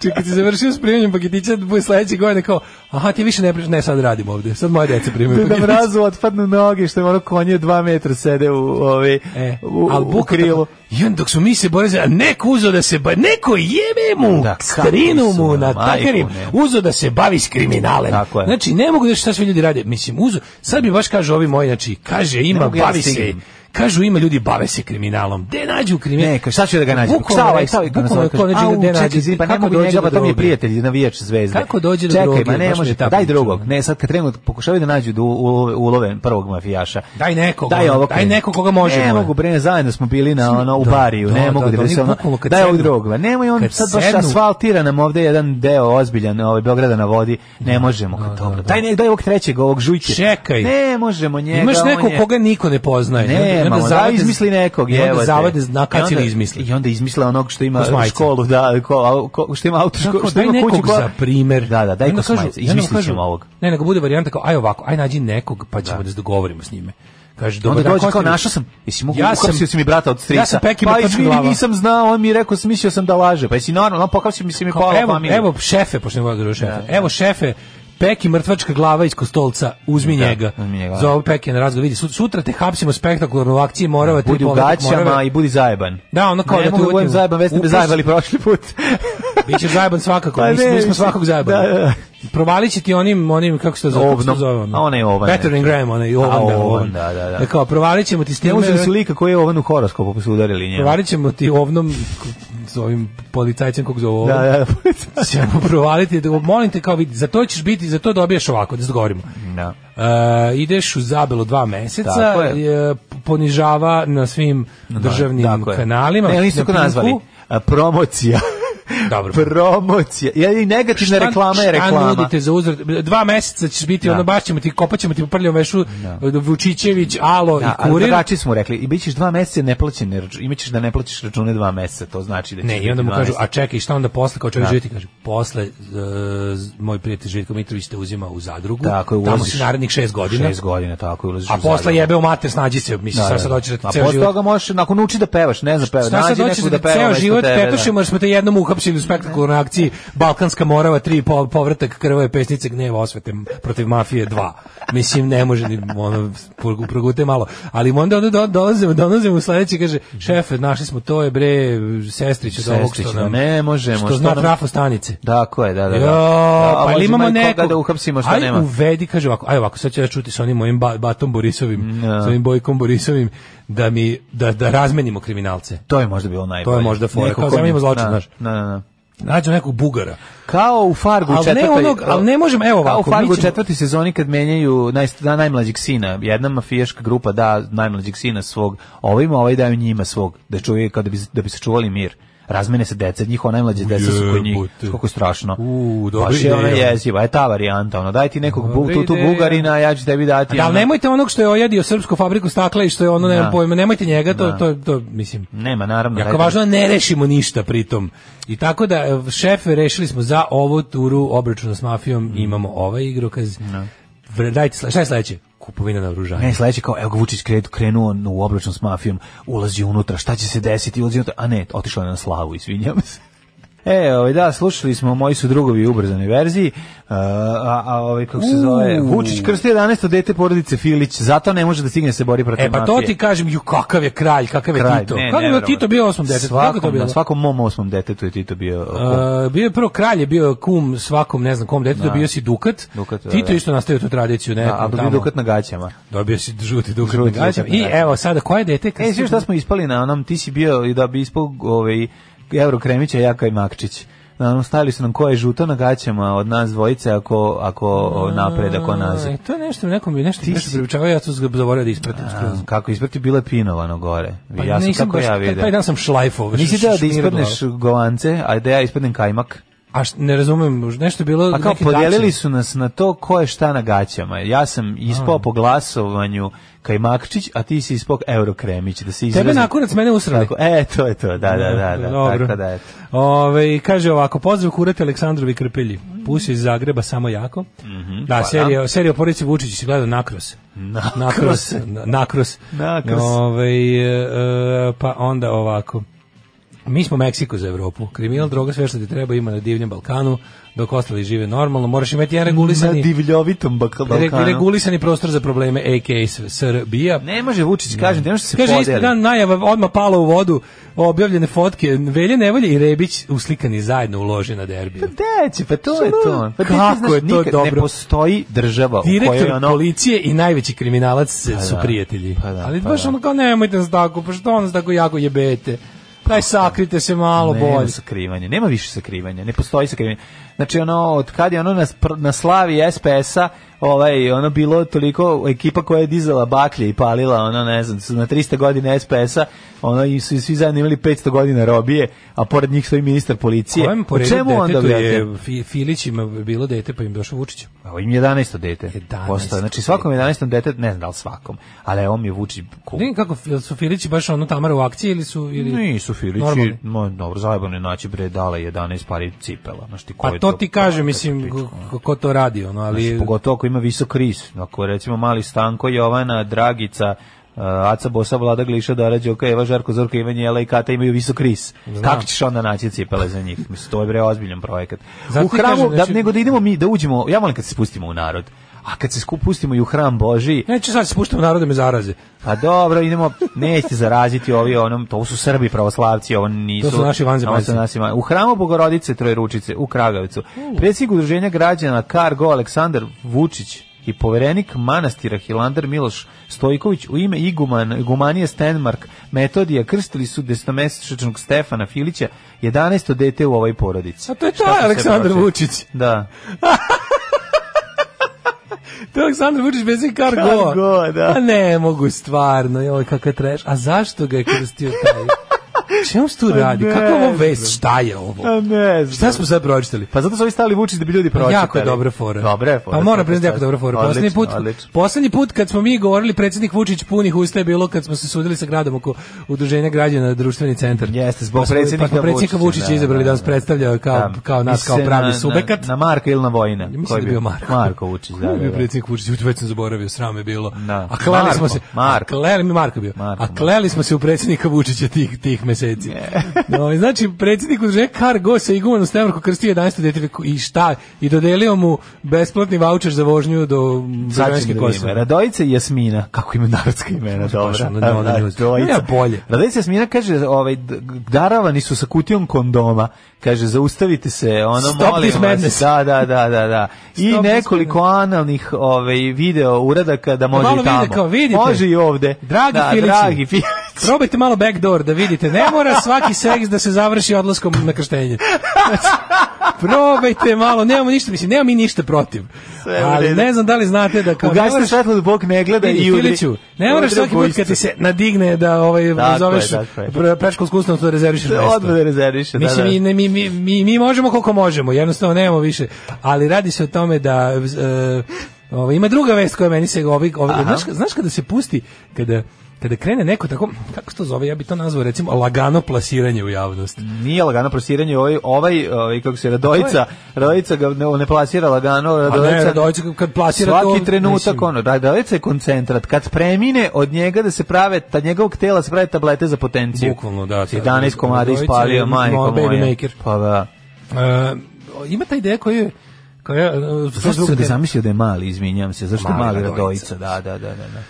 Čekaj, kad si završio s primanjem paketića, da bude sledeće godine kao, aha, ti više ne primaš, ne, sad radim ovde. Sad moje dece primaju
Da
paketiće.
mrazu otpadnu noge, što je ono konje dva metra sede u, ove,
E,
u,
al
u krilu.
I onda dok su mi se borili, a neko uzeo da se ba, neko jebe mu,
Da, kako
strinu
su,
mu na
majko,
takarim,
ne.
uzeo da se bavi s kriminalem.
Tako je.
Znači, ne mogu da šta sve ljudi rade. Mislim, uzeo, sad bi baš kaže ovi moji, znači, kaže, ima,
mogu ja da
bavi se,
stignem.
Kažu ima ljudi bave se kriminalom. Gde nađu kriminal?
Ne, kaže, šta ću da ga nađem?
Bukvalno
Šta ovaj,
je-
šta ovaj, kako
bukvalno je
nazove, kaže,
konačno
au,
gde
čekaj,
nađe-
izvini, pa
kako
nemoj
dođe
njega,
do
pa to mi je
droge?
prijatelj, navijač zvezde.
Kako dođe do
Čekaj,
droge?
ma ne
Baš mi je
može,
ta
daj
priča.
drugog. Ne, sad kad krenu, pokušavaju da nađu da ulove, ulove prvog mafijaša.
Daj nekog,
Daj ovog.
daj nekog koga možemo.
Ne mogu, bre, zajedno smo bili na, ono, u
Da,
bariju,
da,
ne mogu da,
da, da,
da,
oni
se ono,
bukvalno kad
daj ovog
sednu-
drugog. Nemoj on,
kad
sad baš
sednu-
asfaltira nam ovde jedan deo ozbiljan, ovaj, Beograda na vodi, ne možemo, kad dobro. Daj, ne, daj ovog trećeg, ovog žujke.
Čekaj.
Ne možemo njega,
Imaš
on
nekog
je-
koga niko ne poznaje.
ne,
I onda
ma, onda
zavade-
izmisli nekog,
i onda
evo te.
zavade na
I
kad
onda-
izmisli.
I onda izmisle onog što ima
Ko Smajca.
školu, da, ko, ko, što ima auto školu,
Tako,
što
daj
ima
nekog
kuću. koja-
za primer.
Da, da, daj
Onda
ko
kažu-
Smajca,
i onda mu
izmislit
kažu-
ćemo ovog.
Ne, nego bude varijanta kao, aj ovako, aj nađi nekog, pa ćemo da, se dogovorimo s njime. Kaže,
Onda
dobar dan,
dođe
ko
kao
ste vi?
našao sam, jesi mogu,
Ja
ja
sam-
si mi brata od strica.
ja sam Peki
pa
Batočin
izvini,
glava.
nisam znao, on mi je rekao, sam mislio sam da laže. Pa jesi normalno, on pokapsio mi se mi
Kao,
pola
evo,
familije.
evo šefe, pošto ne volim da kažem šefe. Evo šefe, Peki mrtvačka glava iz kostolca, uzmi
Da,
njega.
uzmi njega.
Za ovaj Peki na razgovor, vidi, sut- sutra te hapsimo spektakularno u akciji Morava, tri
Budi u
povratak
gaćama
Morave.
i budi zajeban.
Da, ono kao
ne
da
mogu
te
da budem
uvodimo.
zajeban, već ste me
Upas-
zajebali prošli put.
Biće zajeban svakako,
Pa
mi, smo-
ne,
mi smo
mislim,
svakog zajebani.
da, da.
Provalit će ti onim, onim, kako se to zove? kako se to
Ovnom.
zove ono?
A onaj ovan,
Better than
ne.
Graham, onaj ovan,
A,
da,
ovan,
ovan. E,
da, da, da.
Kao, provalit ćemo ti s
Ne
time-
uzeli su lika koji je ovan u horoskopu, pa su udarili njemu.
provalit ćemo ti ovnom, k- s ovim policajcem kog zove ovan.
Da, da, da.
Ćemo provaliti, da, molim te, kao vidi, za to ćeš biti, za to dobijaš ovako, da se dogovorimo.
Da.
E, ideš u zabelo dva meseca,
Tako je.
e, ponižava na svim državnim
Tako je.
kanalima.
Ne, oni su
na
tako
Pinku.
nazvali. A, promocija.
Dobro.
promocija. Ja i negativna reklama je
Šta
reklama.
nudite za uzvrat? Dva meseca ćeš biti,
Da.
ono baš ćemo ti, kopat ćemo ti po prljom vešu e, Vučićević, Alo
Da,
i
ali
Kurir.
drugačije smo rekli, i bit ćeš dva meseca neplaćene račune, imaćeš da ne plaćaš račune dva meseca, to znači da ćeš
Ne, i
biti
onda mu
dva
kažu,
meseca.
a čekaj, šta onda posle, kao čovjek
Da.
da. živjeti, kaže, posle, e, z- moj prijatelj Živjetko Mitrović te uzima u zadrugu,
Tako je,
tamo
ulaziš-
si narednih šest godina,
Šest godina, tako, i ulaziš
a
u
posle
zadrugu.
jebe u mater, snađi se, mislim,
Da,
sad
da,
sad hoćeš da
A
ti ceo
posle
život...
toga možeš, ako nauči da pevaš, ne znam, peva,
Šta sad
nađi
hoćeš
nekog da
da
peva
ceo
umesto
život
tebe, da.
petušimo, jer smo te jednom uhapsili u spektakularnoj akciji Balkanska morava 3, po, povratak krve, pesnice, gneva, osvete m- protiv mafije 2. Mislim, ne može, ni, ono, pro- progute malo. Ali onda onda do, dolazimo, dolazimo u sledeći, kaže, šefe, našli smo to je, bre, sestrić od ovog što
Sestrić,
nam...
ne možemo,
Što
što
zna
nam-
trafo stanice.
Tako je, da, da, da.
Jo,
Da, a
pa
možemo
ali imamo
i koga
nekog.
da uhapsimo, šta
Aj,
nema.
uvedi, kaže ovako, aj ovako, sad ću ja čuti sa onim mojim ba- Batom Borisovim,
Ja.
sa onim Bojkom Borisovim, da mi, da, da razmenimo kriminalce.
To je možda bilo najbolje.
To je možda fora,
Neko
kao
ko-
zamenimo zločin,
da,
znaš.
Da, da, da.
Nađu nekog Bugara.
Kao u Fargu
Ali ne
četvrtoj.
onog- ali ne možemo, evo
Kao u
ovako, mi
Fargu
ćemo-
četvrtoj sezoni kad menjaju naj, da, najmlađeg sina. Jedna mafijaška grupa da najmlađeg sina svog ovima, ovaj daju njima svog. Da čuje kao da bi, da bi sačuvali mir. Razmene se deca, njihova najmlađa deca su kod njih.
Jebote.
Kako je strašno.
U, dobra
Baš je ona
ideja.
jeziva. Je ta varijanta. Ono, daj ti nekog bu,
Dobra
tu, tu
ideja.
bugarina, ja ću tebi dati.
Da, ali
ono-
nemojte onog što je ojedio srpsku fabriku stakla i što je ono,
Da.
nemam pojma, nemojte njega, to,
Da.
to, to, mislim,
Nema, naravno.
Jako
daj-
važno da ne rešimo ništa pritom. I tako da, e, šefe, rešili smo za ovu turu obračuna s mafijom,
Mm.
imamo ovaj igrokaz. Vre- Dajte, sle- šta je sledeće? Kupovina na
Pa Ne, sledeće kao, evo ga Vučić kre- krenuo na- u obračun s mafijom, ulazi unutra, šta će se desiti, ulazi unutra, a ne, otišao je na slavu, izvinjam se. E, ovaj, da, slušali smo, moji su drugovi u ubrzanoj verziji, a, a, a ovaj, kako se zove, Vučić krsti 11. dete porodice Filić, zato ne može da stigne da se bori protiv
E pa to
mafije.
ti kažem, ju kakav je kralj, kakav je
Kralj,
Tito.
ne,
Kako je
neverovatno.
Tito bio osmom detetu? Kako je to
Svakom,
bilo?
na svakom mom osmom detetu je Tito bio... Uh,
E, bio je prvo kralj, je bio kum svakom, ne znam kom detetu, bio si Dukat.
Dukat, da,
Tito
da.
isto nastavio tu tradiciju nekom
a bio
tamo.
dukat na gaćama.
Dobio si žuti Dukat.
Žuti
na gaćama.
Dukat na
I
gaćama.
evo sada, koje dete? kad
E,
si-
svi šta smo ispali na onom, ti si bio i da bi ispao ovaj, Euro Kremića, ja kao i Makčić. Na onom stavili su nam ko je žuto na gaćama od nas dvojice ako, ako o, napred, ako nazad.
E, to je nešto, nekom mi nešto,
Ti
nešto
si-
priučavao, ja to zaboravio da ispratim. skroz.
A, Kako isprati, bilo je pinovano gore. ja sam
Pa nisam
kako
baš-
ja
taj- Taj
vidio.
dan sam šlajfao.
Nisi
š-
teo da
šnir
ispadneš
glavu.
govance, a da ja ispadnem kajmak.
A š- ne razumem, nešto je bilo...
Pa kao
neki
podijelili
dačin.
su nas na to ko je šta na gaćama. Ja sam ispao po glasovanju Kajmakčić, a ti si ispao Euro Kremić. Da se
Tebe
izrazim.
na kurac mene usrali.
Tako, E, to je to, da, da, da. da
Dobro.
Tako da, eto.
Ove, kaže ovako, pozdrav kurate Aleksandrovi Krpelji. Pusi iz Zagreba samo jako. da, serija, serija o porodici Vučić se gleda nakros.
Mhm, Nakros.
na- Nakros.
Nakros.
Ove, e, e, pa onda ovako. Mi smo Meksiko za Evropu. Kriminal, droga, sve što ti treba ima na divljem Balkanu, dok ostali žive normalno. Moraš imati jedan regulisani,
divljovitom bak-
re- regulisani prostor za probleme, a.k.a. s- Srbija.
Ne može Vučić, kažem, ne može se
Kaže, isti
podeli.
dan najava odmah pala u vodu, objavljene fotke, Velje Nevolje i Rebić uslikani zajedno u loži na derbiju.
Deće, pa to je to. Pa ti
Kako
znaš,
je to
nikad Ne
dobro?
postoji država u kojoj
Direktor
ono...
policije i najveći kriminalac se- su
da.
prijatelji.
Pa da,
Ali
pa
baš
da.
ono kao, nemojte nas tako, pa što nas tako jako jebete? Daj sakrite se malo
Nema
bolje.
sakrivanja, nema više sakrivanja, ne postoji sakrivanje. Znači ono, od kad je ono na, spr- na slavi SPS-a, ovaj, ono bilo toliko, ekipa koja je dizala baklje i palila, ono ne znam, su na 300 godina SPS-a, ono i su svi zajedno imali 500 godina robije, a pored njih stoji ministar policije.
Kojem po
O čemu onda
detetu je
brate?
Fi- Filić ima bilo dete pa im došao Vučić.
Ovo im je 11. dete.
11.
Postoje. Znači svakom 11. dete, ne znam da li svakom, ali ovo mi je Vučić cool.
Ne kako jel su Filići baš ono Tamara u akciji ili su ili
Nisu Filići,
Normalni.
no, dobro, zajebano je naći bre dale 11 pari cipela. Znaš ti ko
Pa
je
to ti
Pa,
kaže,
to
mislim,
je
ko-
priča.
ko- ko to radi, ono, ali...
Znači, pogotovo ako ima visok ris. Ako je recimo mali Stanko, Jovana, Dragica, eh, Aca Bosa, Vlada Gliša, Dara Đoka, Eva Žarko, Zorka, Ivan Jela i Kata imaju visok ris. Kako ćeš onda naći cipele za njih? Mislim, to je bre ozbiljan projekat.
Zato
u
ti
hramu,
kažem,
da,
znači-
nego da idemo mi, da uđemo, ja molim kad se spustimo u narod. A kad se sku- pustimo i u hram Boži,
Neću sad spuštati narod da me zaraze.
pa dobro, idemo, nećete zaraziti ovi onom, to su Srbi pravoslavci, ovo nisu.
To su naši vanzemaljci.
Ovo su naši van- U hramu Bogorodice Trojručice u Kragujevcu. Predsjednik udruženja građana Kargo Aleksandar Vučić i poverenik manastira Hilandar Miloš Stojković u ime iguman, igumanije Stenmark metodija krstili su desnomesečnog Stefana Filića 11. dete u ovoj porodici.
A Pa to je
Šta
taj
sam se
Aleksandar
protiv?
Vučić.
Da.
To je Aleksandar Vučić bez i kargo.
Kargo, da.
A ne, mogu stvarno, joj, kakav treš. A zašto ga je krstio taj? Čemu se tu radi?
Pa ne
Kako je ovo
znam. Pa
vest? Šta je ovo?
ne
Šta smo sad pročitali?
Pa zato su ovi stali Vučić da bi ljudi pročitali.
Pa Jako je dobra fora.
Dobra je fora.
Pa moram
svaka
priznati jako
čast.
dobra fora. Poslednji
Odlično,
put,
odlično.
poslednji put kad smo mi govorili predsjednik Vučić punih usta je bilo kad smo se sudili sa gradom oko udruženja građana na društveni centar.
Jeste, zbog
smo-
predsjednika
pa smo predsjednika
Vučića,
Vučića
da,
izabrali
da,
da nas
da.
predstavlja kao,
Da.
kao nas kao
Mislim,
pravi
na-
subjekat.
Na, na Marka ili na Vojina?
Mislim
Koji
da je
bi-
bio Marko.
Marko Vučić, da.
Ko je
da,
bio
da.
predsjednik Vučić, Vučić, već sam zaboravio, sram je bilo.
Da.
A kleli
Marko,
smo se,
Marko.
A kleli mi Marko bio.
Marko,
a kleli smo se u predsjednika Vučića tih tih meseci. No, znači predsjednik udruženja Cargo se iguman u Stemarku krstio 11. dete i šta? I dodelio mu besplatni vaučer za vožnju do
Sad ćemo
Brvenske
da vidimo.
Kosove.
Radojica i Jasmina, kako ima narodska imena,
baš
dobro.
ono da ona ljudi. Ne, bolje.
Radojica i Jasmina kaže, ovaj, d- daravani su sa kutijom kondoma, kaže, zaustavite se, ono,
Stop
molim
this
vas.
madness.
Da, da, da, da, da. I
Stop this
nekoliko analnih ovaj, video uradaka da može
malo
i tamo.
vide kao, vidite.
Može i ovde.
Dragi
da,
Filići.
Dragi Filići.
Probajte malo backdoor da vidite. Ne mora svaki seks da se završi odlaskom na krštenje. Znači, Probajte malo, nemamo ništa, mislim, nemamo mi ništa protiv.
Sve u
Ali
redu.
ne znam da li znate da kao... ne
Ugasite
moraš-
svetlo da Bog ne gleda
Vidi,
i udri.
Filiću, ne moraš
udri u
svaki put kad
bojstvo.
ti se nadigne da ovaj,
Tako
zoveš
je, tako je.
pre- predškolsku ustanovu da rezervišeš
Da,
mesto.
Odmah da rezerviše, da,
Mislim,
da.
mi, ne, mi, mi, mi, mi možemo koliko možemo, jednostavno nemamo više. Ali radi se o tome da... e, ovo, ima druga vest koja meni se... Ovi, ovi,
Aha.
znaš, znaš kada se pusti, kada, kada krene neko tako, kako se to zove, ja bi to nazvao recimo lagano plasiranje u javnost.
Nije lagano plasiranje, ovaj, ovaj, ovaj kako se Radojica, Radojica ga ne, ne plasira lagano,
A
Radojica,
ne, Radojica kad plasira to...
svaki trenutak
mislim,
ono, Radojica je koncentrat, kad premine od njega da se prave, ta njegovog tela se prave tablete za potenciju.
Bukvalno, da.
11 komada
Radojica je
ispalio, majko
ono, baby
moja.
maker.
Pa da.
E, ima ta ideja koju je- koja, e,
Zašto sam ga zamislio da je mali, izvinjam se, zašto je
Mali
mali Radojica,
Radojica,
da, da, da, da. da.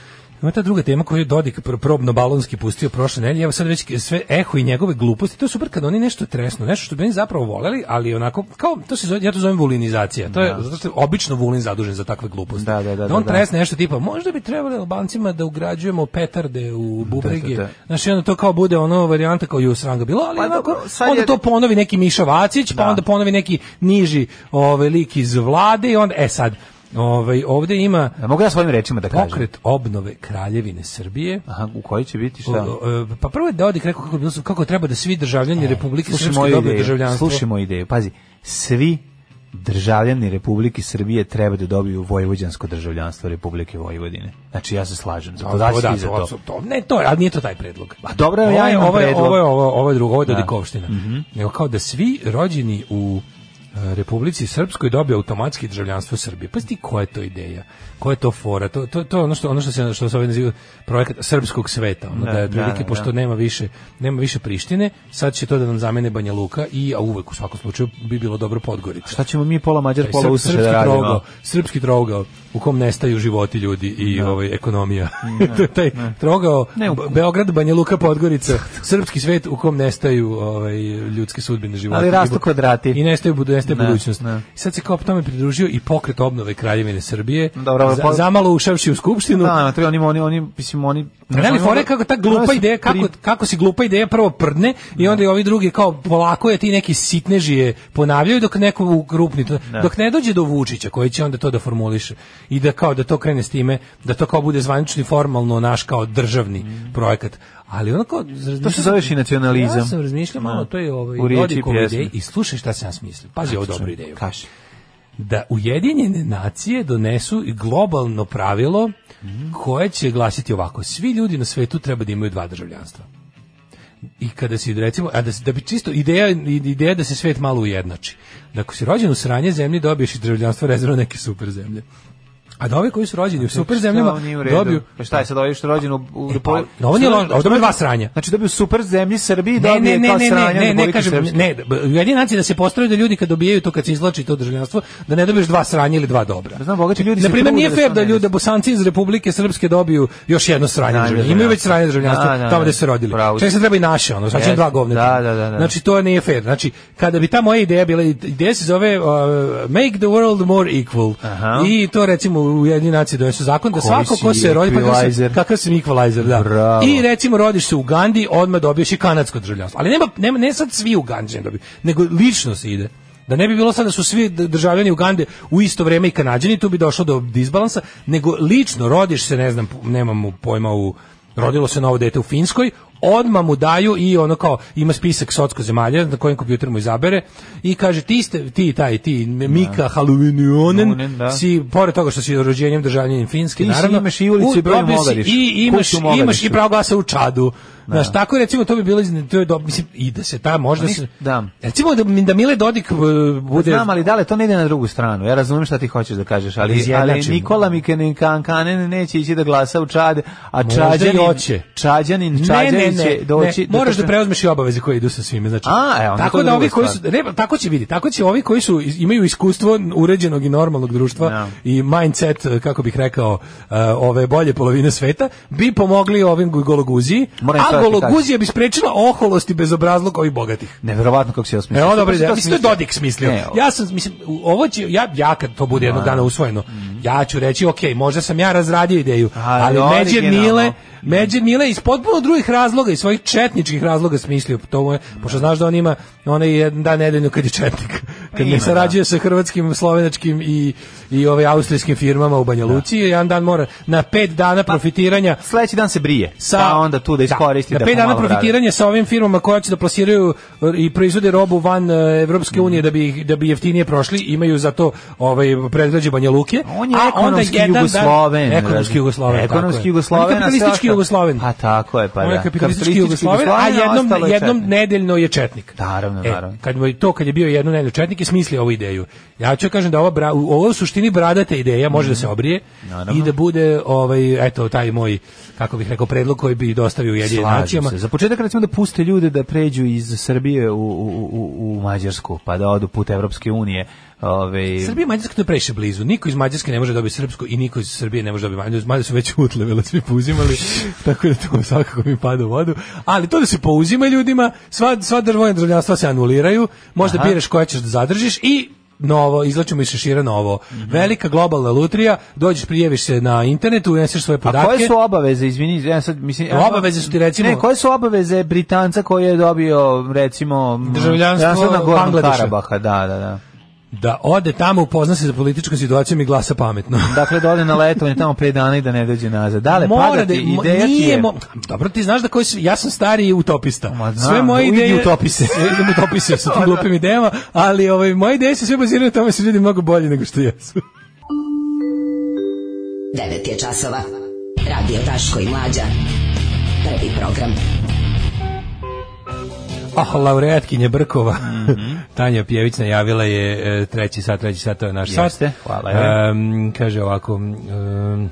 Ima ta druga tema koju je Dodik pr- probno balonski pustio prošle nedelje, evo sad već sve eho i njegove gluposti, to je super kad oni nešto tresnu, nešto što bi oni zapravo voleli, ali onako, kao, to se zove, ja to zovem vulinizacija, to je, zato što je obično vulin zadužen za takve gluposti.
Da, da, da,
on
da, da.
tresne nešto tipa, možda bi trebali Albancima da ugrađujemo petarde u bubrege,
Da, da, da.
znaš, i onda to kao bude ono varijanta kao Jusranga bilo, ali
Pa
onako,
dobro, sad
onda
je-
to ponovi neki Miša Vacić, pa
Da.
onda ponovi neki niži ovaj, lik iz vlade i onda, e sad, ovaj, ovde ima
A E, Mogu ja svojim rečima da kažem?
pokret obnove Kraljevine Srbije.
Aha, u koji će biti šta?
O, o, Pa prvo je Dodik rekao kako, je bilo- kako treba da svi državljani Republike
E, Slušaj
Srpske
moju
dobiju
ideju,
državljanstvo.
Slušaj moju ideju. Pazi, svi državljani Republike Srbije treba da dobiju vojvođansko državljanstvo Republike Vojvodine. Znači ja se slažem. Za
A,
podaci
da,
ti za
to,
to.
to, to, ne, to, je- ali nije to taj predlog.
Pa dobro,
ovo,
ja
je-
imam
ovo, je-
predlog. Mhm.
Ovo je, ovo, ovo je drugo, ovo je Dodikovština. Nego kao da svi rođeni u e, Republici Srpskoj dobio automatski državljanstvo Srbije. Pa ti koja je to ideja? Koja je to fora? To to to je ono što ono što se što se ovaj naziva projekat srpskog sveta, ono
Da,
da, je otprilike,
da, da,
pošto
da.
nema više nema više Prištine, sad će to da nam zamene Banja Luka i a uvek u svakom slučaju bi bilo dobro Podgorica.
Šta ćemo mi pola Mađar,
Taj
pola
srp-
Ustaše
srpski
da radimo?
trougao, srpski trougao u kom nestaju životi ljudi i ovaj ekonomija. to je taj trougao
Ne, u-
Be- Beograd, Banja Luka, Podgorica, srpski svet u kom nestaju ovaj ljudske sudbine života.
Ali rastu
I bu-
kvadrati.
I nestaju budu nestaje
Ne,
budućnost.
ne.
I sad se kao tome pridružio i pokret obnove Kraljevine Srbije.
Dobro, ali
za,
po-
zamalo ušavši u skupštinu.
Da, na treba, oni, oni, oni, mislim, oni...
Ne, ali fore kako ta glupa ideja, kako, kako si glupa ideja prvo prdne i onda i ovi drugi kao polako je ti neki sitnežije ponavljaju dok neko u grupni, to- dok ne dođe do Vučića koji će onda to da formuliše i da kao da to krene s time, da to kao bude zvanično i formalno naš kao državni projekat. Ali ono kao...
Mm. To se zoveš i nacionalizam.
Ja sam razmišljao malo,
Da.
to je ovaj,
U riječi i
Dodikova
pjesmi.
ideja i slušaj šta sam ja smislio. Pazi ovu dobru ideju
Kaši.
da Ujedinjene nacije donesu i globalno pravilo koje će glasiti ovako. Svi ljudi na svetu treba da imaju dva državljanstva. I kada si recimo, a da, se- da bi čisto ideja, ideja da se svet malo ujednači. Da ako si rođen u sranje zemlji dobiješ i državljanstvo rezervo neke super zemlje. A da ovi koji su
Znači,
rođeni u super zemljama dobiju...
dobiju... Pa šta je sad ovaj što je rođen u... u
E, pa, ovo nije ložno, ovo dobiju dva sranja.
Znači dobiju super zemlji Srbiji,
Ne, ne,
dobije
ne,
kao
ne, ne,
sranja
ne, ne,
Republike
kažem,
Srpske.
ne, ujedinjeni nacije da se postavljaju da ljudi kad dobijaju to, kad se izlači to državljanstvo, da ne dobiješ dva sranja ili dva dobra.
Ja znam, bogati ljudi se
Na primjer,
trude
nije
da
fair
to
da
ne
ljudi da
desi.
Bosanci iz Republike Srpske dobiju još jedno sranje
Da,
državljanstvo.
da,
Imaju već
da.
sranje državljanstvo
Da, da,
tamo
da.
gde se rodili.
Pravo si.
Čak se treba i naše, ono, znači
Jeste.
dva govne.
Da, da, da, da.
Znači to nije fair. Znači kada bi ta moja ideja bila ideja se zove uh, make the world more equal.
Aha.
I to recimo u jedini naciji donesu zakon da
Koji
svako ko
si
se rodi pa kakav
equalizer.
se- kakav sam equalizer, da.
Bravo.
I recimo rodiš se u Ugandi, odmah dobiješ i kanadsko državljanstvo. Ali nema, nema ne sad svi Uganđani dobiju, nego lično se ide. Da ne bi bilo sad da su svi d- državljani Ugande u isto vrijeme i Kanadžani, tu bi došlo do disbalansa, nego lično rodiš se, ne znam, nemam mu pojma u rodilo se novo dete u Finskoj, odmah mu daju i ono kao ima spisak socsko zemalja na kojem kompjuter mu izabere i kaže ti ste ti taj ti Mika
Haluvinionen, da.
Haluvinonen si pored toga što si rođenjem državljanin
Ti
Finske
si-
naravno
imaš i ulicu i
u-
broj
dobio si
Mogadišu.
i imaš
Kuću u Mogadišu.
imaš i pravo glasa u Čadu Znaš, tako recimo to bi bilo iz- to je do, mislim i da se ta možda
Ali,
se
Pa da.
recimo da da Mile Dodik e, bude
Znam, ali da li to ne ide na drugu stranu? Ja razumijem šta ti hoćeš da kažeš, ali, ali
Izjednačimo.
Nikola Mikenin Kankanen neće ići da glasa u Čad, a
Možda
Čađanin,
i hoće.
Čađanin, Čađanin će doći...
ne, moraš da,
trčne-
preuzmeš i obaveze koje idu sa svime, znači.
A, e, onda to
tako
je
da
druga
ovi koji su ne, tako će biti, tako će ovi koji su iz- imaju iskustvo uređenog i normalnog društva
Da.
i mindset eh, kako bih rekao e, ove bolje polovine sveta bi pomogli ovim gu- gologuziji,
Moram to
a
da ti
gologuzija bi sprečila oholost i bezobrazluk ovih bogatih.
Neverovatno kako si osmislio.
E, on dobro,
Kako si to
ja mislim da je
smislio?
Dodik smislio.
Ne,
ja sam, mislim, u- ovo će, ja, ja kad to bude jednog dana usvojeno, ja ću reći, ok, možda sam ja razradio ideju,
Mhm. Ali
ali, Međer
originalno. Mhm.
Mile, Međer Mile iz potpuno drugih razloga, iz svojih četničkih razloga smislio, to mu je, pošto znaš da on ima onaj jedan dan nedeljno kad je četnik, kad
Ima,
ne sarađuje sa hrvatskim, slovenačkim i, i ovaj austrijskim firmama u Banja Luci, jedan dan mora na pet dana
Pa,
profitiranja
Sledeći dan se brije.
sa
pa onda tu da iskoristi da,
na pet
pomalo
dana
radi.
profitiranje sa ovim firmama koja će da plasiraju e, i proizvode robu van e, Evropske unije da bi ih- da bi jeftinije prošli imaju za to ovaj predgrađe Banja Luke
On je
a onda
ekonomski
jedan dan-
Jugosloven.
ekonomski
razumiješ?
Jugosloven tako je.
Ekonomski
On je
Jugosloven. a sve
kapitalistički
ostalo-
Jugosloven
Pa tako je, pa da.
on je kapitalistički Jugosloven, a
Jugosloven, ostalo
jednom,
je
jednom
četnik.
nedeljno je četnik. E,
Naravno, naravno.
Kad mu je to kad je bio jednom nedeljno četnik je smislio ovu ideju. Ja ću kažem da ova bra, u- ovo u suštini bradate ideja može
Mhm.
da se obrije i da bude ovaj eto taj moj kako bih rekao predlog koji bi dostavio Ujedinjenim
Slažem
nacijama.
se. Za početak recimo da puste ljude da pređu iz Srbije u, u, u, u Mađarsku, pa da odu put Evropske unije. ovaj, Ove,
Srbija i Mađarska to je previše blizu. Niko iz Mađarske ne može dobiti srpsko i niko iz Srbije ne može dobiti mađarsko. Mađari su već utlevele, svi pouzimali, tako da to svakako mi pada u vodu. Ali to da se pouzima ljudima, sva, sva državna državljanstva se anuliraju, možda biraš koja ćeš da zadržiš i novo, izlačimo iz šešira novo.
Mhm.
Velika globalna lutrija, dođeš, prijeviš se na internetu, uneseš svoje
A
podatke.
koje su obaveze, izvini, ja sad mislim... ja-
Dakle, Obaveze su ti, recimo-
Ne, koje su obaveze Britanca koji je dobio, recimo...
Državljanstvo
na
Bangladeša.
Karabaha, da, da, da.
Da ode tamo, upozna se za političkom situacijom i glasa pametno.
Dakle, da ode na letovanje tamo pred dana i da ne dođe nazad. Dale,
Mora
pada
da-
ti,
mo-
ideja ti
nije
je...
mo- dobro, ti znaš da koji su- ja sam stari utopista.
Ma znam,
sve moje
idi
ideje
utopise.
idem utopise sa tim glupim idejama, ali ovaj moje ideje se sve baziraju na tome da su ljudi mnogo bolji nego što jesu.
9 je časova. Radio Daško i Mlađa. Prvi program.
Ah, laureatkinje Brkova. Mhm. Tanja Pjević najavila je e, treći sat, treći sat, to je naš
Jeste,
sat.
hvala, ja.
Em, kaže ovako... em,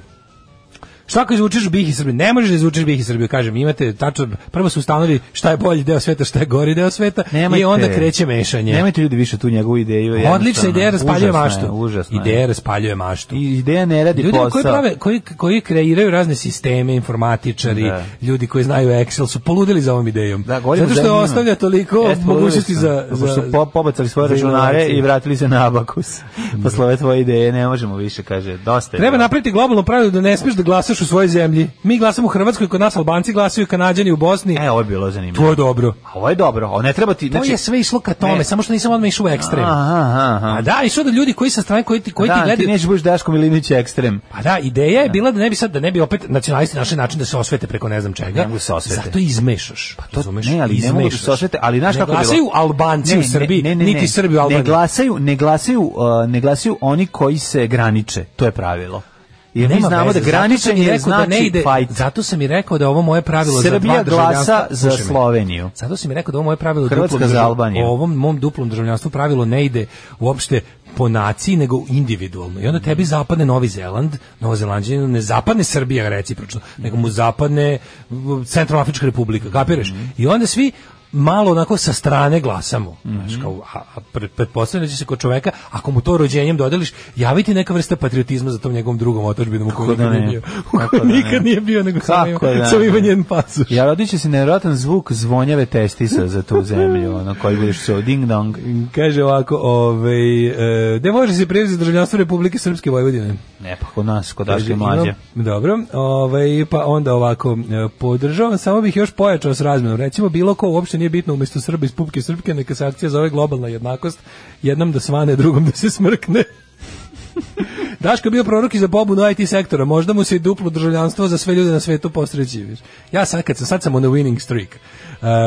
Šta ako izvučeš BiH i Srbiju? Ne možeš da izvučeš BiH i Srbiju, kažem, imate tačno, prvo su ustanovili šta je bolji deo sveta, šta je gori deo sveta i onda kreće mešanje.
Nemojte ljudi više tu njegovu ideju.
Odlična
jednostavno.
ideja raspaljuje
Užasna je,
maštu.
Užasna je.
Ideja raspaljuje maštu.
I ideja ne radi
Ljudi
posao.
koji prave, koji, koji kreiraju razne sisteme, informatičari,
Da.
ljudi koji znaju Excel su poludili za ovom idejom.
Da, govorimo
Zato što
da njima.
ostavlja toliko
Jeste,
mogućnosti za,
govorili smo.
za,
Pošto su po, pobacali svoje
za
računare
inovaciju.
i vratili se na abakus. Posle ove tvoje ideje ne možemo više, kaže, dosta je.
Treba napraviti globalno pravilo da ne smiješ da glasaš u svojoj zemlji. Mi glasamo u Hrvatskoj, kod nas Albanci glasaju, Kanadjani u Bosni.
E, ovo je bilo zanimljivo.
to je dobro. Znači,
A Ovo je dobro, ovo ne treba ti...
to je sve išlo ka tome,
Ne.
samo što nisam odmah išao u ekstrem.
Aha, aha, aha.
A da, i da ljudi koji sa strane, koji ti, koji
da,
ti
ti
gledaju,
nećeš budeš Daško Milinić ekstrem.
Pa da, ideja je bila da ne bi sad da ne bi opet nacionalisti našli način da se osvete preko ne znam čega.
Ne mogu se osvete.
Zato izmešaš. Pa
To, ne, ali ne mogu da se osvete, ali znaš kako je bilo?
glasaju Albanci
Ne,
u
ne,
Srbiji,
ne, ne, ne.
niti Srbi u Albaniji.
Ne glasaju, ne glasaju, uh, ne glasaju oni koji se graniče, to je pravilo. Jer mi
Nema
znamo da
veze, zato sam i
graničenje
rekao da
znači
ne ide-
fajt.
Zato sam i rekao da ovo moje pravilo za dva
Srbija glasa
državljanstva-
za
Slušaj me.
Sloveniju.
Zato sam i rekao da ovo moje pravilo
Hrvatska
duplom
za
držav-
Albaniju.
o ovom mom duplom državljanstvu pravilo ne ide uopšte po naciji, nego individualno. I onda tebi zapadne Novi Zeland, Novozelanđaninu, ne zapadne Srbija recipročno, nego mu zapadne m, Centralnoafrička republika, kapiraš?
Mhm.
I onda svi malo onako sa strane glasamo. Znaš, kao, a, a pre- pretpostavljam da će se kod čoveka, ako mu to rođenjem dodeliš, javiti neka vrsta patriotizma za tom njegovom drugom otočbinom u kojoj
da
nikad nije
ne?
bio. U
Kako
kojoj
da ne?
nikad nije bio, nego samo ima,
Kako da
samo ima
ne?
njen pasoš.
Ja rodit će se nevjerojatan zvuk zvonjave testisa za tu zemlju, ono koji budeš se ding dong.
Kaže ovako, ovaj, e, gde može se prijaviti za državljanstvo Republike Srpske Vojvodine?
Ne, pa kod nas, kod
Kaže,
Daške mlađe.
imam- Dobro, ovaj, pa onda ovako, e, podržavam, samo bih još pojačao s razmenom. Recimo, bilo ko uopšte nije bitno umjesto Srba iz Pupke Srpke, neka se akcija zove globalna jednakost, jednom da svane, drugom da se smrkne. Daško je bio prorok i za pobunu IT sektora, možda mu se i duplo državljanstvo za sve ljude na svetu postreći. viš. Ja sad kad sam, sad sam on a winning streak.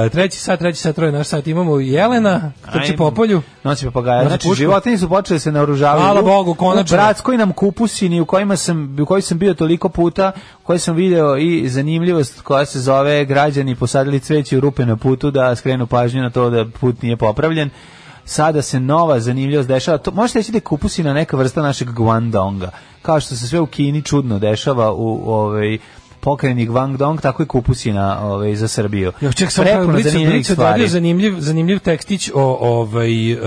E, treći sat, treći sat, troje naš sat, imamo Jelena, trči
Ajme.
po polju.
Nosi papagaja.
Nosi
Znači,
pušku.
životinje su počele se naoružavati.
Hvala
U-
Bogu, konačno.
U bratskoj nam kupusini u, kojima sam, u kojoj sam bio toliko puta, u kojoj sam video i zanimljivost koja se zove građani posadili cveće u rupe na putu da skrenu pažnju na to da put nije popravljen. Sada se nova zanimljivost dešava. To, možete reći da je kupusina neka vrsta našeg Guangdonga. Kao što se sve u Kini čudno dešava u ovaj pokrajini Guangdong, tako i kupusina ovaj, za Srbiju.
Ja ček sam
Prepuno
kao Blicu,
zanimljivih
Blicu
stvari.
odradio zanimljiv, zanimljiv tekstić o ovaj, e,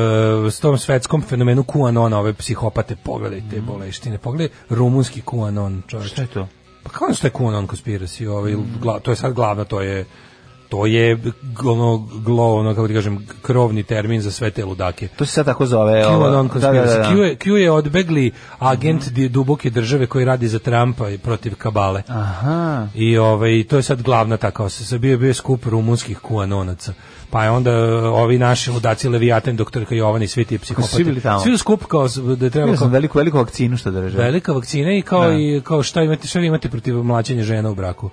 s tom svetskom fenomenu QAnona, ove psihopate, pogledajte boleštine, pogledaj rumunski QAnon čovječ.
Mhm. Šta je to?
Pa kao što je QAnon konspirasi, ovaj, gla- to je sad glavno, to je to je g- ono glo, ono kako ti kažem, krovni termin za sve te ludake.
To se sad tako zove. ovo- da,
QAnon
da, da,
konspirasi.
da. Mhm.
Q, je- Q je odbegli agent di- duboke države koji radi za Trumpa i protiv kabale.
Aha.
I ovaj to je sad glavna ta kao se bio je bio skup rumunskih kuanonaca. Pa je onda e, ovi naši ludaci Leviatan, doktorka Jovana i svi ti psihopati.
svi bili tamo?
Svi u skup kao s- da je treba
Vidio
kao
sam veliku, veliku vakcinu što drže.
velika vakcina i kao i kao šta imate šta vi imate protiv mlaćenja žena u braku.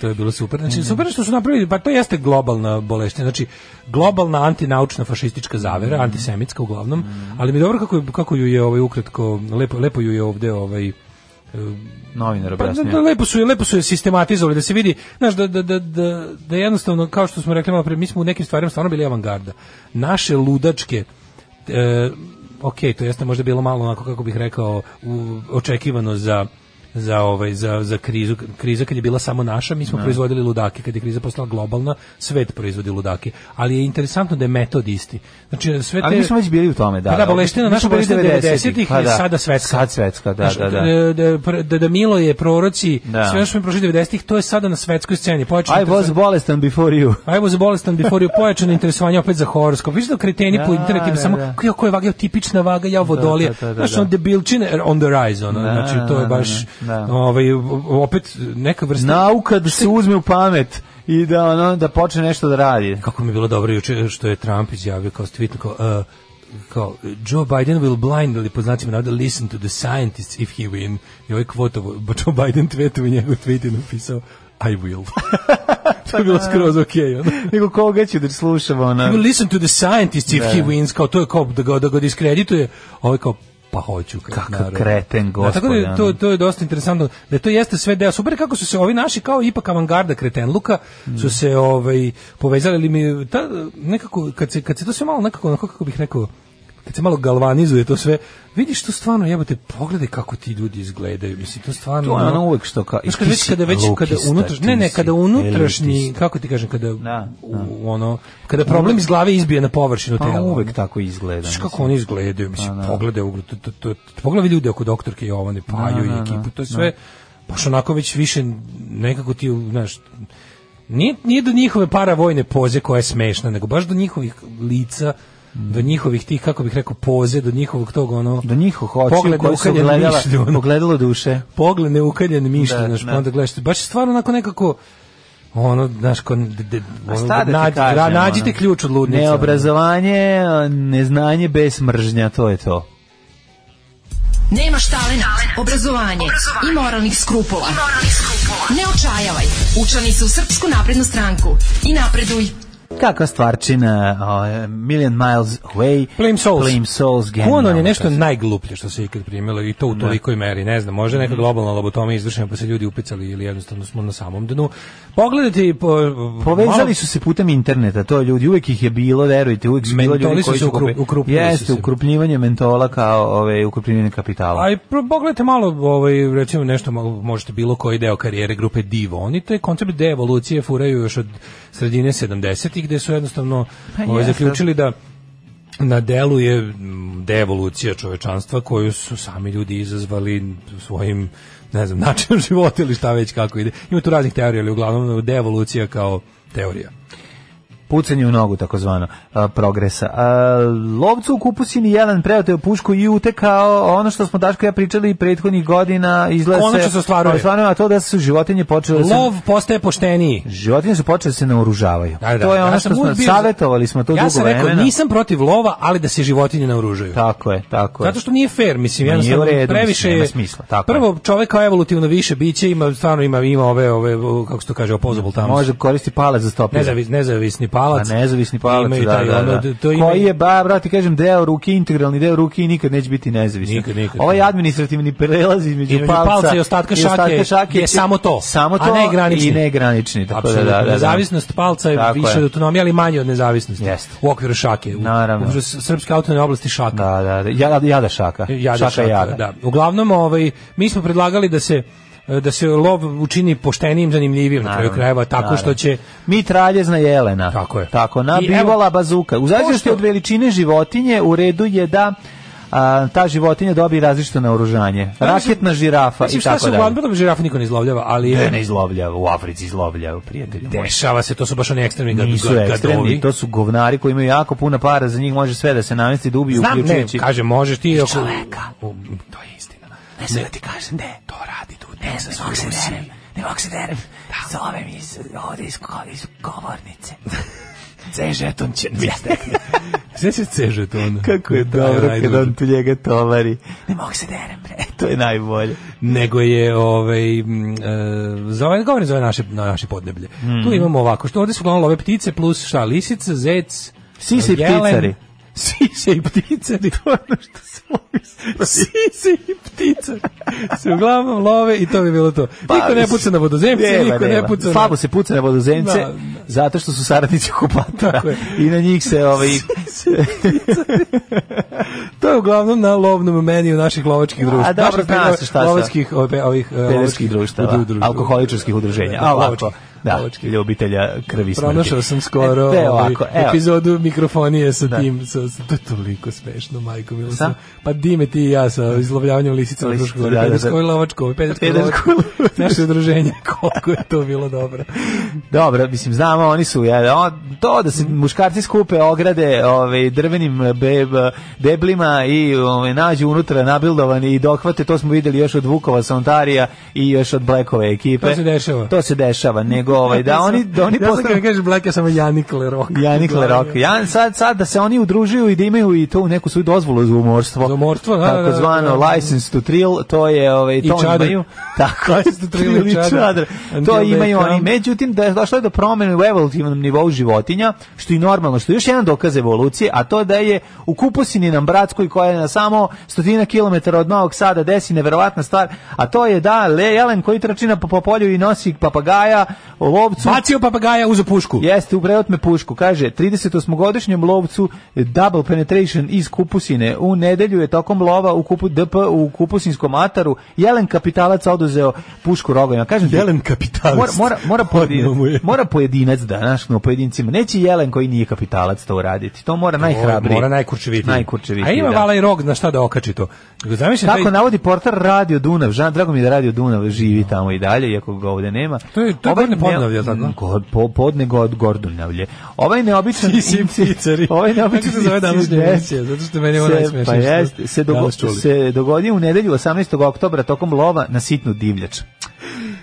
To je bilo super. Znači,
Mhm.
super je što su napravili, pa to jeste globalna boleština, znači globalna antinaučna fašistička zavera,
Mhm.
antisemitska uglavnom, ali mi je dobro kako, je- kako ju je ovaj ukratko, lepo, lepo ju je ovde ovaj,
Novinar
pa, da,
objasnio.
da, lepo su je lepo su je sistematizovali da se vidi, znaš da da da da da jednostavno kao što smo rekli malo pre, mi smo u nekim stvarima stvarno bili avangarda. Naše ludačke e, ok, to jeste možda bilo malo onako kako bih rekao u, očekivano za za ovaj za za krizu kriza kad je bila samo naša mi smo proizvodili ludake kad je kriza postala globalna svet proizvodi ludake ali je interesantno da je metod isti znači sve te
Ali mi smo već bili u tome, da.
Pa da, boleština,
Mi smo
naša
bili
boleština 90-ih
pa
je
da.
sada svetska.
Sad svetska, da,
Znaš, e,
da, da.
da, pr- da, da Milo je proroci,
Da.
sve ono što smo prošli 90-ih, to je sada na svetskoj sceni. Pojačano
I was
interesovanje-
bolestan before you.
I was bolestan before you, pojačano interesovanje opet za horoskop. Viš da kreteni po
Da,
internetu ima
da,
samo,
da.
"Kako je, koja je vaga, jao, tipična vaga, ja vodolija.
da, da, da,
Znaš,
da.
on debilčine on the rise, ono,
Da,
znači to je
da,
baš,
da, da.
ovaj, opet neka vrsta...
Nauka da se uzme u pamet i da, ono, da počne nešto da radi.
kako mi je bilo dobro juče što je Trump izjavio kao stvitno kao, uh, kao Joe Biden will blindly po znacima navoda listen to the scientists if he win i ovaj kvotovo Joe Biden tweetovo njegov tweet je napisao I will to je bilo skroz ok ono.
Nego koga ću da slušam,
He will
ono...
listen to the scientists if he wins kao to je kao da ga, da ga diskredituje ovaj kao pa hoću. Ka,
Kakav kreten, ono.
Tako da je to, to je dosta interesantno, da to jeste sve deo. Super je kako su se ovi naši kao ipak avangarda kretenluka su se ovaj, povezali, ali mi je ta, nekako, kad se, kad se to sve malo nekako, onako kako bih rekao, kad se malo galvanizuje to sve, vidiš to stvarno, jebote, pogledaj kako ti ljudi izgledaju, mislim, to stvarno...
To je ono uvek što ka-
Znaš,
ti
kad već,
si
kada već, kada
elitista,
unutraš,
ti
ne, ne,
si
kada unutrašnji,
elitista.
kako ti kažem, kada,
Da,
u- ono, kada problem iz glave izbije na površinu
Pa
tela.
uvek
ono.
tako izgleda.
Znaš
mislim. Pa
kako oni izgledaju, mislim, pogledaj, ugru- to, to, to, pogledaj ljude oko doktorke Jovane, Paju i ekipu, to je sve, baš onako već više nekako ti, znaš, nije, nije do njihove paravojne poze koja je smešna, nego baš do njihovih lica, do njihovih tih, kako bih rekao, poze, do njihovog tog, ono...
Do njihov očiju
Pogled
koje su
ukaljen
gledala,
mišlju, ono.
pogledalo duše.
pogled neukaljen mišljen,
Da,
znaš,
da.
pa onda gledaš, baš je stvarno onako nekako ono, znaš, ko, de, de,
A
ono,
šta da ti
nađi-
kažem,
ra- nađite
ono?
ključ od ludnice. ono.
Neobrazovanje, neznanje bez mržnja, to je to.
Nema štalena, obrazovanje i moralnih skrupula. Ne očajavaj, učlani se u Srpsku naprednu stranku i napreduj.
Kakva stvarčina, o, Million Miles Away,
Flame Souls.
Flame Souls,
Kuon on je
genijalna
nešto
pesma.
najgluplje što se ikad primilo i to u tolikoj meri, ne znam, možda je
Mhm.
neka globalna lobotomija izvršena pa se ljudi upicali ili jednostavno smo na samom dnu. Pogledajte i po,
Povezali
malo-
su se putem interneta, to je ljudi, uvek ih je bilo, verujte, uvek su bilo
Mentoli
ljudi
su
koji
se
su
ukru-
kupi-
ukrupnili su
Jeste,
se.
ukrupljivanje mentola kao ove, ukrupljivanje kapitala.
A i pro- pogledajte malo, ovaj, recimo nešto, mo- možete bilo koji deo karijere grupe Divo. Oni taj koncept deevolucije furaju još od sredine 70-ih, gde su jednostavno ovaj,
jeste.
zaključili da na delu je mm, deevolucija čovečanstva koju su sami ljudi izazvali svojim ne znam, načinom života ili šta već kako ide. Ima tu raznih teorija, ali uglavnom deevolucija kao teorija.
pucanje u nogu takozvano a, progresa. A, lovcu u kupusini Jelen preoteo pušku i utekao ono što smo Daško i ja pričali prethodnih godina izgleda
Konačno se ostvaruje.
ostvaruje, a to da su životinje počele da se-
Lov postaje pošteniji.
životinje su počele da se naoružavaju.
Da, da,
to je ono
ja
što
sam
smo
uvijek bio-
savjetovali smo to
ja
dugo
sam
vremena.
rekao, nisam protiv lova, ali da se životinje naoružaju.
Tako je, tako je.
Zato što nije fair, mislim,
Nije
jednostavno
u redu,
previše
mislim,
je
nema smisla, tako je.
prvo čovjek kao evolutivno više biće, ima stvarno ima ima ove ove o, kako se to kaže, opposable tamo.
Može koristi palac za stopilo.
Nezavis, nezavisni palac.
A nezavisni palac,
Imaju
da,
taj,
da,
ono,
da.
to ima-
Koji je, ba, brate, kažem, deo ruke, integralni deo ruke i nikad neće biti nezavisni.
Nikad, nikad.
Ovaj administrativni prelaz između
Između
palca,
palca i ostatka šake je samo to,
samo
a
to
ne granični.
i negranični. Tako da,
Apsolutno,
da, da, da.
nezavisnost palca je
Tako
više
je.
od autonomije, ali manje od nezavisnosti.
Jeste.
U okviru šake. U,
Naravno.
U okviru s- srpske autonomne oblasti šaka.
Da, da, da. Jada, jada šaka.
Jada
šaka,
šaka,
jada.
Da. Uglavnom, ovaj, mi smo predlagali da se da se lov učini poštenijim, zanimljivijim na kraju
Naravno,
krajeva, tako
naravno.
što će
Mitraljezna jelena.
Tako je.
Tako, na
I
bivola
evo-
bazuka. U zavisnosti
Pošto-
od veličine životinje, u redu je da a, ta životinja dobije različito naoružanje. Raketna žirafa Pa
Mislim,
i
šta
tako
se
dalje.
uglavnom bilo žirafa niko ne izlovljava, ali
Ne,
je,
ne izlovljava, u Africi izlovljava, prijatelju. moj.
dešava se, to su baš oni ekstremni gad,
Nisu
gad-
ekstremni,
gadovi.
to su govnari koji imaju jako puno para, za njih može sve da se namesti, da ubiju,
Znam, ne,
uključujući...
kaže, možeš ti... Ako,
čoveka.
U, to je istina.
Ne znam da ti kažem, ne, to radi tu, ne, ne mogu se derem, ne mogu se derem, da. zove mi iz, ovde iz, ko- iz govornice. Cej žeton će mi stekne.
Sve se ceže to ono.
Kako je
Da,
dobro
ajde,
kad on tu njega tovari. Ne mogu se derem, bre, to je najbolje.
nego je ovaj m, e, za ovaj govorim za ove naše na naše podneblje.
Mhm.
Tu imamo ovako što ovdje su uglavnom ove ptice plus šta lisica, zec,
Sise i
jelen,
pticari.
Sise i pticari. To ono što Sise i pticari. Se uglavnom love i to bi bilo to. Niko ne
Pa, mislim,
puca na vodozemce,
nema,
niko ne
nema.
puca na...
Slabo se puca na vodozemce,
Da, da.
zato što su saradnici okupatora.
Tako je.
I na njih se ovaj,
To je uglavnom na lovnom meniju naših lovačkih društva.
dobro,
Naših
zna se šta sa-
Lovačkih ovih, ovih e,
pederskih
lovačkih
društava,
udru- društava.
alkoholičarskih udruženja,
Da,
a ovako,
lovačkih.
da,
Lovačkih.
ljubitelja krvi i smrti.
Pronašao sam skoro
e, te,
ovaj,
ovako, evo,
epizodu mikrofonije sa
Da.
tim. Sa, sa- to je toliko smešno, majko milo.
Sa?
Pa dime ti i ja sa izlovljavanjem lisica na
Lisica,
Fruškoj gori.
da, da, da.
Pederskoj lovačkoj, pederskoj
Pederskoj
lovačkoj. Naše udruženje, koliko je to bilo dobro.
Dobro, mislim, znamo, oni su, ja, on, to da se muškarci skupe ograde ovaj, drvenim eh, beb, deblima i ovaj, nađu unutra nabildovani i dohvate, to smo videli još od Vukova Sontarija i još od Blackove ekipe.
To se dešava.
To se dešava, nego ovaj, da oni, da oni
ja sam
postanu-
kada kažeš Black, ja samo Janik Lerok.
Janik Lerok. Ja sad sad da se oni udružuju i da imaju i to u neku svoju dozvolu za umorstvo.
Za umorstvo, da, da,
Tako
da,
zvano
da.
license to trill, to je ovaj
I
to oni
čadar.
imaju. Tako
License to trill i
Trill i
čadar.
čadar. To
Until they
imaju oni.
come.
Međutim da je došlo je do promene u evolutivnom nivou životinja, što je normalno, što je još jedan dokaz evolucije, a to da je u Kupusininom bratskoj koja je na samo stotina kilometara od Novog Sada desi neverovatna stvar, a to je da le- jelen koji trči na po polju i nosi papagaja, lovcu
Bacio papagaja, uzu pušku.
Jeste, upravo otme pušku. Kaže, 38-godišnjem lovcu Double Penetration iz Kupusine u nedelju je tokom lova u kupu DP u Kupusinskom ataru jelen kapitalac oduzeo pušku rogovima. Kažem, ti,
Jelen kapitalist.
Mora, mora, mora,
Odneo mu je.
pojedinac, mora pojedinac da, znaš, no, pojedincima. Neće jelen koji nije kapitalac to uraditi. To mora najhrabriji.
Mora najkurčevitiji.
Najkurčevitiji,
A ima
da.
vala i rog na šta da okači to. Nego zamišljam
Kako
taj-
navodi portal Radio Dunav, Žan, drago mi je da Radio Dunav živi tamo i dalje, iako ga ovde nema. Ovaj
To je- to je Gornje Podunavlje, jel tako?
God, po, podne god Gordunavlje. Ovaj neobičan...
Ti si picari.
Ovaj neobičan...
Kako se zove današnja
incident
emisija? Zato što meni je ovo
se-
najsmešnije
Pa
što smo
jeste, se, dogo,
danas čuli.
se dogodio u nedelju 18. oktobra tokom lova na sitnu divljač.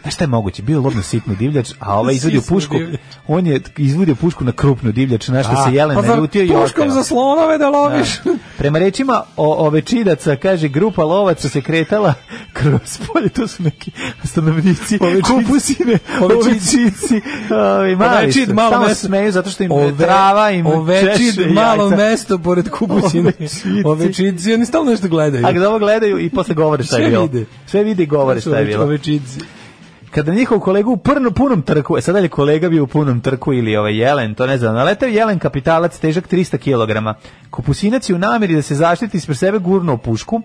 Znaš šta je moguće? Bio je lov na sitnu divljač, a ovaj izvodio
Sitnu
pušku,
divljač.
on je izvodio pušku na krupnu divljač, na što
A,
se jelen
pa za
naljutio i
Puškom
oteo.
za slonove da loviš.
Prema rečima o, ovečidaca, kaže, grupa lovaca se kretala kroz polje, to su neki stanovnici,
Ovečici.
kupusine,
Ovečici.
ovečici, ovi, mali su,
Ovečid, Pa malo
samo
mesto.
smeju zato što im
Ove-
trava im
Ovečid,
češe
malo
jajca.
mesto pored kupusine.
Ovečici.
Ovečici, oni stalno nešto gledaju.
A kada ovo gledaju i posle govore šta je
Sve
bilo.
vide.
Sve vide i govore šta je bilo.
Ovečici.
Kada njihov kolega u prno, punom trku, e sada je kolega bio u punom trku ili ovaj jelen, to ne znam, naletao je jelen kapitalac težak 300 kg. Kupusinac je u nameri da se zaštiti ispred sebe gurnuo pušku,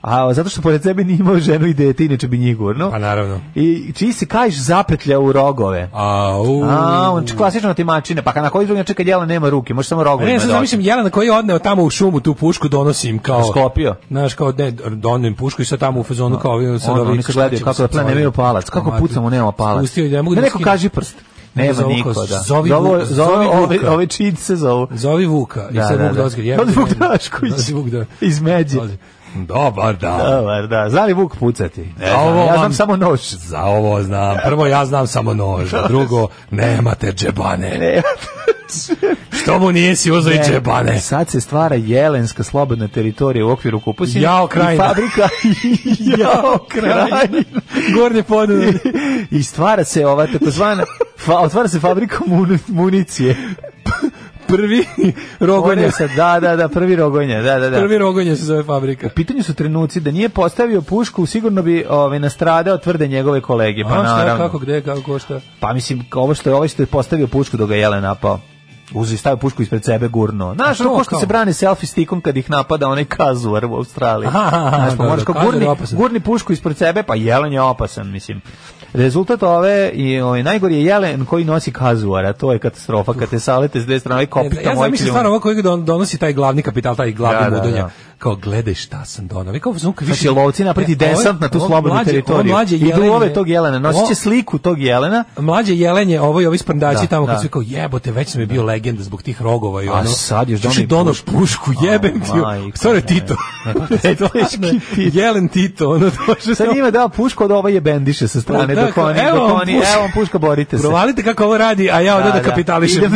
a zato što pored sebe nije imao ženu i dete, inače bi njih gurnuo.
Pa naravno.
I čiji se kajš zapetlja u rogove.
Au.
A, on č- klasično timačine, pa ka- na koji drugi način kad jelen nema ruke, može samo rogovima.
Ne, sad
da
zamišljam Jelena koji je odneo tamo u šumu tu pušku, donosi im kao...
otme. Sklopio.
Znaš, kao, ne, donem pušku i sad tamo u fazonu kao... ovi, sad
Ono,
ovi,
oni se
šta
gledaju
ćemo
kako da
sad sa
plane,
ovim?
nemaju palac. Kako
Mati.
pucamo, nemamo palac.
Spustio, ne mogu da
neko
skinem.
kaži prst. Nema
Zovu
niko,
kao,
da.
zovi Vuka,
Zove, zove,
zovi
ove,
Vuka.
ove čid se zovu.
Zovi Vuka. I
Da,
sad
da,
Vuk
da.
Dozgir. jebe
Zovi
ga,
Vuk
jebe.
Drašković.
Zovi Vuk da...
Iz Međe.
Dozgir. Dobar dan.
Dobar, da. Zna li Vuk pucati? Ne znam,
Ovo
ja znam
vam-
samo nož.
Za ovo znam. Prvo ja znam samo nož, a drugo nemate džebane. Što mu nisi uzeo i džebane?
E, Sad se stvara jelenska slobodna teritorija u okviru Kupusina.
Jao, krajina.
I fabrika. Jao, krajina.
Gornje podunavlje.
I stvara se ova takozvana, fa, otvara se fabrika muni- municije.
Prvi rogonje.
One sad, da, da, da, prvi rogonja, da, da, da.
Prvi rogonje se zove fabrika.
U pitanju su trenuci da nije postavio pušku, sigurno bi ovaj nastradao tvrde njegove kolege, pa
A, šta,
naravno.
Kako, gde, kako, ko, šta?
Pa mislim kao ovo što je ovaj što je postavio pušku dok ga je Jelen napao. Uzi stavio pušku ispred sebe gurno. Znaš,
A
ono
to
ko što
kao?
se brani selfie stikom kad ih napada onaj kazuar u Australiji.
Aha, aha, aha,
Znaš, pa
da,
moraš
da,
kao
kazuar je
gurni,
opasan.
gurni pušku ispred sebe, pa jelen je opasan, mislim. Rezultat ove i ovaj najgori je jelen koji nosi kazuara, to je katastrofa kad te salete s dve strane i
Ne,
kopita
ja
moj
zamislim stvarno ovo koji don, donosi taj glavni kapital, taj glavni
Da, da,
mudonja.
da.
Kao, gledaj šta sam donao. Vi kao zvuk više...
Znači, lovci napriti
E, ovo-
desant na tu
ovo
slobodnu
mlađe- ovo
teritoriju.
mlađe
Idu
jelenje-
ove tog jelena, nosit će
Ovo-
sliku tog jelena,
Mlađe jelenje, ovo i ovi sprndači
Da,
tamo
da.
kad su kao jebote, već sam je bio legenda zbog tih rogova i
A
ono.
sad još
Još
doneo
je
i
doneo
pušku.
pušku, jebem ti.
majko
Stvarno je
moja.
Tito. ono,
Teški Tito.
Jelen Tito, ono došao.
Sad njima dao puško da ovo je bendiše sa strane
Pa da,
dok oni,
evo
dok
vam
oni,
puška.
evo vam puška, borite se.
Provalite kako ovo radi, a ja ovdje
Da,
da,
da.
kapitališem.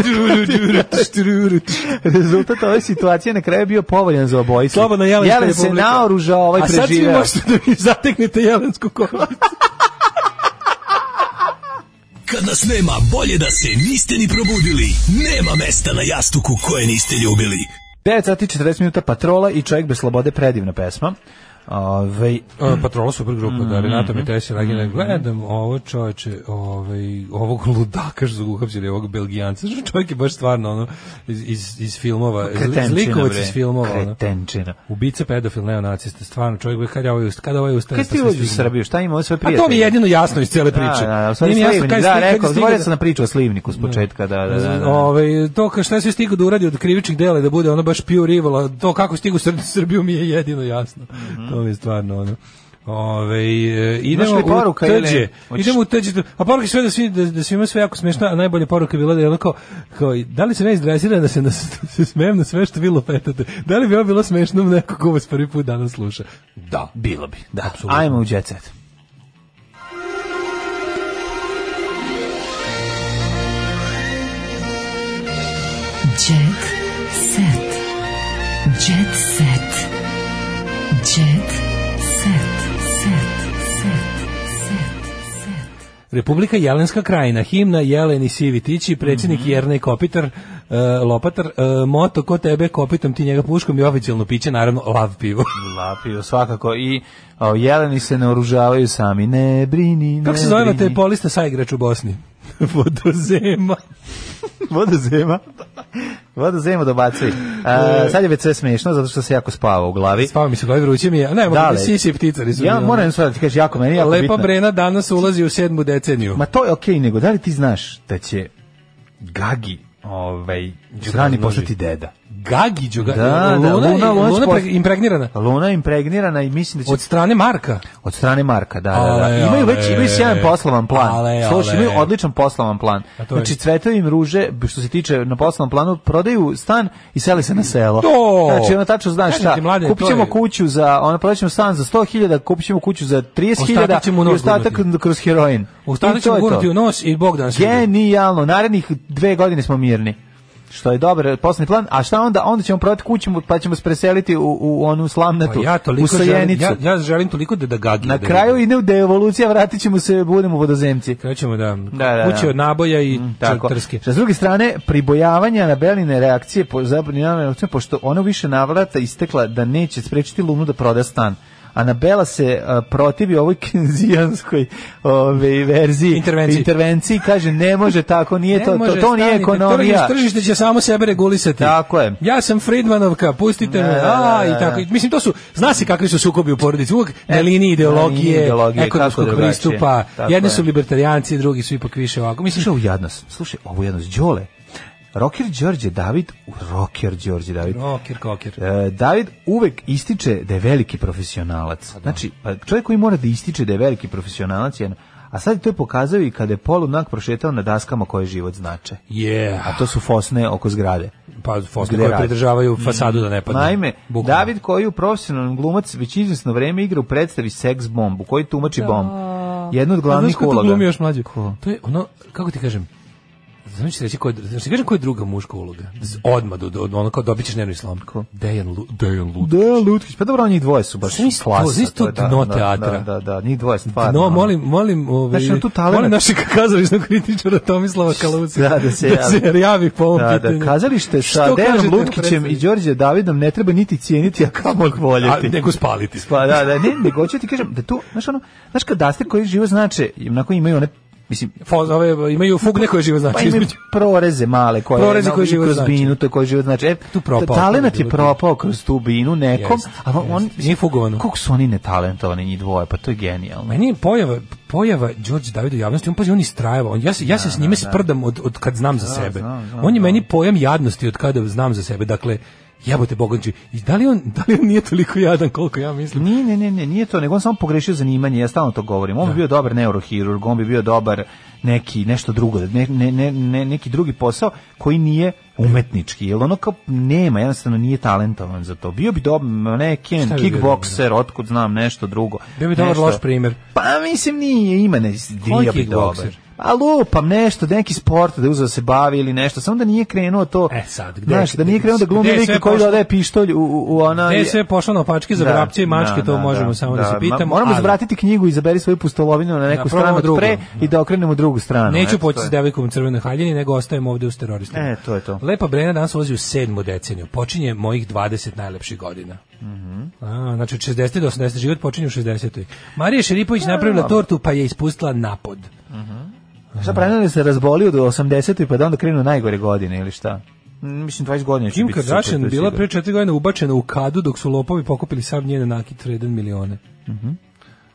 Rezultat ove situacije na kraju je bio povoljan za obojicu.
Slobodna jelenska
Jelen se
republika.
naoružao, ovaj
A sad svi
preživeo.
možete da mi zateknete jelensku kožu.
Kad nas nema, bolje da se niste ni probudili. Nema mesta na jastuku koje niste ljubili.
9 sati i 40 minuta patrola i čovjek bez slobode predivna pesma. Ove,
E, Patrola super grupa,
Mhm,
da Renata Mitesi Ragina. Gledam ovo čoveče, ovaj, ovog ludaka što su uhapsili, ovog belgijanca. Što Čovjek je baš stvarno ono, iz, iz, iz filmova, zli-
kretenčina,
zlikovac
bre.
iz filmova. Ono.
Kretenčina.
Ubica, pedofil, neonacista, stvarno čovjek bi kada ovaj ustane, kada ovaj ustane.
Kad ti uđu u Srbiju, šta ima ovo sve
A
prijatelje?
to mi je jedino jasno iz cele priče.
Da, da, da, u
Nije
stvari
mi
Slivnik,
kad je
da,
stig- kad je
rekao,
stigao
zvorio
da-
sam na priču o Slivniku s početka, da, da, da. da.
Ovaj to ka šta je sve stigao da uradi od krivičnih dela i da bude ono baš pure evil, a to kako stigu u Srbiju mi je jedino jasno. To mi je stvarno ono. Ove, idemo
Mhm. li
u
poruka ili-
tđe,
Hoćeš-
idemo u tđe, a poruka je sve da, svi, da, da svima sve jako smiješno, a najbolja poruka je bila da je onako, kao, da li se ne izdresira da se, na, se smijem na sve što vi lupetate, da li bi ovo bilo smešno neko ko vas prvi put danas sluša? Da,
Bilo bi, da.
Apsolutno.
Ajmo u Jet Set.
Jet set. Jet set. Jet set. Set. Set. Set. Set.
Republika Jelenska krajina, himna Jeleni Sivi Tići, predsjednik
Mhm.
Jernej Kopitar, e, Lopatar, e, moto ko tebe kopitom ti njega puškom i oficijalno piće, naravno, lav pivo.
Lapio, svakako. I o, jeleni se naoružavaju sami. Ne brini, ne
Kako se
brini.
zove ono, te polista saigrač u Bosni? Vodozema.
Vodozema. Vodozema dobaci.
E.
A, sad je već sve smiješno, zato što se jako spava u glavi.
Spava mi se koji vruće mi je. a Ne, mogu
Dale.
da sisi i pticari su.
Ja
mi, ono.
moram sad da ti kažem, jako meni je jako
Lepa
bitno.
Brena danas ulazi u sedmu deceniju.
Ma to je okej, nego da li ti znaš da će Gagi ovaj, Đugani
razmnoži.
postati deda?
Gagi Đuga.
Da,
Luna,
da,
Luna,
Luna- Luna
Luna
sport-
pre- impregnirana.
Luna je impregnirana i mislim da će
Od strane Marka.
Od strane Marka, da, da,
Ale,
da. Imaju
ale.
već imaju sjajan poslavan plan.
Ale,
Slušaj,
ale.
imaju odličan poslavan plan.
A to je-
Znači cvetovi im ruže b- što se tiče na poslovnom planu prodaju stan i seli se na selo.
To!
Znači ono tačno znaš
Kažem
šta.
ti, mlade,
kupit
to
ćemo
je-
kuću za ono prodaćemo stan za 100.000, kupit ćemo kuću za 30.000
Ostatak ćemo u
i
nos
ostatak
gurnuti.
kroz heroin. I
Ostatak
to je
ćemo
to.
gurnuti u nos i Bog da nas vidi.
Genijalno. Narednih dve godine smo mirni. Što je dobar poslovni plan, a šta onda? Onda ćemo prodati kuću, pa ćemo se preseliti u, u onu
Pa
slamnatu,
ja
u
toliko želim,
Sojenicu.
ja, ja želim toliko da da Gagi.
Na
da
kraju
vidim.
ide u devolucija, vratit ćemo se, budemo vodozemci.
Krećemo da,
Da, da,
kuće
da. Mm,
od naboja i
Tako.
četrske.
Sa druge strane, pribojavanja na Beline reakcije, po, zabrinjavanja reakcije, pošto ona u više navrata istekla da neće sprečiti Lunu da proda stan. Anabela se a, protivi ovoj kenzijanskoj ove, verziji
Intervenciji.
intervenciji kaže ne može tako nije
Ne
E, to to,
može,
to nije
stanite,
ekonomija
Tržište, tržište će samo sebe regulisati.
Tako je.
Ja sam Fridmanovka, pustite
Da,
me.
da,
A,
da, da.
i tako. Mislim, to su, zna se kakvi su sukobi u porodici. Uvijek na
E,
liniji
na liniji
ideologije,
ideologije,
ekonomskog
kako drugačije.
pristupa.
Tako
Jedni
je.
su libertarijanci, drugi su ipak više ovako. Mislim,
Slušaj ovu jadnost, slušaj ovu jadnost, Đole. Rocker Đorđe David, rocker Đorđe David.
Roker, koker.
E, David uvek ističe da je veliki profesionalac. Znači, pa čovjek koji mora da ističe da je veliki profesionalac je jedno. A sad to je pokazao i kada je polunak prošetao na daskama koje život znače.
Yeah.
A to su fosne oko zgrade.
Pa, fosne
Gde
koje
radi? Mm.
pridržavaju fasadu Pa da ne padne.
Naime,
Bukvalno.
David koji je u profesionalnom glumac već izvjesno vreme igra u predstavi Sex Bomb, u kojoj tumači bomb. Jednu od
A Pa znaš
glavnih
ko to
uloga.
glumi još mlađe?
Pa Ko?
To je ono, kako ti kažem, Znači reći koja, znači kažem koja je druga muška uloga. Da se Odmah do, do, ono kao dobit ćeš nervni slom. Dejan, Lu, Dejan Luda.
Da, Lutkić. Pa dobro, njih dvoje su baš
Znaš to,
klasa.
znaš to
je, da,
dno
da,
teatra.
Da, da, da, njih dvoje stvarno.
No,
ono.
molim, molim, ovaj,
Znaš, na tu talenat-
molim našeg kazališnog kritičara Tomislava Kaluca
Da, da se
da
javi.
javi po ovom
Da, da,
pitanju.
kazalište sa
Što
Dejanom
kažete na
Lutkićem
predstavi?
i Đorđe Davidom ne treba niti cijeniti, a kamoli
A,
voljeti.
nego spaliti.
Pa da, da, ne, nego hoću ti kažem da tu, znaš ono, znaš kad daste koji živo znače, onako imaju one, mislim,
Fo- ove, imaju fugne koje živo
pa
znači.
imaju
između.
proreze male koje
Proreze
na-
koje život
kroz
znače.
binu, to koje život znači. E,
Tu propao,
Talenat
to je
je
bilo
propao kroz tu binu nekom,
Jest,
a on, on
jest. Nije fugovano.
Kako su oni netalentovani njih dvoje, pa to je genijalno.
Meni je pojava, pojava Đorđe Davida u javnosti, on pazi, on istrajava. On, ja se, ja se s njime sprdam od, od kad znam za sebe.
znam, znam,
on je
znam.
meni pojam jadnosti od kada znam za sebe. Dakle, jebote bogonči. I da li, on, da li on nije toliko jadan koliko ja mislim?
Nije, ne, ne, ne, nije to, nego on samo pogrešio zanimanje, ja stalno to govorim. On bi bio dobar neurohirurg, on bi bio dobar neki nešto drugo, ne, ne, ne, ne, neki drugi posao koji nije umetnički, jer ono kao nema, jednostavno nije talentovan za to. Bio bi dobar neki
Šta bi bio
kickbokser, otkud znam, nešto drugo.
Bio bi dobar
Nešto-
loš primer.
Pa mislim nije, ima ne, bio bi
kickbokser?
dobar. A lupam nešto, neki sport da je uzeo da se bavi ili nešto, samo da nije krenuo to.
E sad, gde-
znaš, da nije krenuo da glumi
gde je
lika
sve
koji
pošlo?
dodaje pištolj u, u, u ona...
Ne, E, sve je pošlo na opačke za vrapce i mačke, to možemo samo da, se pitamo.
Ma, moramo
ali
zvratiti knjigu i zaberi svoju pustolovinu na neku
Da, probamo
stranu od
drugu.
pre i da okrenemo u drugu stranu.
Neću
eto,
poći
to je.
s devojkom u crvenoj haljini, nego ostajem ovde uz teroristima.
E, to je to.
Lepa Brena danas ulazi u sedmu deceniju. Počinje mojih 20 najlepših godina.
Mhm.
A, znači od 60. do 80. život počinje u 60. Marija Šeripović napravila tortu pa je ispustila napod.
Znači Šta pravimo da se razbolio do 80. pa da onda krenu najgore godine ili šta? Mm, Mislim 20 godina će
Kim
biti super, to
Kardashian
je
bila
sigurno.
pre četiri godine ubačena u kadu dok su lopovi pokupili sav njen nakit vredan milione.
Mhm.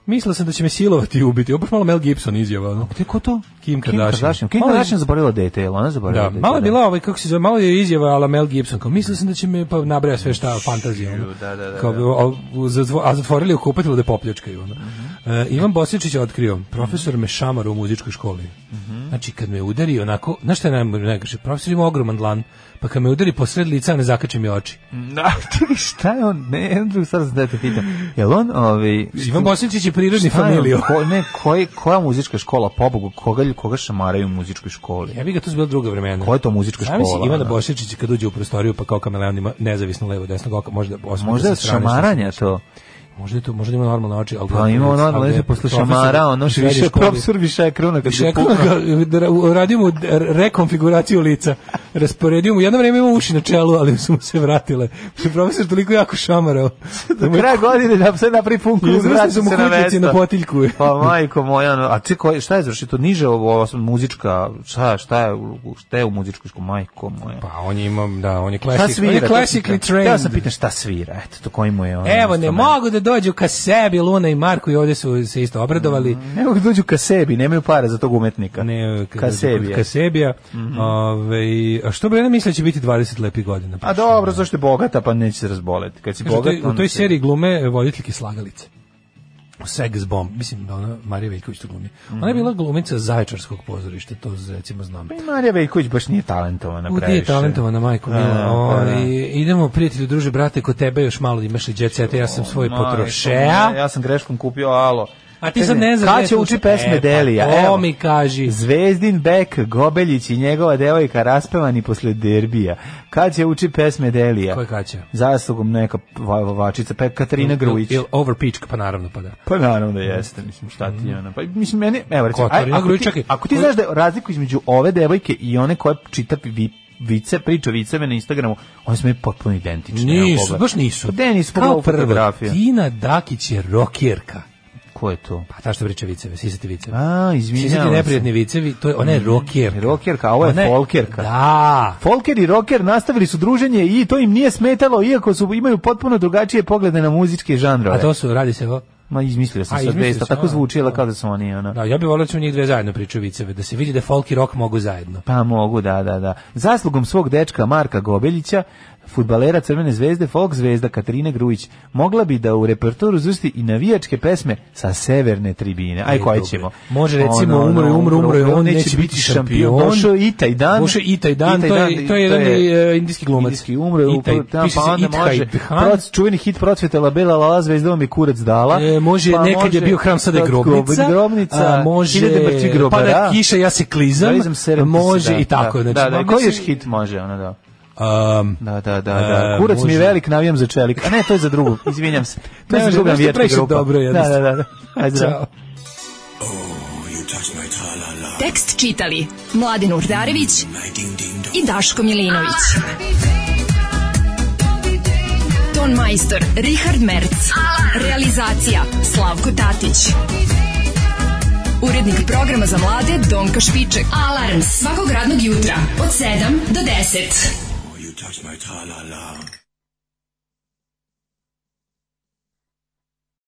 Mislila sam da će me silovati i ubiti. Ovo je baš malo Mel Gibson izjava. ono.
Gde ko to? Kim
Kim Kardashian.
Kardashian. Kim
Malo je-
Kardashian zaboravila dete, jel ona zaboravila
Da,
dete?
malo je bila ovaj kako se zove, malo je izjava ala Mel Gibson, kao mislio sam da će me pa nabraja sve šta fantazija. Ono.
da, da, da,
Kao, a, u- zatvo- a zatvorili u kupatilu da je popljačkaju. Ono.
Mhm.
E, Ivan Bosičić je otkrio, profesor me šamara u muzičkoj školi.
Mhm.
Znači, kad me udari onako, znaš šta je najbolje najgore? Profesor ima ogroman dlan, pa kad me udari posred lica, ne zakače mi oči.
Da, čekaj, šta je on? Ne, Andrew, sad sam da te pitam. Jel on, ovaj...
Ivan Bosičić je prirodni
šta je on?
familio.
Ko, ne, koji, koja muzička škola, pobogu, koga, koga šamaraju u muzičkoj školi?
Ja bih ga, to su bila druga vremena.
Koja je to muzička
Zamisli
škola,
Ivana
ono?
Bošičić kad uđe u prostoriju, pa kao kameleon ima nezavisno levo desno oka, možda osmeta
Možda je
sa strane,
šamaranja to.
Možda je to, možda ima normalne oči, ali
Pa ima ono, ono, posle šamara, ono, še više profesor više kruna. Kad
Više
više
radio mu d- rekonfiguraciju lica. Rasporedio mu, jedno vreme imao uši na čelu, ali su mu se vratile. Što je profesor toliko jako šamarao.
Do kraja godine da sve napravi pun krug,
Izvrstili
vrati
su mu
se na
kućnici
mesto.
na potiljku.
Pa majko moja, ono, a čekaj, ko- šta je završio to niže ovo, ovo muzička, šta, šta je, u- šta je u muzičkoj školi, majko moja.
Pa on je imao, da, on je
Šta
classic, on je
svira?
classically trained.
Ja sam pitan šta svira, eto, to koji mu je ono.
Evo, ne
instrument.
mogu da dođu ka sebi, Luna i Marko i ovde su se isto obradovali.
Ne mogu da dođu ka sebi, nemaju para za tog umetnika.
Ne,
ka sebi. je.
Kasebija. Mhm. Ovaj, a što Brena misli da će biti 20 lepih godina? Pa
A dobro, zašto je bogata, pa neće se razboleti. Kad si
Kaže, u
bogat,
toj- u
onda
toj
si-
seriji glume e, voditeljke slagalice. U Sex Bomb, mislim da ona Marija Veljković to glumi. Ona je bila glumica Zaječarskog pozorišta, to z- recimo znam.
Mhm. Pa i Marija Veljković baš nije talentovana
U,
previše.
ti je talentovana majko
Da, pa
mila.
da,
O,
da.
i- idemo prijatelju druže brate kod tebe još malo imaš i jet seta, ja sam svoj
Majko
potrošeja.
moja, Ja sam greškom kupio alo.
A ti sad ne znaš.
Kad
ne
će uči
slušaš.
pesme
E, pa
Delija?
To
Evo.
mi kaži.
Zvezdin Bek, Gobeljić i njegova devojka raspevani posle derbija. Kad će uči pesme Delija?
Koje kaće?
Zaslugom neka va- vavačica, pa Katarina Grujić.
Il, over pitch, pa naravno, pa da.
Pa naravno da jeste, mislim, šta ti je ona. Pa, mislim, meni, evo, recimo, aj,
Mm. Katarina
ako,
Grujić,
ti,
čekaj,
ako ti
koji-
znaš da je razliku između ove devojke i one koja čita vi, vice, priča viceve na Instagramu, one su mi potpuno identične. evo,
Nisu,
pogledaj.
baš nisu.
Pa gde nisu
Kao
pogledaj
prvo,
fotografije?
Tina Dakić je rokjerka.
Ko je to?
Pa ta što priča viceve, sisati viceve.
A,
Sisati
Pa, izvinjavam se.
neprijatni vicevi, to je, ona je rokjerka.
Rokerka, a ovo je
Ona
folkerka.
Da.
Folker i rocker nastavili su druženje i to im nije smetalo, iako su imaju potpuno drugačije poglede na muzičke žanrove.
A to su, radi se o...
Ma izmislio
A,
sam sad
izmislio
besta,
si,
tako
a,
zvučila
a.
kao da su oni, ono, ona.
Da, ja bih volio da su njih dve zajedno pričaju viceve, da se vidi da folk i rock mogu zajedno.
Pa mogu, da, da, da. Zaslugom svog dečka Marka Gobeljića, futbalera Crvene zvezde, folk zvezda Katarina Grujić, mogla bi da u repertoru zusti i navijačke pesme sa severne tribine. Aj,
E,
koje
dobro.
ćemo? Ono,
Može recimo umro, je, umro, umro, je, on neće biti šampion.
Došao i taj dan.
Došao i taj dan,
Itaj
to
i-
je, to je jedan e, indijski glumac.
Indijski umro je,
Itaj,
upravo tamo,
piše
pa
se
onda
Itaj
može.
Bhan.
Proc, čuveni hit procvetela Bela Lala zvezda mi kurac dala.
E, može,
Pa
nekad je
može-
bio hram, sada je grobnica.
Grobnica,
a, može,
hiljade mrtvih grobara.
Pada kiša, ja se klizam.
Realizam serem
može
da,
i tako.
Da,
znači,
da, da,
ma,
koji još
mislim,
hit može, ono da.
um,
Da, da, da, da.
E,
Kurac mi je
može.
velik, navijam za čelik. A ne, to je za drugu, izvinjam se. To
Ne
je za
može,
drugu
nešto
navijačka
previše
grupa.
dobro
da,
je
da,
jednostavno.
da. da. Ajde, zdravo.
Ćao.
Tekst čitali Mladin Urdarević i Daško Milinović. Ton majstor Richard Merc. Realizacija Slavko Tatić. Urednik programa za mlade Donka Špiček. Alarms svakog radnog jutra od 7 do 10.
You touch my tra-la-la.